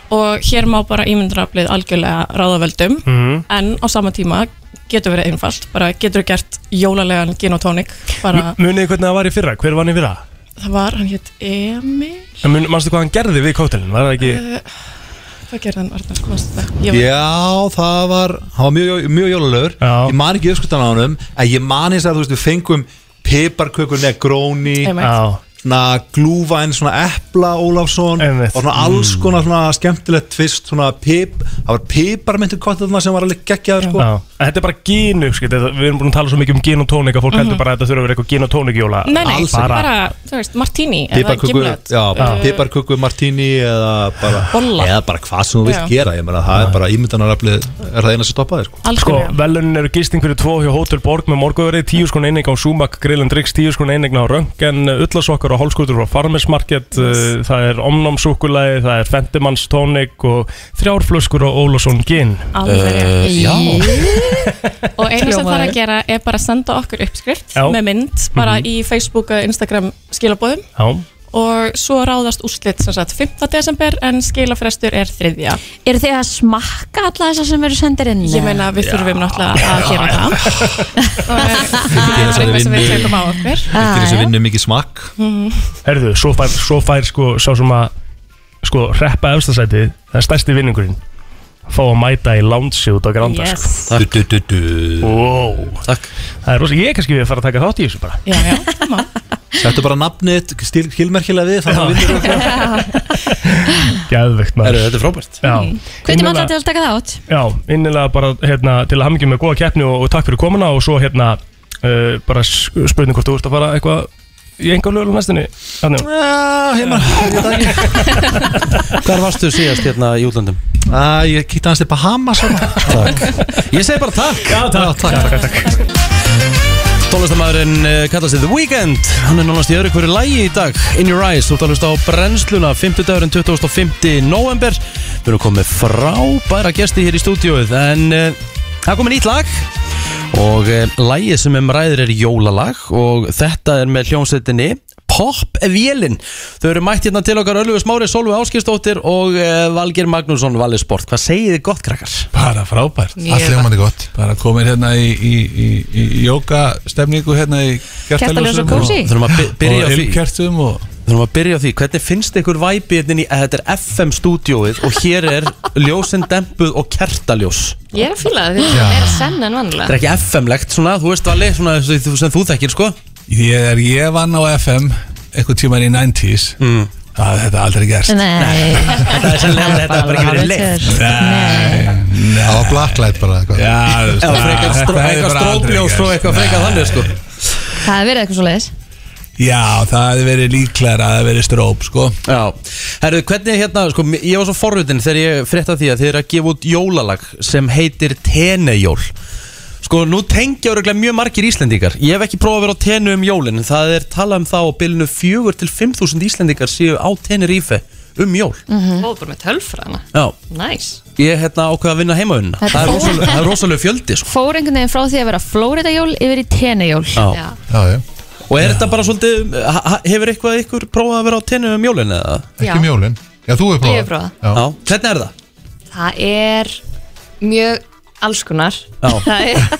Speaker 19: og hér má bara ímyndraflið algjörlega ráðavöldum
Speaker 4: Mhm.
Speaker 19: en á sama tíma getur verið einfalt, bara getur gert jólalegan gin og tónik, bara
Speaker 4: Munið þið hvernig það var í fyrra? Hver var hann í fyrra?
Speaker 19: það var, hann hétt Emil,
Speaker 4: En mun- Manstu hvað hann gerði við kóttelin? Var það ekki...
Speaker 19: uh, hvað gerði hann Arnar, manstu það? Ég var-
Speaker 17: Já, það var, það var mjög, mjög jólulegur Ég man ekki uppskutan á honum En ég man eins að þú veist, við fengum piparkökur negróni
Speaker 19: Einmitt. Já.
Speaker 17: svona glúfa inn svona epla Ólafsson og svona alls
Speaker 4: Mm.
Speaker 17: konar svona skemmtilegt fyrst svona pip, það var piparmyndu kottuðna sem var alveg geggjaður sko.
Speaker 4: Já, en þetta er bara gínu, skil, þetta, við erum búin að tala svo mikið um gín og tónika, fólk
Speaker 19: Mhm.
Speaker 4: heldur bara að þetta þurfa að vera eitthvað gín og tónikjóla
Speaker 19: Nei, nei, bara, þú veist, martini eða
Speaker 17: Piparköku,
Speaker 19: gimlet
Speaker 17: já,
Speaker 19: Eh,
Speaker 17: piparköku martini eða bara,
Speaker 19: Bolla.
Speaker 17: eða bara hvað sem þú vilt
Speaker 19: Já.
Speaker 17: gera ég meina það er bara ímyndanaraflið er það eina sem stoppaði sko.
Speaker 4: Sko, velunin eru gisting fyrir tvo hjá Hotel Borg með morguverið, tíu skon einning á Sumac Grill and Drinks, tíu skon einning á Röngen, ullasokkar og hálskútur frá Farmers Market, uh, það er omnámsúkulagi, það er Fendimanns tónik og þrjárflöskur og Ólásson gin.
Speaker 19: Alveg
Speaker 17: Eh,
Speaker 19: rétt.
Speaker 3: [LAUGHS]
Speaker 4: já.
Speaker 19: Og eina sem
Speaker 18: Hljómaði.
Speaker 19: þarf að gera er bara að senda okkur uppskrift
Speaker 4: Já.
Speaker 19: með mynd bara
Speaker 3: Mhm.
Speaker 19: í Facebook og Instagram skilabóðum
Speaker 4: Já.
Speaker 19: og svo ráðast úrslit sem sagt 5. desember en skilafrestur er 3.
Speaker 3: Eru þið að smakka alla þessar sem eru sendir inn?
Speaker 19: Ég meina við þurfum náttúrulega að gera það
Speaker 17: [LAUGHS]
Speaker 19: eh,
Speaker 17: Fylgir
Speaker 19: Það er
Speaker 17: þessari
Speaker 19: eitthvað sem við
Speaker 17: vinnu-
Speaker 19: tökum á okkur
Speaker 17: fylgir þessu vinnu mikið smakk
Speaker 3: Ah,
Speaker 19: Mhm.
Speaker 4: Herðu, svo fær, svo fær sko, sá sem að sko, reppa efstasætið, það er stærsti vinningurinn fá að mæta í lánsi út á Granda
Speaker 19: Yes.
Speaker 4: sko.
Speaker 17: du, du, du.
Speaker 4: Wow. Það er rosa, ég er kannski við að fara að taka þátt í þessu bara
Speaker 19: Já, já,
Speaker 17: Þetta er bara nafnið, skilmerkilega við þannig að vinnur okkur
Speaker 19: [LAUGHS]
Speaker 4: Gæðvegt maður Þetta er frábært Já,
Speaker 3: Hvernig maður til að taka það átt?
Speaker 4: Já, innilega bara hérna, til að hafa mikið með góða keppni og, og takk fyrir komuna og svo hérna uh, bara s- spurning hvort þú ert að fara eitthvað í enga lögulega næstinni Þannig,
Speaker 17: Já, heima
Speaker 2: Hvar varstu síðast hérna í útlandum?
Speaker 17: Æ, ég kýtti hans til Bahamas Takk
Speaker 2: Ég segi bara takk
Speaker 4: Já,
Speaker 2: takk, takk,
Speaker 4: takk, takk,
Speaker 2: Tónlistamæðurinn eh, kallar sig The Weeknd Hann er nánast í öðru hverju lægi í dag In Your Eyes, þú ert að hlusta á brennsluna 50 dagurinn 2050 november Við erum komið frábæra gesti hér í stúdíóið En eh, það er komið nýtt lag Og eh, lagið sem um ræðir er jólalag Og þetta er með hljómsveitinni Pop-vélin Þau eru mætt hérna til okkar Ölluðu Smári, Solveig Áskistóttir og eh, Valgir Magnússon Valið Sport Hvað segið þið gott, krakkar?
Speaker 20: Bara frábært
Speaker 2: Mjög
Speaker 20: Allt hljómandi gott Bara komin hérna í, í, í, í jóka stemningu hérna í kertaljósum
Speaker 2: Kertaljósum kósí. Þurfum að by- byrja á
Speaker 20: og
Speaker 2: því.
Speaker 20: ilmkertum og
Speaker 2: Við erum að byrja á því, hvernig finnst ykkur væpi hérna í að þetta er FM stúdióið og hér er ljósin dempuð og kertaljós
Speaker 18: Ég er að fíla það,
Speaker 2: Já.
Speaker 18: þetta er senn en
Speaker 2: Þetta er
Speaker 18: vanlega
Speaker 2: ekki FM-legt svona, þú veist Valli, svona sem þú- sem þú þekkir sko
Speaker 20: Þegar ég vann á FM einhvern tíman í 90s mm. það hafði þetta aldrei gerst
Speaker 2: [LAUGHS]
Speaker 18: Nei
Speaker 2: Þetta er sennilega, þetta hefur bara ekki verið leitt
Speaker 20: Það var blacklight bara eitthvað Já, þú veist,
Speaker 2: Eða
Speaker 20: það-
Speaker 2: frekar
Speaker 20: þetta
Speaker 2: stró-
Speaker 20: hefði
Speaker 2: eitthvað
Speaker 20: bara aldrei
Speaker 2: strókljós
Speaker 20: gerst.
Speaker 2: og eitthvað frekar þannig, sko.
Speaker 3: Það er verið eitthvað svo leiðis
Speaker 20: Já, það hefði verið líklar að það hefði verið stróp sko.
Speaker 2: Já, herru, hvernig hérna, sko, m- ég var svo forrutin þegar ég frétta því að þið eru að gefa út jólalag sem heitir Tenejól Sko, nú tengja öruglega mjög margir Íslendingar Ég hef ekki prófað að vera á tenu um jólin Það er talað um það á bylunu 4 til 5.000 Íslendingar séu á Tenerife um jól
Speaker 3: Mhm.
Speaker 18: Og bara með tölfræðina
Speaker 2: Já,
Speaker 18: Næs
Speaker 2: ég hérna ákveða að vinna heimaunna
Speaker 3: Þetta
Speaker 2: Það er
Speaker 3: fór-
Speaker 2: rosaleg- það er rosalega fjöldi sko.
Speaker 3: Fór einhvern veginn frá því að vera Florida jól yfir í Tenejól
Speaker 2: Já. Og er þetta bara svolítið ha- ha- Hefur eitthvað ykkur prófað að vera á tennu um jólin eða?
Speaker 18: Ekki um Já.
Speaker 2: jólin, já þú
Speaker 18: Ég hef prófað.
Speaker 2: Já. Hvernig er það?
Speaker 18: Það er mjög alls konar
Speaker 2: Já.
Speaker 18: Það er
Speaker 2: [LAUGHS]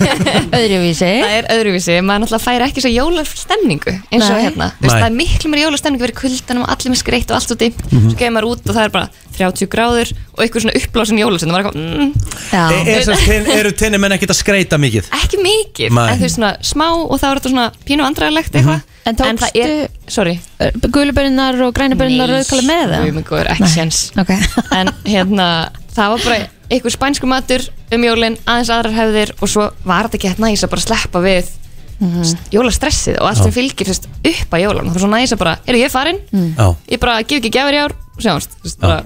Speaker 3: Öðruvísi
Speaker 18: Það er öðruvísi, maður náttúrulega fær ekki svo jólastemningu eins og
Speaker 3: Nei.
Speaker 18: hérna Þú veist,
Speaker 3: Nei.
Speaker 18: Það er miklu meira jólastemningu verið kuldanum og allir með skreitt og allt úti
Speaker 2: Mhm.
Speaker 18: Svo kemur maður út og það er bara 30 gráður og einhver svona uppblásin jólasinn og maður er eitthvað mm,
Speaker 2: E- er, sem sagt ten, Eru tenni menn ekkert að skreita mikið?
Speaker 18: [LAUGHS] Ekki mikið,
Speaker 2: Nei.
Speaker 18: en þú veist svona smá og það er þetta svona pínu andræðilegt eitthvað
Speaker 3: Mhm. En tókstu
Speaker 18: það er, sorry
Speaker 3: Gulubörinnar Eh, og grænubörinnar rauðkala með það?
Speaker 18: Nei, guð, ekki
Speaker 3: Nei.
Speaker 18: séns En hérna, það var bara einhver spænsku matur um jólin, aðeins aðrar hefðir og svo var þetta ekki hægt næs að bara sleppa við jólastressið og allt sem
Speaker 3: Já.
Speaker 18: fylgir þú veist, upp að jólum, það var svo næs að bara eru ég farin,
Speaker 2: Já.
Speaker 18: ég bara gef ekki gefur í ár og sjáumst, þú veist, bara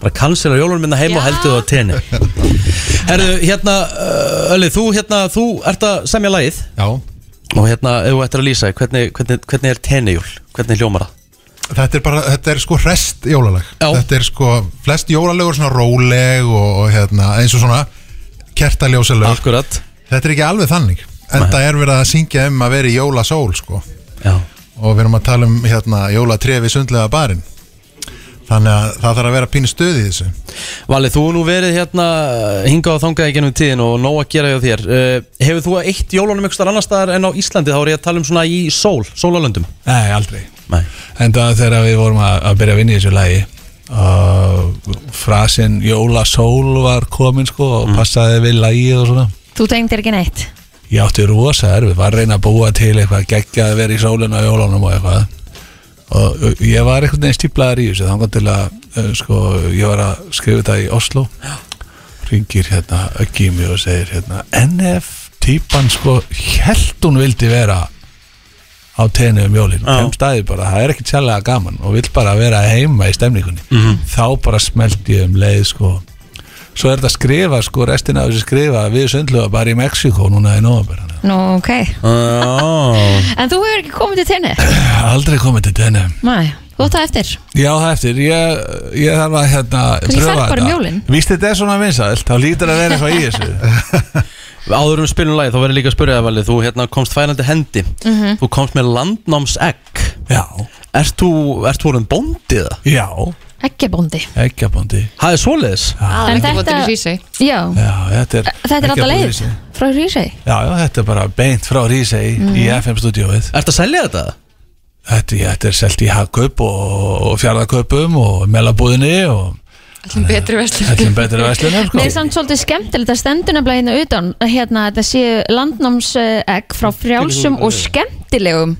Speaker 2: Bara kansela jólun minna heim og heldur þú á tenni Herðu, hérna uh, Ölli, þú, hérna, þú ert að semja lagið
Speaker 20: Já
Speaker 2: Og hérna, ef þú ættir að lýsa því, hvernig, hvernig, hvernig er tennijól? Hvernig hljómar það?
Speaker 21: Þetta er bara, þetta er sko rest jólalag Þetta er sko, flest jólalög er svona róleg og, og hérna, eins og svona kertaljósalög
Speaker 2: Akkurat
Speaker 21: Þetta er ekki alveg þannig En það er verið að syngja um að vera í jólasól sko
Speaker 2: Já
Speaker 21: Og við erum að tala um hérna jólatrefi sundlega barinn Þannig að það þarf að vera pínu stöð í þessu
Speaker 2: Vali, þú hefur nú verið hérna hingað og þangað í gennum tíðin og nóg að gera hjá þér uh, Hefur þú eitt jólunum ykkur starf annar staðar en á Íslandi? Þá er ég að tala um svona í sól, sólalöndum
Speaker 20: Nei, aldrei
Speaker 2: Nei.
Speaker 20: En það þegar við vorum að, að byrja að vinna í þessu lagi uh, Frasin Jóla Sól var komin sko og passaði við lagið og svona
Speaker 3: Þú tengdir ekki neitt
Speaker 20: Ég átti rosa erfið, var að reyna að búa til eitthvað geggja að vera í sólinu á jólunum og eitthvað og uh, ég var einhvern veginn stíplaður í þessu þannig til að uh, sko, ég var að skrifa þetta í Oslo ringir hérna Öggi í mig og segir hérna NF típan sko held hún vildi vera á tenni um jólin kemst aðið bara, það er ekkert sérlega gaman og vill bara vera heima í stemningunni þá bara smelt ég um leið sko svo er þetta skrifa sko restina af þessu skrifa við sundluga bara í Mexiko núna í nóvabæra
Speaker 3: Nú, ok
Speaker 20: oh.
Speaker 3: En þú hefur ekki komið til tenni
Speaker 20: Aldrei komið til tenni
Speaker 3: Nei, þú ætti eftir
Speaker 20: Já, það eftir, ég, ég þarf að hérna
Speaker 3: Kannski ferð bara um jólin.
Speaker 20: Víst þetta er svona vinsælt, þá lítur að vera eitthvað í þessu
Speaker 2: Áður um spilum lagi, þá verður líka að spyrja það valið Þú hérna, komst fælandi hendi
Speaker 20: Mhm.
Speaker 2: Þú komst með landnámsegg
Speaker 20: Já
Speaker 2: Ert þú, ert þú orðin bóndið?
Speaker 20: Já
Speaker 3: Eggjabóndi
Speaker 20: Eggjabóndi Það er svoleiðis
Speaker 3: En þetta
Speaker 18: Ah, í Hrísey.
Speaker 3: Já,
Speaker 20: Já, þetta
Speaker 3: þetta
Speaker 20: er
Speaker 3: er alltaf
Speaker 20: Eggjabóndi
Speaker 3: leið
Speaker 20: Hrísey.
Speaker 3: Frá Rísei
Speaker 20: Já, já, þetta er bara beint frá Rísei í
Speaker 3: Mhm.
Speaker 20: FM-stúdíóið Ertu að selja þetta? Þetta, já, þetta er selt í Hagkaup og, og Fjárðaköpum og Melabúðinni og
Speaker 18: Ætlum betri verslun
Speaker 20: ætlum betri sko. verslunar
Speaker 3: Mér er samt svolítið skemmtilegt að stendur nefnilega hérna utan að hérna, þetta séu landnámsegg frá frjálsum og skemmtilegum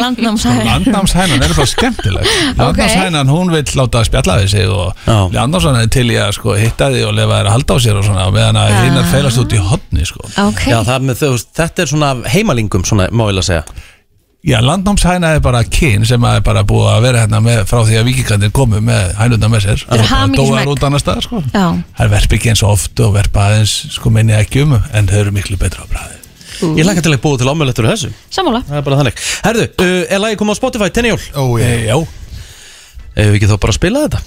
Speaker 3: landnámsegg
Speaker 20: Landnámshænan er það skemmtileg
Speaker 3: Ok.
Speaker 20: Landnámshænan hún vill láta spjalla við sig og Landnámshænan er til í að sko, hitta því og lefa þér að halda á sér og svona meðan að
Speaker 2: Ah.
Speaker 20: hinnar feilast út í hotni sko.
Speaker 3: Ok.
Speaker 2: Já, það er með, þú, veist, þetta er svona heimalingum, svona, má ég að segja
Speaker 20: Já, landnámshæna er bara kyn sem að er bara búið að vera hérna með, frá því að vikingandir komu með hænundar með sér
Speaker 3: Þetta er
Speaker 20: dóar
Speaker 3: hamingismegg.
Speaker 20: út annars staðar sko.
Speaker 3: Já,
Speaker 20: Það verpa ekki eins oft og verpa aðeins sko minni ekki um en þau eru miklu betra á bræði
Speaker 2: Ég lakka til að búa til ámjöðlegt fyrir þessu
Speaker 3: sammála
Speaker 2: Það er bara þannig Herðu, uh, er lagi komið á Spotify, Tenni Jól?
Speaker 21: Ó, já
Speaker 20: Já
Speaker 2: Ef við ekki þá bara að spila þetta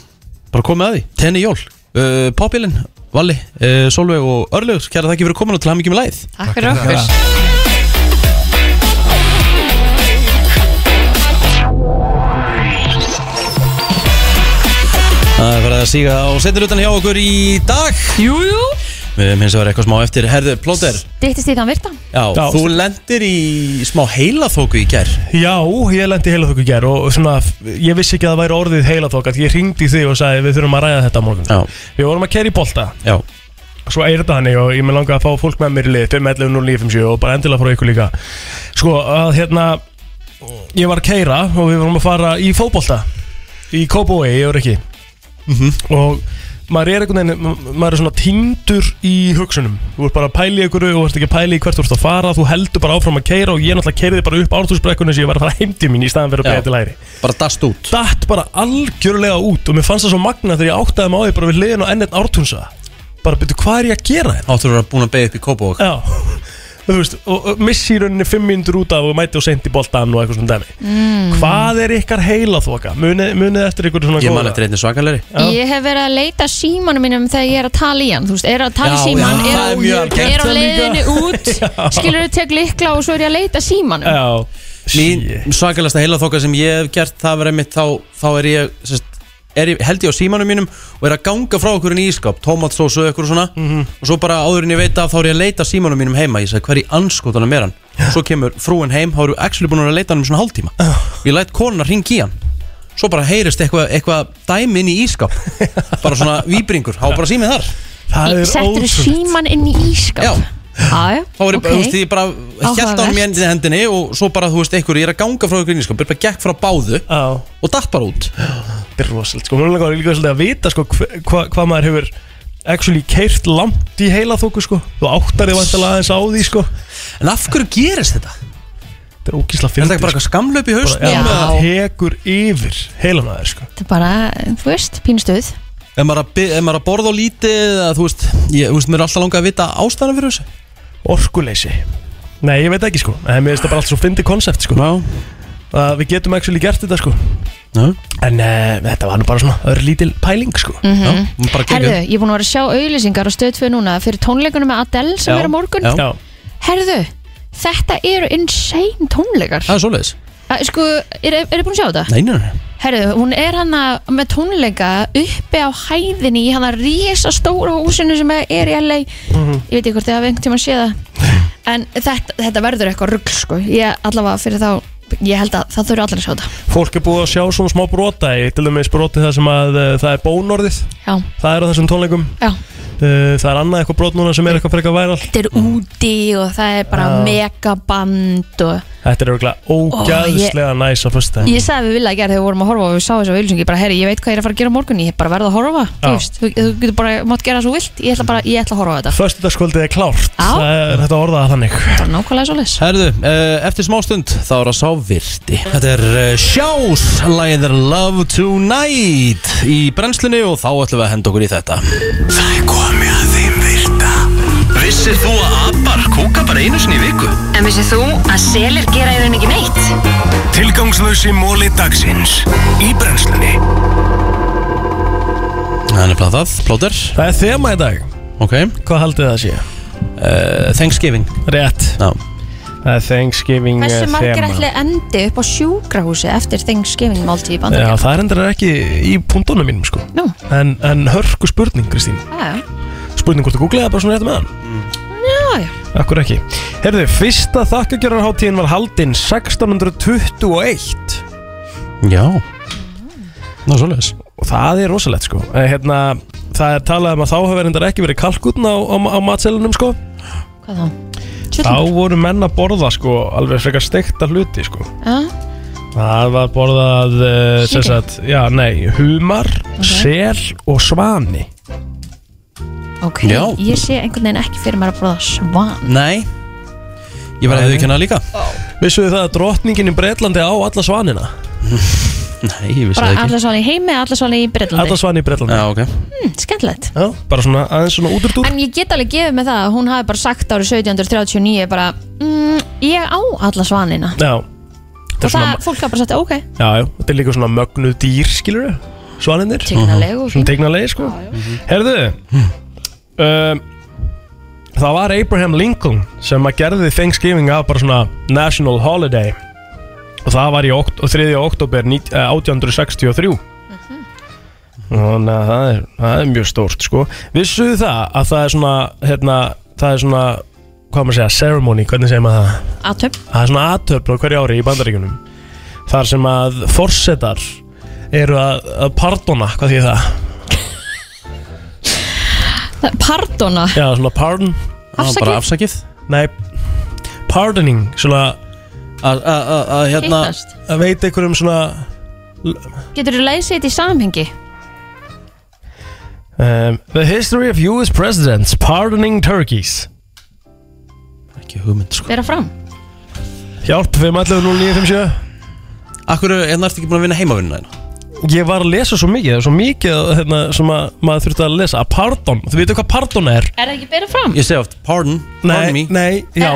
Speaker 2: Bara komið að því, Tenni Jól uh, Pápilinn, Valli, uh, Solveig og Örlaugur Kæra þakki fyrir komin og til hamingjum með lagið
Speaker 18: Takk fyrir okkur
Speaker 2: Það er verið að síga á setnilutan hjá okkur í dag Jú, jú Við hefum hins vegar eitthvað smá eftir Herðu, Plóter
Speaker 3: dittist í þann virta
Speaker 2: Já,
Speaker 4: Já.
Speaker 2: þú lendir í smá heilaþóku í gær
Speaker 4: Já, ég lendi heilaþóku gær og svona, ég vissi ekki að það væri orðið heilaþók að ég ringdi þig og sagði við þurfum að ræða þetta á morgun
Speaker 2: Já.
Speaker 4: Við vorum að kæri bolta
Speaker 2: Já.
Speaker 4: Svo er þetta þannig og ég með langa að fá fólk með mér í lið 5.11.09.57 og bara endilega frá ykkur líka Sko, að hérna Ég var að kæra og við vorum að fara í fótbolta Í Kóbói, ég er ekki
Speaker 2: Mhm.
Speaker 4: Og maður er einhvern veginn, ma- maður er svona tindur í hugsunum Þú ert bara að pæla í ykkur og þú ert ekki að pæla í hvert þú ert að fara Þú heldur bara áfram að keira og ég náttúrulega keiriði bara upp ártúrsbrekkunni sem ég var að fara heimdi mín í staðan fyrir að
Speaker 2: Já.
Speaker 4: beða til læri
Speaker 2: Bara dast út
Speaker 4: Datt bara algjörlega út og mér fannst það svo magna þegar ég áttaði mig á því bara við liðin og ennett ártúnsa Bara byrju, hvað er ég að gera þér?
Speaker 2: Áttur að búin að beða upp í Kópavók
Speaker 4: Já, [LAUGHS] þú veist, og, og missi í rauninni fimm mínútur út af og mæti og seint í boltan og eitthvað svona dæmi
Speaker 3: Mm.
Speaker 4: Hvað er ykkar heila þoka? Munið, munið eftir ykkur svona
Speaker 2: Ég man
Speaker 4: góða?
Speaker 2: eftir einni svakalegri
Speaker 3: Ég hef verið að leita símanum mínum þegar ég er að tala í hann Þú veist, er að tala í
Speaker 2: Já,
Speaker 3: síman,
Speaker 2: já,
Speaker 3: er,
Speaker 2: það er
Speaker 3: á-
Speaker 2: mjög
Speaker 3: er
Speaker 2: algengt.
Speaker 3: á
Speaker 2: Það líka.
Speaker 3: leiðinni
Speaker 2: [LAUGHS]
Speaker 3: út Skilur þú tek likla og svo er ég að leita símanum
Speaker 4: Já
Speaker 2: Mín svakalegsta heilaþóka sem ég hef gert það verið mitt þá, þá er ég, sest, er ég held ég á símanum mínum og er að ganga frá okkur inn í ískap tomatsósu og eitthvað svona og svo bara áður en ég veit að þá er ég að leita að símanum mínum heima ég sagði hver í anskotanum er hann svo kemur frúin heim, þá eru actually búin að leita hann um svona hálftíma ég læt konuna ring í hann svo bara heyrist eitthvað eitthva dæmi inn í ískap bara svona víbringur, þá var bara símið þar
Speaker 3: Settur síman inn í ískap Já, já,
Speaker 2: Þá var ég bara, þú veist,
Speaker 3: ok
Speaker 2: ég bara held á
Speaker 3: Áhugavert.
Speaker 2: mér í hendinni og svo bara, þú veist, einhver, ég er að ganga frá einhverjum sko, bara gekk frá báðu
Speaker 4: Já.
Speaker 2: og datt bara út.
Speaker 4: Þetta er rosalega, sko, mér langar líka svolítið að vita sko, hva, hva, hvað maður hefur actually keirt langt í heila þóku sko. þú áttar þig vantilega aðeins á því sko.
Speaker 2: En af hverju gerist þetta?
Speaker 4: Þetta er ógísla
Speaker 2: Er þetta
Speaker 4: fyrir
Speaker 2: ekki bara eitthvað skamlöp í hausnum?
Speaker 4: Já,
Speaker 2: eða?
Speaker 4: það tekur yfir heilan aðeins sko.
Speaker 3: Þetta er bara, þú veist, pínstuð
Speaker 2: Ef maður, að bi- ef maður að borða á lítið eða, þú veist, ég, þú veist, mér er alltaf langað að vita ástæðan fyrir þessu
Speaker 4: Orkuleysi Nei, ég veit ekki sko, en mér finnst það bara allt svo fyndi konsept sko. að við getum actually gert þetta sko. en uh, þetta var nú bara svona örlítil pæling sko.
Speaker 3: Mhm. Já,
Speaker 2: bara
Speaker 3: Herðu, ég er búin að vera að sjá auðlýsingar á stöð 2 núna fyrir tónleikunum með Adele sem er á morgun
Speaker 4: Já.
Speaker 3: Herðu, þetta eru insane tónleikar
Speaker 2: Það er svoleiðis
Speaker 3: Að, Sko, er, er búin að sjá þetta?
Speaker 2: Nei, nei, nei
Speaker 3: Herðu, hún er hann með tónleika uppi á hæðinni í hann að rísa stóra húsinu sem er í LA
Speaker 4: Mhm.
Speaker 3: Ég veit ekki hvort þið hafa einhvern tíma að sé það En þetta, þetta verður eitthvað rugl sko Ég allavega fyrir þá, ég held að það þurfi allir að sjá þetta
Speaker 4: Fólk er búið að sjá svona smá brota í til dæmis brotið það sem að uh, það er bónorðið
Speaker 3: Já.
Speaker 4: það er á þessum tónleikum
Speaker 3: Já.
Speaker 4: uh, það er annað Mhm. eitthvað brot núna sem er eitthvað frekar væral
Speaker 3: Þetta er úti og það er bara
Speaker 4: Já.
Speaker 3: megaband og
Speaker 4: Þetta er örgulega ógæðslega næs á fyrsta
Speaker 3: Ég sagði við vilja að gera þegar við vorum að horfa og við sáum þessu auðlýsing, ég bara, herri, ég veit hvað ég er að fara að gera á morgun ég er bara verð að horfa, þú
Speaker 4: Já.
Speaker 3: veist, þú, þú getur bara mátt gera svo vilt, ég ætla bara, ég ætla að horfa á þetta
Speaker 4: Föstudagskvöldið er klárt Það er þetta orðað þannig
Speaker 3: Það er nákvæmlega svo les
Speaker 2: Herðu, uh, eftir smástund þá er að sá virti Þetta er uh, Sjás, lagið er Love Tonight í brennslunni og þá ætlum við að henda okkur í þetta
Speaker 1: Það er komið að þeim virta Vissir þú að abar kúka bara einu sinni í viku?
Speaker 22: En vissið þú að selir gera í rauninni ekki neitt?
Speaker 1: Tilgangslösi móli dagsins Í brennslunni
Speaker 2: Það er nefnilega það, plóter
Speaker 4: Það er þema í dag
Speaker 2: Ok
Speaker 4: Hvað haldið það sé?
Speaker 2: Uh, Thanksgiving
Speaker 4: Rétt
Speaker 2: Já
Speaker 4: Það er Thanksgiving
Speaker 3: Hversu
Speaker 4: eh,
Speaker 3: margir
Speaker 4: þema.
Speaker 3: ætli endi upp á sjúkrahúsi eftir Thanksgiving máltíð í
Speaker 4: Já,
Speaker 3: bandaríkjum?
Speaker 4: það er endur ekki í púntunum mínum sko
Speaker 3: Nú.
Speaker 4: en, en hörku spurning, Kristín
Speaker 3: Já,
Speaker 4: Spurning hvort þú googlaði bara svona rétt með hann
Speaker 3: já, já,
Speaker 4: Akkur ekki Herðu, fyrsta þakkagjörarháttíðin var haldinn 1621
Speaker 2: Já Ná, svoleiðis
Speaker 4: Og það er rosalegt sko Eh, hérna, Það er talað um að þá hefur endur ekki verið kalkutn á, á, á matselunum sko
Speaker 3: hvað þá?
Speaker 4: Þá voru menn að borða sko alveg frekar steikta hluti sko
Speaker 3: Já,
Speaker 4: Það var borðað uh, sem
Speaker 3: Síli.
Speaker 4: sagt, já, nei, humar, sel og svani
Speaker 3: ok, ég sé einhvern veginn ekki fyrir mér að borða svan
Speaker 2: Nei Ég var að þau kynna líka
Speaker 4: Vissuðu það að drottningin í Breitlandi á alla svanina?
Speaker 2: [LAUGHS] Nei, ég vissi
Speaker 3: Bara alla svan í heimi, alla svan í Breitlandi
Speaker 4: Alla svanina í Breitlandi
Speaker 2: Já, ok
Speaker 3: hmm, Skemmtilegt
Speaker 4: Já, bara svona aðeins svona út úr dúr
Speaker 3: En ég get alveg gefið með það að hún hafi bara sagt árið 1739 bara, mm, ég á alla svanina
Speaker 4: Já
Speaker 3: Og það, fólk hafa bara sagt, ok,
Speaker 4: Já, já, þetta er líka svona mögnuð dýr, skilur við Svaninir
Speaker 3: Tignarleg og
Speaker 4: Svona tignalegi, sko Herðu um, Það var Abraham Lincoln sem að gerði Thanksgiving að bara svona National Holiday og það var í okt- og 3. oktober 1863 Þannig að það er, það er mjög stórt sko Vissuðu það að það er svona hérna, það er svona hvað á maður að segja, ceremony, hvernig segir maður það?
Speaker 3: aðtöp
Speaker 4: Það er svona aðtöfl á hverju ári í bandaríkunum Þar sem að forsetar eru að, að pardona, hvað því það?
Speaker 3: Pardona
Speaker 4: Já, svona pardon
Speaker 3: Afsakið? Já, bara
Speaker 2: afsakið
Speaker 4: Nei, pardoning, svona
Speaker 2: Að
Speaker 3: hérna- Hittast?
Speaker 4: Að veita einhverjum svona
Speaker 3: Getur þú leysið þetta í samhengi?
Speaker 4: um, The history of US presidents pardoning turkeys
Speaker 2: Ekki hugmynd sko
Speaker 3: Bera fram
Speaker 4: Hjálp, við maður 0957
Speaker 2: Akkur, hérna ertu ekki búin að vinna heimavinnuna hérna
Speaker 4: Ég var að lesa svo mikið, það er svo mikið hérna, sem að maður þurfti að lesa að pardon, þú veitu hvað pardon er?
Speaker 3: Er það ekki bera fram? Eh,
Speaker 2: Ég segi oft, pardon, pardon me
Speaker 4: Nei, já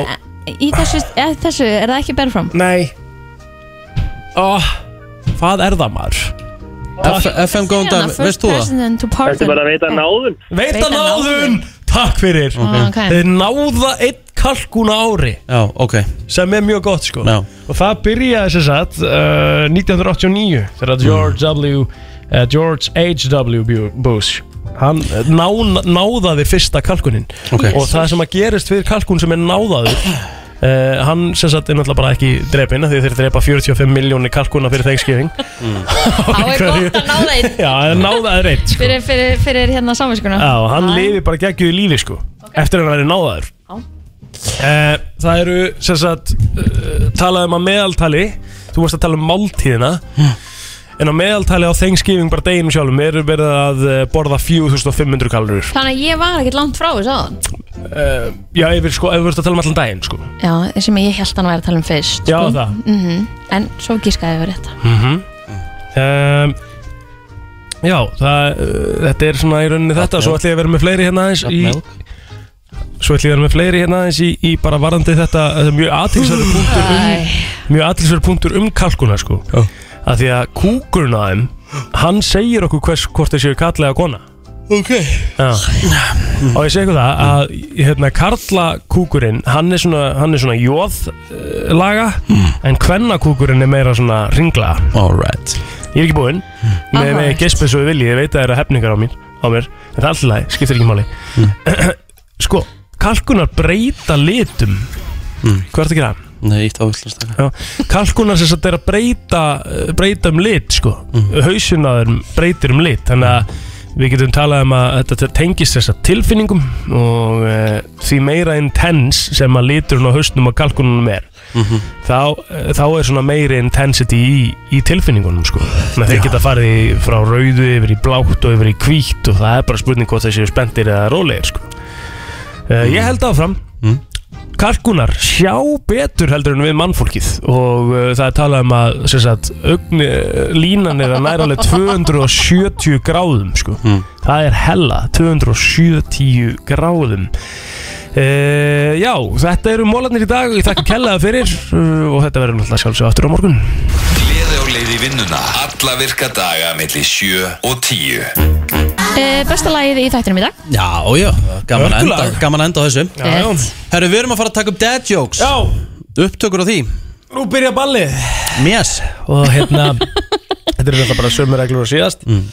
Speaker 3: Í þessu, eða, þessu er það ekki bera fram?
Speaker 4: Nei oh, Hvað er það maður?
Speaker 2: FM góðan dag, veist þú það?
Speaker 3: Þetta
Speaker 4: Eh. Veita náðun Takk fyrir
Speaker 3: Ah, ok.
Speaker 4: Þeir náða einn kalkun á ári
Speaker 2: Já, ok
Speaker 4: sem er mjög gott sko
Speaker 2: Já.
Speaker 4: og það byrjaði sem sagt uh, 1989 þegar George W uh, George H.W. Bu- Bush hann eh, ná, náðaði fyrsta kalkunin
Speaker 2: Ok.
Speaker 4: og það sem að gerist fyrir kalkun sem er náðaður Uh, hann sem sagt er náttúrulega bara ekki drepin af því þeir drepa 45 miljónir kalkuna fyrir Thanksgiving [LAUGHS]
Speaker 3: Þá er gott að náða einn
Speaker 4: Já, það er náðaður eitt sko.
Speaker 3: Fyrir, fyrir, fyrir hérna samvinskuna
Speaker 4: Já, og hann lifi bara geggjuð í lífi sko Eftir að hann verið náðaður Eh, Það eru, sem sagt uh, Talað um að meðaltali Þú varst að tala um máltíðina En á meðaltali á Thanksgiving bara deginum sjálfum Eru verið að eh, borða 4500 kalorur
Speaker 3: Þannig að ég var ekkert langt frá þess aðan
Speaker 4: uh, Já, ef við sko, ef við varst að tala um allan daginn sko
Speaker 3: Já, það sem ég held hann væri að tala um fyrst
Speaker 4: Já, það.
Speaker 3: Mhm. En svo gískaði við rétt
Speaker 4: mm um, Já, það, uh, þetta er svona í rauninni þetta Svo ætlum ég að vera með fleiri hérna aðeins í, Svo ætlum ég að vera með fleiri hérna aðeins í, í bara varandi þetta, þetta er mjög aðtilsverður punktur um, mjög aðtilsverður punktur um kalkuna sko oh. að því að kúkurinn á þeim hann segir okkur hvers hvort þeir séu kallega kona
Speaker 2: Ok
Speaker 4: Já. og ég segi ykkur það að hérna, karlakúkurinn hann er svona, hann er svona jóð eh, laga en kvennakúkurinn er meira svona ringla
Speaker 2: Alright.
Speaker 4: ég er ekki búinn með, með
Speaker 2: Alright.
Speaker 4: gesp eins og ég vilji, ég veit að það eru hefningar á mér, á mér en það er alltaf læg, skiptir ekki máli [CLEARS THROAT] sko, kalkunar breyta litum hvað er þetta að gera?
Speaker 2: Nei, ítt á villast
Speaker 4: Já, kalkunar sem sagt er að breyta breyta um lit sko mm. hausunaður breytir um lit þannig að við getum talað um að þetta tengist þess að eh, tilfinningum og e, því meira intense sem að liturinn á hausnum og kalkununum er þá, þá er svona meiri intensity í, í tilfinningunum sko. Þannig að
Speaker 20: Já.
Speaker 4: þeir geta farið í, frá rauðu yfir í blátt og yfir í hvítt og það er bara spurning hvort þeir séu spenntir eða rólegir sko. uh, Ég held áfram Kalkunar sjá betur heldur en við mannfólkið og uh, það er talað um að sem sagt, augni, línan er að næra alveg 270 gráðum sko. það er hella 270 gráðum uh, Já, þetta eru mólarnir í dag ég þakka kellaða fyrir uh, og þetta verður náttúrulega sjálfsög aftur á morgun
Speaker 23: Gleði á leið í vinnuna Alla virka daga millir 7 og 10
Speaker 3: Eh, Besta lagið í þættinum í dag
Speaker 2: Já, já, gaman að enda,
Speaker 24: Hörkulag.
Speaker 2: gaman að enda á þessu
Speaker 3: Já, já.
Speaker 2: Herru, við erum að fara að taka upp dad jokes Já Upptökur á því
Speaker 4: Nú byrja ballið
Speaker 2: Mjess
Speaker 4: Og hérna, [LAUGHS] þetta eru þetta bara sömu reglur og síðast mm.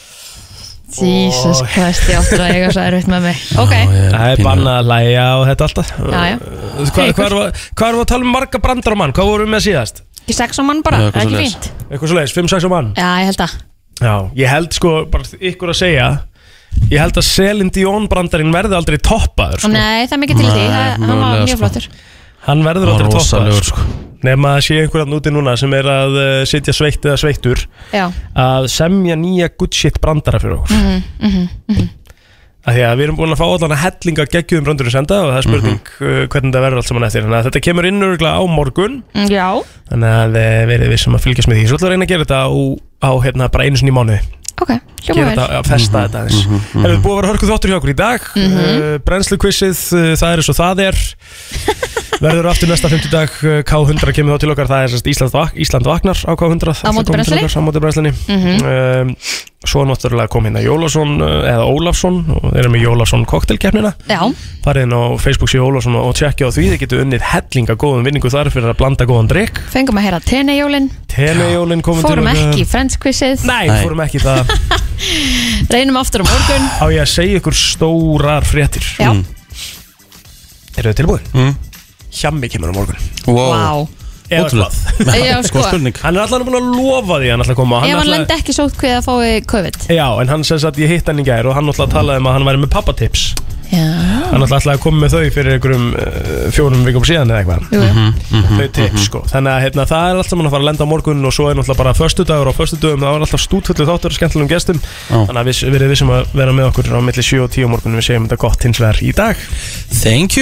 Speaker 3: Jesus Christ, ég áttur að eiga svo erfitt með mig Ok,
Speaker 4: Það er bannað að læja og þetta alltaf
Speaker 3: já, já
Speaker 4: Hvað hva, hva erum við hva erum við að tala um marga brandar á mann? Hvað vorum við með síðast?
Speaker 3: Ekki sex á mann bara, það er ekki fínt
Speaker 4: Eitthvað svo leiðis, 5-6 á mann
Speaker 3: Já, ég held að
Speaker 4: Já, ég held sko, bara ykkur að segja Ég held að Selin Dion brandarinn verði aldrei toppaður sko.
Speaker 3: Nei, það er mikið til í því,
Speaker 4: Nei,
Speaker 3: það- hann var
Speaker 4: mögulega,
Speaker 3: mjög
Speaker 4: sko.
Speaker 3: flottur
Speaker 4: Hann verður
Speaker 2: Hann var
Speaker 4: aldrei
Speaker 2: rosalegur,
Speaker 4: toppaður sko. Nefn að það sé einhverjarn úti núna sem er að uh, sitja sveitt eða sveittur
Speaker 3: Já,
Speaker 4: Að semja nýja good shit brandara fyrir okkur
Speaker 3: mhm, mhm, mhm
Speaker 4: Af því að við erum búin að fá allan að hellinga geggjum brandurum senda Og það er spurning
Speaker 2: Mhm.
Speaker 4: uh, hvernig það verður allt saman eftir Þannig að þetta kemur inn örgulega á morgun
Speaker 3: Mm, Já,
Speaker 4: Þannig að eh, verið við sem að fylgjast með því Svo ætlum við að reyna að gera þetta á, á hérna, bara einu sinni í mánuði
Speaker 3: ok,
Speaker 4: Gera
Speaker 3: hljóma
Speaker 4: þetta,
Speaker 3: vel
Speaker 4: að festa
Speaker 2: Mhm.
Speaker 4: þetta aðeins mm -hmm, Erum við búið að vera hörkuð þáttur hjá okkur í dag mm
Speaker 3: Mhm.
Speaker 4: Brennslu quizið, uh, það er eins og það
Speaker 3: [LAUGHS]
Speaker 4: er Verður aftur næsta 50 dag K100 kemur þá til okkar Það er sérst Ísland, vak Ísland vaknar á K100
Speaker 3: Á móti brennslunni.
Speaker 4: Á móti brennslunni
Speaker 3: Mhm.
Speaker 4: um, Svo náttúrulega kom hérna Jólasson uh, eða Ólafsson og þeir eru með Jólasson koktelkeppnina
Speaker 3: Já,
Speaker 4: farið inn á Facebook síðu Ólafsson og tjekkja á því þið getur unnið hellinga góðum vinningu þar fyrir að blanda góðan drikk
Speaker 3: fengum að heyra tenejólin
Speaker 4: Telejólin komin
Speaker 3: Fórum
Speaker 4: til okkar.
Speaker 3: ekki í Friends quizið
Speaker 4: Nei, fórum ekki
Speaker 3: [LAUGHS]
Speaker 4: í það
Speaker 3: Reynum aftur á morgun
Speaker 4: Á ég að segja ykkur stórar fréttir
Speaker 3: Já.
Speaker 4: mm. Eru þið tilbúin? Mm. Hjammi kemur á morgun
Speaker 3: Vá.
Speaker 4: Eða
Speaker 2: Ótrúlegt.
Speaker 4: hvað?
Speaker 3: Já, sko. Góð spurning.
Speaker 4: Hann er alltaf búin að lofa því að hann ætla að koma
Speaker 3: Ef
Speaker 4: hann
Speaker 3: hann
Speaker 4: ætlaði-
Speaker 3: lendi ekki sótt hvað að fái COVID
Speaker 4: Já, en hann sem sagt ég hitt hann í gær og hann alltaf talaði um að hann væri með pappatips
Speaker 3: Já,
Speaker 4: Hann alltaf ætlaði að koma með þau fyrir einhverjum uh, fjórum vikum síðan eða eitthvað
Speaker 3: Jú, jú. Mhm,
Speaker 4: Þau tips sko Þannig að hérna, það er alltaf mann að fara að lenda á morgun og svo er náttúrulega bara föstudagur og föstudögum það var alltaf stútfullu þáttur og skemmtilegum gestum Þannig að við verðum við sem að vera með okkur á milli 7 og 10 á morgunum við segjum þetta gott hins vegar í dag
Speaker 2: Thank you